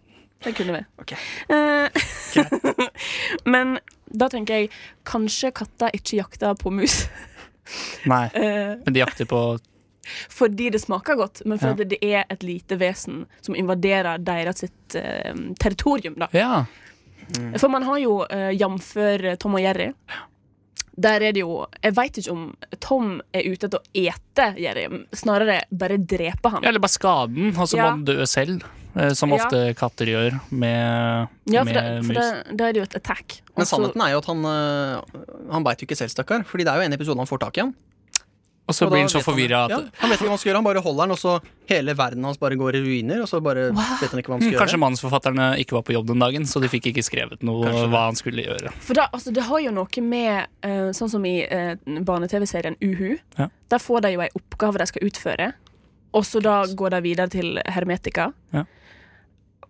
Speaker 2: Det kunne vi.
Speaker 3: Ok.
Speaker 2: Eh, *laughs* men da tenker jeg kanskje katter ikke jakter på mus. *laughs*
Speaker 4: Nei.
Speaker 2: Eh,
Speaker 4: Men de jakter på
Speaker 2: fordi det smaker godt, men fordi
Speaker 4: Ja.
Speaker 2: det er et lite vesen som invaderer deres sitt, eh, territorium. Da.
Speaker 4: Ja. Mm.
Speaker 2: For man har jo uh, jamfør Tom og Jerry. Der er det jo Jeg veit ikke om Tom er ute etter å ete Jerry, snarere bare drepe han.
Speaker 4: Ja, Eller bare skaden, og så
Speaker 2: Ja.
Speaker 4: må den dø selv. eh, Som
Speaker 2: Ja.
Speaker 4: ofte katter gjør med,
Speaker 2: Ja, for,
Speaker 4: med
Speaker 2: da- for
Speaker 4: mus.
Speaker 2: da, da er det jo et attack.
Speaker 3: Men
Speaker 2: Og så-
Speaker 3: sannheten er jo at han, eh, han beit jo ikke selv, stakkar. Fordi det er jo en episode han får tak i han.
Speaker 4: og så
Speaker 3: Og da
Speaker 4: blir den så
Speaker 3: vet han-
Speaker 4: forvirra at
Speaker 3: ja, Han vet ikke hva han skal gjøre, han bare holder den, og så hele verden hans bare går i ruiner. Og så bare vet han ikke hva han skal
Speaker 4: hm, kanskje
Speaker 3: gjøre.
Speaker 4: manusforfatterne ikke var på jobb den dagen, så de fikk ikke skrevet noe
Speaker 3: Kanskje det.
Speaker 4: hva han skulle gjøre.
Speaker 2: For da, altså, det har jo noe med eh, Sånn som i eh, barne-TV-serien Uhu.
Speaker 4: Ja.
Speaker 2: Der får de jo ei oppgave de skal utføre, og så da går de videre til hermetika.
Speaker 4: Ja.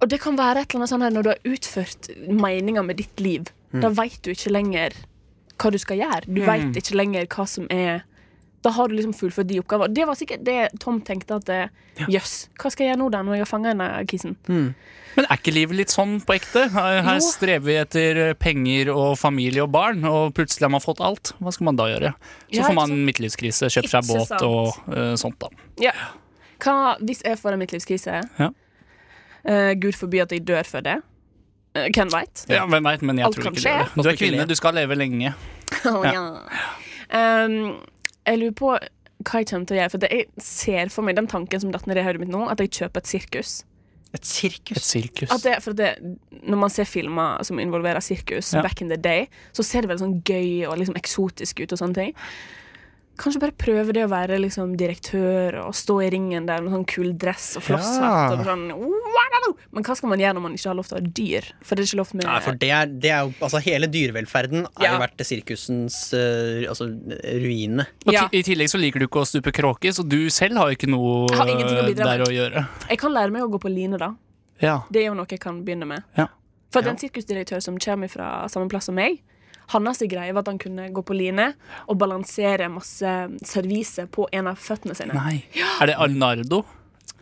Speaker 2: Og det kan være et eller annet sånn her når du har utført meninga med ditt liv.
Speaker 4: Mm.
Speaker 2: Da veit du ikke lenger hva du skal gjøre. Du veit ikke lenger hva som er Da har du liksom fullført de oppgaver. Det var sikkert det Tom tenkte at eh, Jøss, hva skal jeg gjøre nå da, når jeg har fanga denne kissen?
Speaker 4: Men er ikke livet litt sånn på ekte? Her her
Speaker 2: Jo.
Speaker 4: strever vi etter penger og familie og barn, og plutselig har man fått alt. Hva skal man da gjøre? Så
Speaker 2: Ja,
Speaker 4: får
Speaker 2: ikke
Speaker 4: man
Speaker 2: sant?
Speaker 4: midtlivskrise, kjøper seg
Speaker 2: Ikke
Speaker 4: båt
Speaker 2: sant.
Speaker 4: og eh, sånt, da.
Speaker 2: Ja. Hva, hvis jeg får en midtlivskrise
Speaker 4: Ja.
Speaker 2: eh, Gud forby at jeg dør før det. Eh, hvem veit? *laughs*
Speaker 4: Ja, hvem vet, men jeg
Speaker 2: Alt
Speaker 4: tror
Speaker 2: kan
Speaker 4: ikke det.
Speaker 2: skje.
Speaker 4: er det. Du er kvinne, du skal leve lenge.
Speaker 2: Um, Oh, jeg lurer på hva jeg kommer til å gjøre. For det, jeg ser for meg den tanken som datt ned i hodet mitt nå, at jeg kjøper et sirkus.
Speaker 3: Et sirkus?
Speaker 4: Et sirkus.
Speaker 2: At det, for det, når man ser filmer som involverer sirkus,
Speaker 4: Ja.
Speaker 2: back in the day, så ser det veldig sånn gøy og liksom eksotisk ut. og sånne ting Kanskje bare prøve det å være liksom direktør og stå i ringen der med sånn kul dress og flosshatt.
Speaker 4: Ja.
Speaker 2: og sånn, «Wow!» Men hva skal man gjøre når man ikke har lov til å ha dyr? For det er ikke lov med
Speaker 3: Nei, for det er, det er jo Altså, hele dyrevelferden er
Speaker 2: Ja.
Speaker 3: jo vært sirkusens eh, altså, ruine.
Speaker 4: Og
Speaker 2: Ja.
Speaker 4: ti- I tillegg så liker du ikke å stupe kråke, så du selv har jo ikke noe
Speaker 2: Jeg har ingenting å
Speaker 4: eh,
Speaker 2: bidra med.
Speaker 4: der å gjøre.
Speaker 2: Jeg kan lære meg å gå på line, da.
Speaker 4: Ja.
Speaker 2: Det er jo noe jeg kan begynne med.
Speaker 4: Ja.
Speaker 2: For at en sirkusdirektør som kommer fra samme plass som meg, hans greie var at han kunne gå på line og balansere masse servise på en av føttene sine.
Speaker 4: Nei. Er det Arnardo?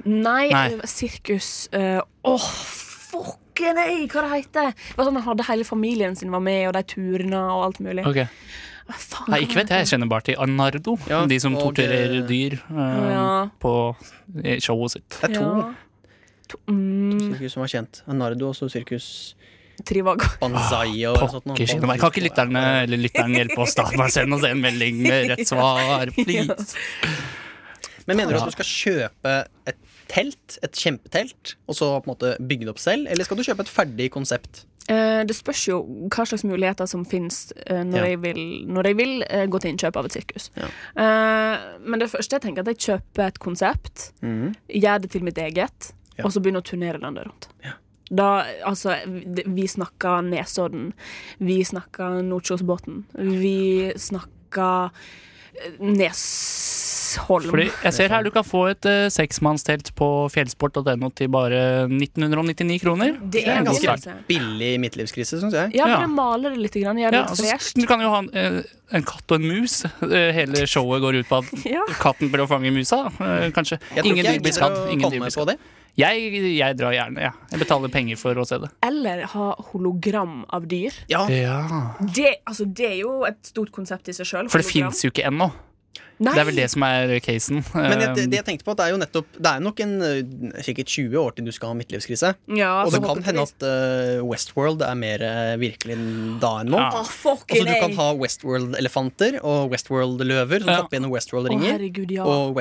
Speaker 2: Nei,
Speaker 4: Nei.
Speaker 2: det var sirkus eh, Åh, fucken ei, hva det heter det? var sånn han hadde hele familien sin var med, og de turene og alt mulig.
Speaker 4: Ok.
Speaker 2: Hva faen,
Speaker 4: Nei,
Speaker 2: hva
Speaker 4: ikke vet jeg. Jeg kjenner bare til Arnardo.
Speaker 3: Ja,
Speaker 4: de som
Speaker 3: og,
Speaker 4: torturerer
Speaker 3: eh,
Speaker 4: dyr eh,
Speaker 2: Ja.
Speaker 4: på eh, showet sitt.
Speaker 3: Det er to
Speaker 2: Ja. To, mm,
Speaker 3: sirkus som er kjent. Nardo og så sirkus
Speaker 2: Trivago.
Speaker 3: Banzai og sånt noe.
Speaker 4: Ah, Pokker skinn meg. Kan ikke lytterne eller lytteren hjelpe oss da? Bare send oss en melding
Speaker 2: *laughs*
Speaker 4: med rett svar, please.
Speaker 3: Men mener du at du skal kjøpe et telt, et kjempetelt, og så på en måte bygge det opp selv, eller skal du kjøpe et ferdig konsept?
Speaker 2: Eh, det spørs jo hva slags muligheter som finnes eh, når,
Speaker 3: Ja.
Speaker 2: jeg vil, når jeg vil eh, gå til innkjøp av et sirkus.
Speaker 3: Ja.
Speaker 2: Eh, men det første jeg tenker, at jeg kjøper et konsept, gjør det til mitt eget,
Speaker 3: Ja.
Speaker 2: og så begynner å turnere landet rundt. Da, altså, vi- vi snakka Nesodden, vi snakka Nordkjosbotn, vi snakka eh, Nes... Eidsholm.
Speaker 4: Fordi jeg ser her du kan få et eh, seksmannstelt på fjellsport.no til bare 1999 kroner.
Speaker 2: det er
Speaker 3: er
Speaker 2: en
Speaker 3: ganske
Speaker 2: ganske rart.
Speaker 3: Billig midtlivskrise, syns jeg.
Speaker 2: Ja,
Speaker 4: Ja.
Speaker 2: men jeg maler det litt. Grann. Jeg er
Speaker 4: Ja,
Speaker 2: litt
Speaker 4: altså,
Speaker 2: fresh.
Speaker 4: du kan jo ha en, eh, en katt og en mus. Eh, Hele showet går ut på at
Speaker 2: *laughs* Ja.
Speaker 4: katten prøver å fange musa. da. Eh, Kanskje.
Speaker 3: Jeg tror
Speaker 4: Ingen
Speaker 3: ikke
Speaker 4: dyr
Speaker 3: jeg
Speaker 4: blir
Speaker 3: gidder
Speaker 4: skadd.
Speaker 3: å
Speaker 4: Ingen
Speaker 3: kalle
Speaker 4: dyr blir
Speaker 3: meg på
Speaker 4: skadd.
Speaker 3: det.
Speaker 4: Jeg, jeg drar gjerne, ja. Jeg betaler penger for å se det.
Speaker 2: Eller ha hologram av dyr.
Speaker 3: Ja,
Speaker 2: Det, altså, det er jo et stort konsept i seg sjøl.
Speaker 4: For det fins jo ikke ennå. Det er vel det som er casen. Eh,
Speaker 3: Men jeg,
Speaker 4: Um.
Speaker 3: det jeg tenkte på, at det er jo nettopp Det er nok en, øh, sikkert 20 år til du skal ha midtlivskrise.
Speaker 2: ja, altså,
Speaker 3: Og det kan
Speaker 2: forhåpentligvis.
Speaker 3: hende at øh, Westworld er mer øh, virkelig enn da enn nå.
Speaker 4: Ja.
Speaker 2: Å,
Speaker 3: Altså,
Speaker 2: fucking
Speaker 3: du kan
Speaker 2: A.
Speaker 3: ha Westworld-elefanter og Westworld-løver som
Speaker 4: Ja.
Speaker 3: hopper gjennom
Speaker 2: Å,
Speaker 3: Westworld-ringer.
Speaker 2: herregud, ja.
Speaker 3: Og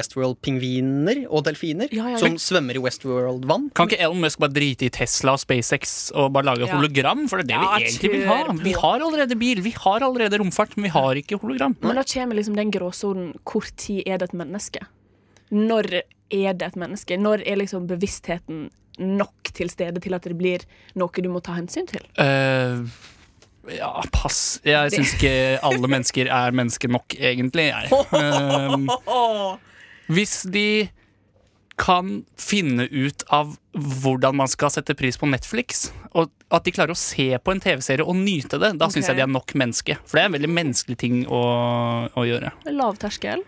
Speaker 3: Westworld-pingviner og delfiner
Speaker 2: Ja, ja, ja.
Speaker 3: som svømmer i Westworld-vann.
Speaker 4: Kan ikke Elon Musk bare drite i Tesla og SpaceX og bare lage
Speaker 2: Ja.
Speaker 4: hologram? For det er det
Speaker 2: Ja,
Speaker 4: vi egentlig vil
Speaker 2: kjør
Speaker 4: ha.
Speaker 2: på.
Speaker 4: Vi har allerede bil, vi har allerede romfart, men vi har ikke hologram.
Speaker 2: Men da kommer liksom den gråsonen hvor tid er det et menneske? Når er det et menneske? Når er liksom bevisstheten nok til stede til at det blir noe du må ta hensyn til?
Speaker 4: Eh, ja, pass. Jeg syns ikke alle mennesker er mennesker nok, egentlig. Jeg. Ehm, hvis de kan finne ut av hvordan man skal sette pris på Netflix, og at de klarer å se på en TV-serie og nyte det, da syns
Speaker 2: Ok.
Speaker 4: jeg de er nok menneske. For det er en veldig menneskelig ting å, å gjøre.
Speaker 2: Lavterskel.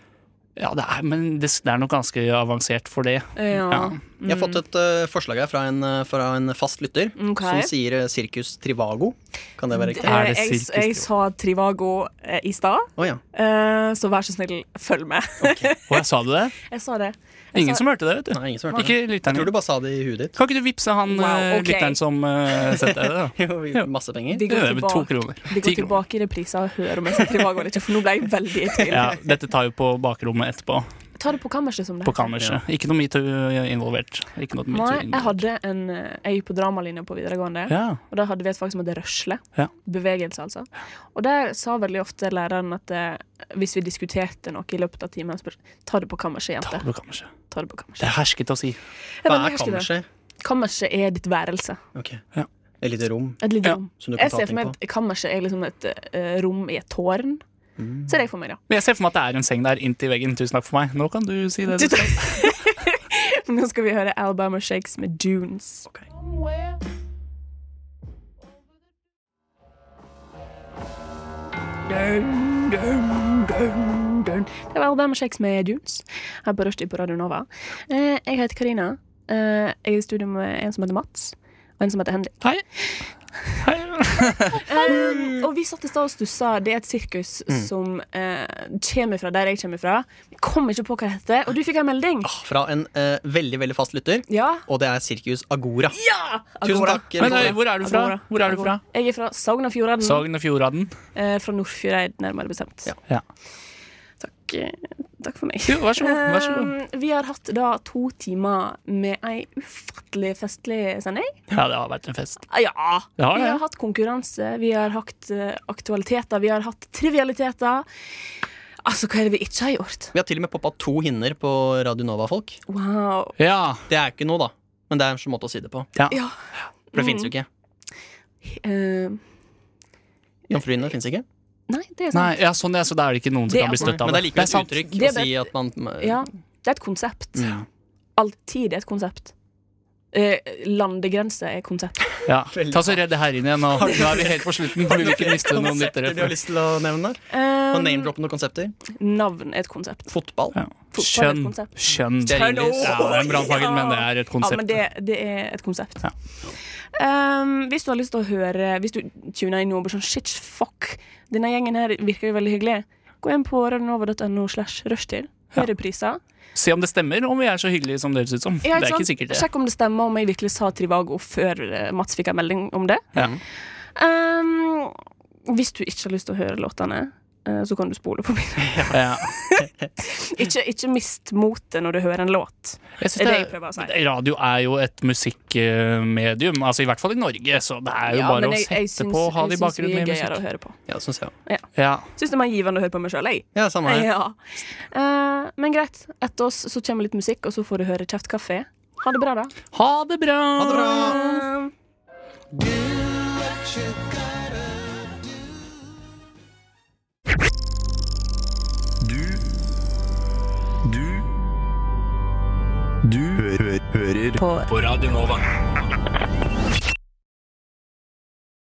Speaker 4: Ja, det er, men det, det er nok ganske avansert for det.
Speaker 2: Ja.
Speaker 4: Ja.
Speaker 3: Jeg har fått et øh, forslag her fra en, øh, fra en fast lytter
Speaker 2: Mm. Ok.
Speaker 3: som sier øh, Sirkus Trivago. Kan det være riktig?
Speaker 4: Er det
Speaker 2: Eh, jeg,
Speaker 4: sirkus,
Speaker 2: jeg sa Trivago eh, i stad,
Speaker 3: Å ja.
Speaker 2: eh, så vær så snill, følg med.
Speaker 4: Og jeg sa du det?
Speaker 2: Jeg sa det. *laughs* Jeg
Speaker 4: Ingen
Speaker 2: sa-
Speaker 4: som hørte det, vet du.
Speaker 3: Nei, ingen som hørte det.
Speaker 4: Ikke
Speaker 3: Jeg
Speaker 4: lytteren.
Speaker 3: tror du bare sa det i
Speaker 4: *laughs*
Speaker 3: huet ditt.
Speaker 4: Kan ikke du vippse han
Speaker 2: Wow,
Speaker 4: eh,
Speaker 2: ok.
Speaker 4: lytteren som uh, setter deg
Speaker 2: *laughs*
Speaker 4: det? da?
Speaker 3: Jo, vi- Masse penger.
Speaker 2: Vi går
Speaker 4: Det er to
Speaker 2: tilbake,
Speaker 4: kroner.
Speaker 2: vi
Speaker 4: Ti
Speaker 2: går
Speaker 4: kroner.
Speaker 2: tilbake i reprisa og hører om jeg sa Trivago eller ikke, for nå ble jeg veldig i
Speaker 4: *laughs*
Speaker 2: tvil.
Speaker 4: Ja, dette tar jo på bakrommet etterpå.
Speaker 2: Ta det på kammerset, som det
Speaker 4: På kammerset. Ikke noe metoo involvert. Ikke noe metoo
Speaker 2: Nei, jeg
Speaker 4: involvert.
Speaker 2: hadde en eh, Jeg gikk på dramalinja på videregående.
Speaker 4: Ja.
Speaker 2: Og da hadde vi et fag som het røsle.
Speaker 4: Ja.
Speaker 2: Bevegelse, altså. Og der sa veldig ofte læreren at eh, hvis vi diskuterte noe i løpet av timen, spør ta det på kammerset,
Speaker 4: Ta
Speaker 2: jente.
Speaker 4: det på kammerset.
Speaker 2: Ta det på
Speaker 4: Det
Speaker 2: kammerset.
Speaker 4: er hersket å si.
Speaker 2: Jeg
Speaker 3: Hva
Speaker 2: veldig
Speaker 3: er
Speaker 2: hersket det.
Speaker 3: kammerset?
Speaker 2: Kammerset er ditt værelse.
Speaker 3: Ok.
Speaker 4: Ja.
Speaker 3: Et lite rom
Speaker 2: Et lite
Speaker 4: Ja,
Speaker 2: rom.
Speaker 3: som du kan
Speaker 2: Jeg
Speaker 3: ta
Speaker 2: ser for
Speaker 3: ting
Speaker 2: meg
Speaker 3: på.
Speaker 2: at kammerset er liksom et eh, rom i et tårn.
Speaker 4: Mm.
Speaker 2: Ser jeg for meg, da.
Speaker 4: Men jeg ser for meg at det er en seng der inntil veggen. Tusen takk for meg. Nå kan du si det. du skal.
Speaker 2: *laughs* Nå skal vi høre Alabama Shakes med Dunes. Dun, dun, dun, dun. Det var Alabama Shakes med Dunes her på Rushdie på Radio Nova. Eh, Jeg heter Karina. Eh, Jeg er i studio med en som heter Mats. Og en som heter Henrik.
Speaker 4: Hei. Hei.
Speaker 2: Eh, og vi satt i stad og stussa. Det er et sirkus som eh, kommer fra der jeg kommer fra. Vi kom ikke på hva det heter. Og du fikk en melding!
Speaker 3: fra en eh, veldig veldig fast lytter,
Speaker 2: Ja.
Speaker 3: og det er Sirkus Agora.
Speaker 2: ja!
Speaker 3: Tusen
Speaker 2: Agora.
Speaker 3: takk.
Speaker 4: Men
Speaker 3: Agora.
Speaker 4: eh, hvor er du fra?
Speaker 2: Agora.
Speaker 4: Hvor er du fra?
Speaker 2: Agora. Jeg er fra Sogn og Fjordane.
Speaker 4: Sogn og Fjordaden.
Speaker 2: Eh, fra Nordfjordeid, nærmere bestemt.
Speaker 3: Ja.
Speaker 4: Ja.
Speaker 2: Takk, eh, takk for meg.
Speaker 4: Jo, vær så god. Vær så god.
Speaker 2: Eh, vi har hatt da to timer med ei ufattelig festlig sending.
Speaker 4: Ja, det har vært en fest.
Speaker 2: Ah, Ja!
Speaker 4: Det har
Speaker 2: Vi
Speaker 4: det.
Speaker 2: har hatt konkurranse, vi har hatt eh, aktualiteter, vi har hatt trivialiteter. Altså, hva er det vi ikke har gjort?
Speaker 3: Vi har til og med poppa to hinner på Radio Nova-folk.
Speaker 2: Wow.
Speaker 4: Ja.
Speaker 3: Det er ikke noe, da. Men det er en sånn måte å si det på.
Speaker 2: Ja.
Speaker 3: For
Speaker 2: Mm.
Speaker 3: det fins jo ikke.
Speaker 2: Eh,
Speaker 3: Jomfruhinne fins ikke.
Speaker 2: nei, det er sant.
Speaker 4: Nei, ja, sånn, ja, så da er det ikke noen som
Speaker 2: Det-
Speaker 4: kan bli
Speaker 3: Men
Speaker 4: støtt av
Speaker 3: det er likevel et
Speaker 4: sant.
Speaker 3: uttrykk
Speaker 2: Det
Speaker 3: å
Speaker 2: er
Speaker 3: si at man eh,
Speaker 2: Ja, det er et konsept. Alltid er et konsept. Eh, landegrense er konsept.
Speaker 4: Ja. Ta så Redd her inn igjen. Nå, nå er vi helt på slutten. Vi vil ikke miste noen lyttere.
Speaker 3: Konsepter du har lyst til å nevne? Og
Speaker 2: Eh,
Speaker 3: name-droppe noen konsepter?
Speaker 2: navn er et konsept.
Speaker 3: Fotball.
Speaker 4: Ja.
Speaker 2: Fotball er et
Speaker 4: Kjønn.
Speaker 2: konsept.
Speaker 4: Kjønn.
Speaker 3: Det er Hallo!
Speaker 4: Ja, det er en brannfakkel, men det er et
Speaker 2: Ja,
Speaker 4: konsept.
Speaker 2: men det, det er et konsept.
Speaker 4: Ja.
Speaker 2: Um, hvis du har lyst til å høre Hvis du tuner inn og blir sånn shit, fuck, denne gjengen her virker jo veldig hyggelig, gå inn på radionova.no slash rushtid. Hør repriser.
Speaker 4: Se om det stemmer, om vi er så hyggelige som det høres ut som.
Speaker 2: Ja,
Speaker 4: det er
Speaker 2: sant?
Speaker 4: ikke sikkert det.
Speaker 2: Sjekk om det stemmer om jeg virkelig sa Trivago før eh, Mats fikk en melding om det.
Speaker 4: Ja.
Speaker 2: Um, hvis du ikke har lyst til å høre låtene, eh, så kan du spole forbi.
Speaker 4: *laughs* Ja.
Speaker 2: ikke, ikke mist motet når du hører en låt.
Speaker 4: Jeg synes
Speaker 2: Det er det jeg
Speaker 4: det
Speaker 2: prøver å si.
Speaker 4: er- radio er jo et musikkmedium, altså i hvert fall i Norge, så det er jo
Speaker 2: Ja,
Speaker 4: bare
Speaker 2: men
Speaker 4: å
Speaker 2: jeg- jeg
Speaker 4: sette
Speaker 2: syns-
Speaker 4: på og ha det i bakgrunnen med
Speaker 2: Jeg syns vi er gøyere å
Speaker 4: musikk.
Speaker 2: høre på.
Speaker 3: Ja, det syns jeg òg.
Speaker 4: Ja.
Speaker 2: Syns det var givende å høre på meg sjøl, jeg.
Speaker 3: Ja, samme her.
Speaker 2: Ja. Eh, men greit. Etter oss så kommer litt musikk, og så får du høre Kjeft kaffe. Ha det bra, da.
Speaker 4: Ha det bra!
Speaker 3: Ha det bra!
Speaker 2: Eh,
Speaker 6: Du Du
Speaker 1: Du hø hø hører på. på Radio Nova.